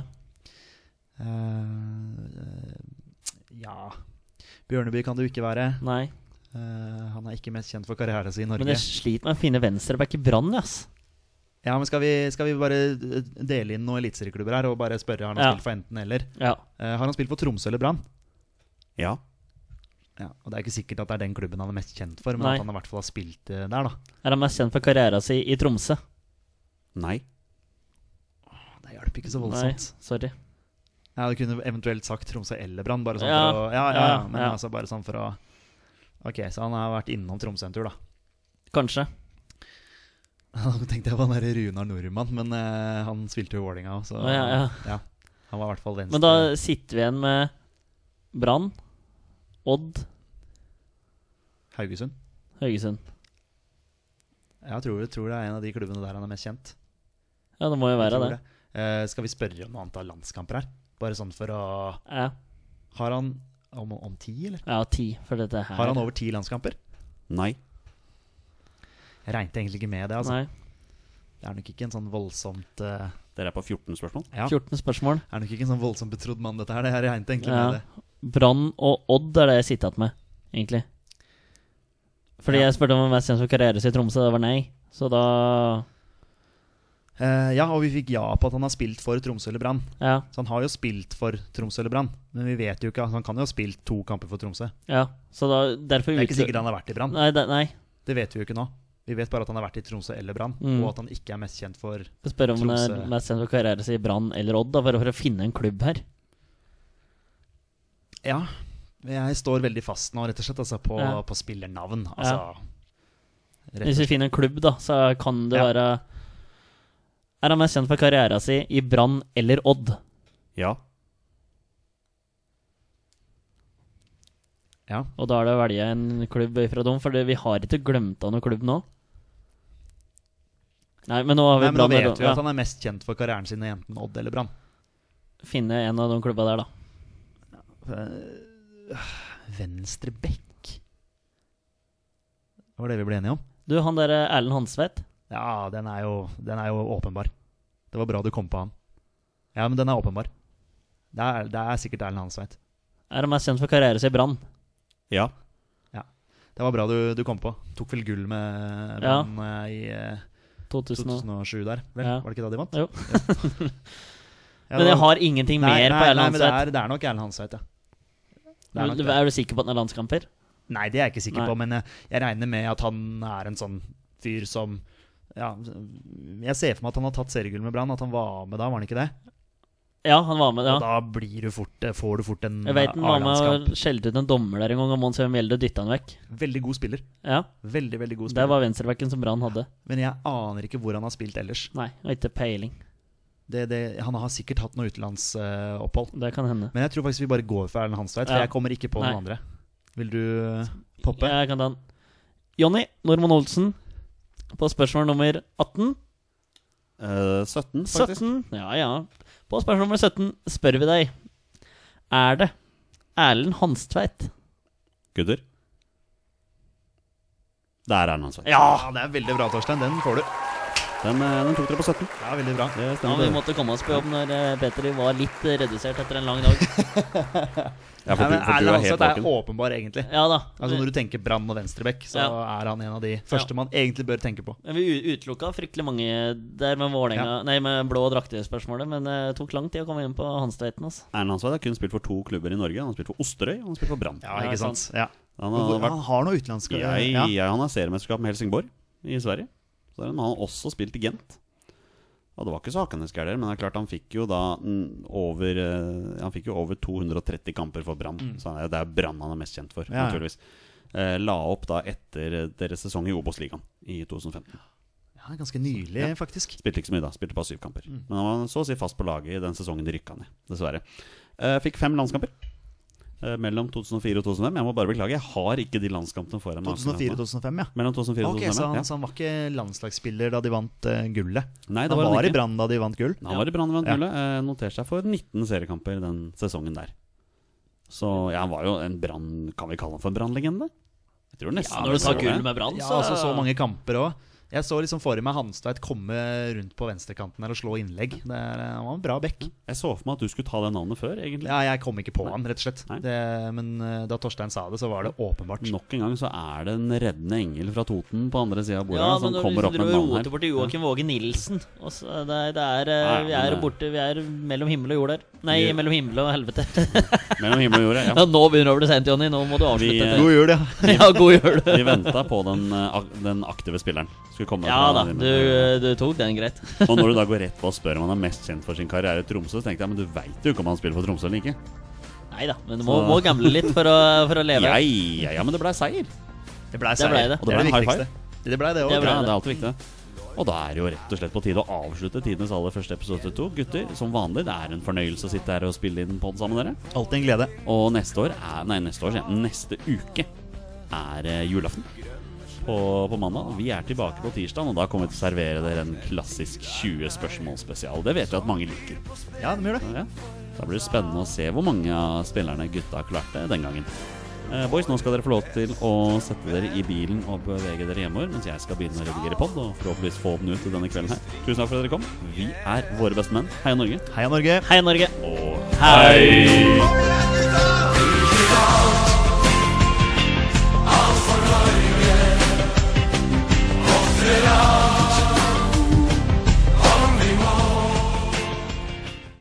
Eh, ja Bjørneby kan det jo ikke være.
nei.
Eh, han er ikke mest kjent for karrieren sin i Norge.
Men jeg sliter med å finne venstreback i Brann, ass.
Ja, men skal vi, skal vi bare eh, dele inn noen eliteserieklubber her og bare spørre har han
Ja.
spilt for enten eller?
Ja.
Eh, har han spilt for Tromsø eller Brann?
Ja.
Ja, og Det er ikke sikkert at det er den klubben han er mest kjent for, men
Nei.
at han i hvert fall har spilt eh, der, da.
Er han mest kjent for karrieren sin i Tromsø?
Nei.
Det hjelper ikke så
Nei,
voldsomt.
sorry.
Jeg hadde kunne eventuelt sagt Tromsø eller Brann, bare sånn
Ja.
for å Ja, ja,
Ja,
men
ja.
altså bare sånn for å Ok, så han har vært innom Tromsø en tur, da.
Kanskje.
Da tenkte jeg på han der Runar Nordmann, men eh, han spilte jo i Vålerenga òg, så
Å, ja, ja.
han var i hvert fall venstre.
Men da sitter vi igjen med Brann, Odd,
Haugesund.
Haugesund.
Jeg tror, tror det er en av de klubbene der han er mest kjent.
Ja, det må jo
Jeg
være
tror
det.
det. Eh, skal vi spørre om noe antall landskamper her? Bare sånn for å
Ja,
Har han om, om ti, eller?
ja ti for dette her.
Har han over ti landskamper?
Nei.
Jeg regnet egentlig ikke med det. altså.
Nei.
Det er nok ikke en sånn voldsomt eh,
Dere er på 14 spørsmål.
Ja.
14 spørsmål.
Er nok ikke en sånn voldsomt betrodd mann, dette her. Det- Jeg regnet egentlig
Ja.
med det.
Brann og Odd er det jeg sitter igjen med, egentlig. Fordi jeg spurte om han var mest kjent for karrieren sin i Tromsø, det var nei. Så da
Eh, ja, og vi fikk ja på at han har spilt for Tromsø eller Brann.
Ja.
Så han har jo spilt for Tromsø eller Brann, men vi vet jo ikke altså, Han kan jo ha spilt to kamper for Tromsø.
ja. Så da, derfor
Det er ikke
utlu-
sikkert han har vært i Brann.
Nei, det, nei.
Det vet vi jo ikke nå. Vi vet bare at han har vært i Tromsø eller Brann,
Mm.
og at han ikke er mest kjent for
Jeg spør om eh, han er
Tromsø.
mest kjent for karrieren sin i Brann eller Odd, da, bare for å finne en klubb her.
Ja. Jeg står veldig fast nå, rett og slett, altså, på,
Ja.
på spillernavn. Altså, rett og
Hvis vi
slett.
finner en klubb, da, så kan det
Ja.
være Er han mest kjent for karrieren sin i Brann eller Odd?
Ja.
Ja.
Og da er det å velge en klubb fra dem, for vi har ikke glemt av noen klubb nå. Nei, men nå har vi
Nei, men nå
Brann
vet
eller
vi
ja.
at han er mest kjent for karrieren sin i enten Odd eller Brann.
Finne en av de klubba der, da.
Eh, Venstre bekk Det var det vi ble enige om?
Du, han der eh, Erlend Hansvedt
Ja, den er jo, den er jo åpenbar. Det var bra du kom på han. Ja, men den er åpenbar. Det er, det er sikkert Erlend Hansveit.
er han mest kjent for karrieren sin i Brann.
Ja.
Det var bra du, du kom på. Tok vel gull med
Ja.
Brann eh, i eh,
2000 og...
2007 der, vel?
Ja.
Var det ikke da de vant?
Jo.
Ja,
Men
det
jeg
var-
har ingenting mer på
nei,
Erlend
men det
Hansvedt.
er, det er nok Erlend Hansveit, ja. Det er nok
Er,
det.
du sikker på at han er landskamper?
Nei, det er jeg ikke sikker
Nei.
på, men jeg, jeg regner med at han er en sånn fyr som ja, Jeg ser for meg at han har tatt seriegull med Brann, at han var med da, var han ikke det?
Ja, han var med,
Og
ja.
da blir du fort, eh, får du fort en eh,
Jeg vet han var med
A-landskamp.
og skjelte ut en dommer der en gang, og Mons Even Mjelde dytta han vekk.
Veldig god spiller.
Ja,
Veldig, veldig god
Det
spiller.
var venstrebacken som Brann hadde.
Men jeg aner ikke hvor han har spilt ellers.
Nei, og ikke peiling.
Det, det, han har sikkert hatt noe utenlandsopphold.
Det kan hende.
Men jeg tror faktisk vi bare går for Erlend Hanstveit, for
Ja.
jeg kommer ikke på
Nei.
noen andre. Vil du eh, poppe?
Jeg kan ta den. Jonny Normann Olsen på spørsmål nummer 18.
Eh, 17, faktisk.
17. Ja, ja. På spørsmål nummer 17 spør vi deg Er det Erlend Hanstveit.
Gutter. Det er Erlend Hansveit.
Ja, det er veldig bra, Torstein. Den får du.
Den, eh, den tok dere på 17.
Ja, veldig bra.
Det
Ja,
stemmer.
vi
det.
måtte komme oss på jobb når eh, Peter var litt eh, redusert etter en lang dag.
Ja,
Nei, men
for du, for du
Erlend
er helt
Hanstveit er
våken.
åpenbar, egentlig.
Ja da.
Altså Når du tenker Brann og venstrebekk, så
Ja.
er han en av de første man egentlig bør tenke på.
Men Vi u- utelukka fryktelig mange der med, Vålerenga- nei, med blå draktespørsmålet, men eh, det tok lang tid å komme inn på Hanstveiten. Altså.
Erlend Hansveit har kun spilt for to klubber i Norge. Han har spilt for Osterøy og han har spilt for Brann.
Ja,
Ja,
ikke sant? Ja.
Han
Men
har
hvor-
vært
Han har noe utenlandsk
jeg,
ja.
jeg, Han er seriemesterskap med Helsingborg i Sverige. Så er det- men han har også spilt i Gent. Og det var ikke så hakkende skæler, men det er klart han fikk jo da mm, over, eh, Han fikk jo over 230 kamper for Brann. Så han er- det er Brann han er mest kjent for,
Mm. Ja, ja.
naturligvis. Eh, La opp da etter eh, deres sesong i Obos-ligaen i 2015.
ja, Ganske nylig, faktisk.
Spilte ikke så mye da, spilte bare syv kamper. Men han var så å si fast på laget i den sesongen de rykka ned, dessverre. Eh, fikk fem landskamper eh, mellom 2004 og 2005. Jeg må bare beklage, jeg har ikke de landskampene foran meg.
2004-2005, ja.
Mellom 2004 og
Ok,
2005.
så han,
ja.
så han var ikke landslagsspiller da de vant eh, gullet?
Nei, det
han
var
var
han
i
ikke.
Brann da de vant gull?
Han var i Brann ved
Ja.
Nule. eh, Noterte seg for 19 seriekamper den sesongen der. Så ja, han var jo en Brann Kan vi kalle han for en Brann-legende? Jeg tror nesten
Ja, når du tar
det.
gull med Brann,
Ja, altså så mange kamper òg. Jeg så liksom for meg Hanstveit komme rundt på venstrekanten her og slå innlegg. Det er, eh, han var en bra back.
Jeg så for meg at du skulle ta det navnet før, egentlig.
Ja, jeg kom ikke på han, rett og slett.
Mm. Nei.
Det, men eh, da Torstein sa det, så var det åpenbart.
Nok en gang så er det en reddende engel fra Toten på andre sida av bordet
Ja,
som
men når
kommer
vi
opp med
driver
en
og
navn
roter bort til Joakim Våge Nilsen og så- det, er- det er, eh,
Nei,
Vi
men
er
det-
borte, vi er mellom himmel og jord der. Nei,
Vi-
mellom himmel og helvete.
Mellom himmel og jord, ja.
Ja, nå begynner det å bli sent, Jonny. Nå må du
Vi,
avslutte.
eh,
God jul, ja.
ja, god jul.
Vi venta på den, eh, ak- den aktive spilleren. Skulle komme
Ja
fra-
da, du, du tok den greit.
eh, Og når du da går rett på og spør om han er mest kjent for sin karriere i Tromsø, så tenkte jeg men du veit jo ikke om han spiller for Tromsø eller ikke.
Nei da, men du må,
Så-
må gamble litt for å, for å leve.
Ja, ja, ja, men det blei seier.
Det blei
Det ble det.
Og det ble en high
viktigste. Det blei det
Det
òg.
ble-
Ja, det er alltid viktig. Og da er det jo rett og slett på tide å avslutte tidenes aller første episode to. Gutter, som vanlig, det er en fornøyelse å sitte her og spille inn pod sammen med dere.
Alltid en glede.
Og neste år er Nei, neste år, sier jeg. Neste uke er eh, julaften. På, på mandag. Vi er tilbake på tirsdag, og da kommer vi til å servere dere en klassisk 20 spørsmål spesial. Det vet vi at mange liker.
Ja, de gjør det.
Ja. Da blir det spennende å se hvor mange av spillerne gutta klarte den gangen. Eh, boys, nå skal dere få lov til å sette dere i bilen og bevege dere hjemover, mens jeg skal begynne å redigere pod og forhåpentligvis få den ut til denne kvelden her. Tusen takk for at dere kom. Vi er våre beste menn. Heia Norge.
Heia Norge.
Heia Norge.
Og
Hei!
Hei!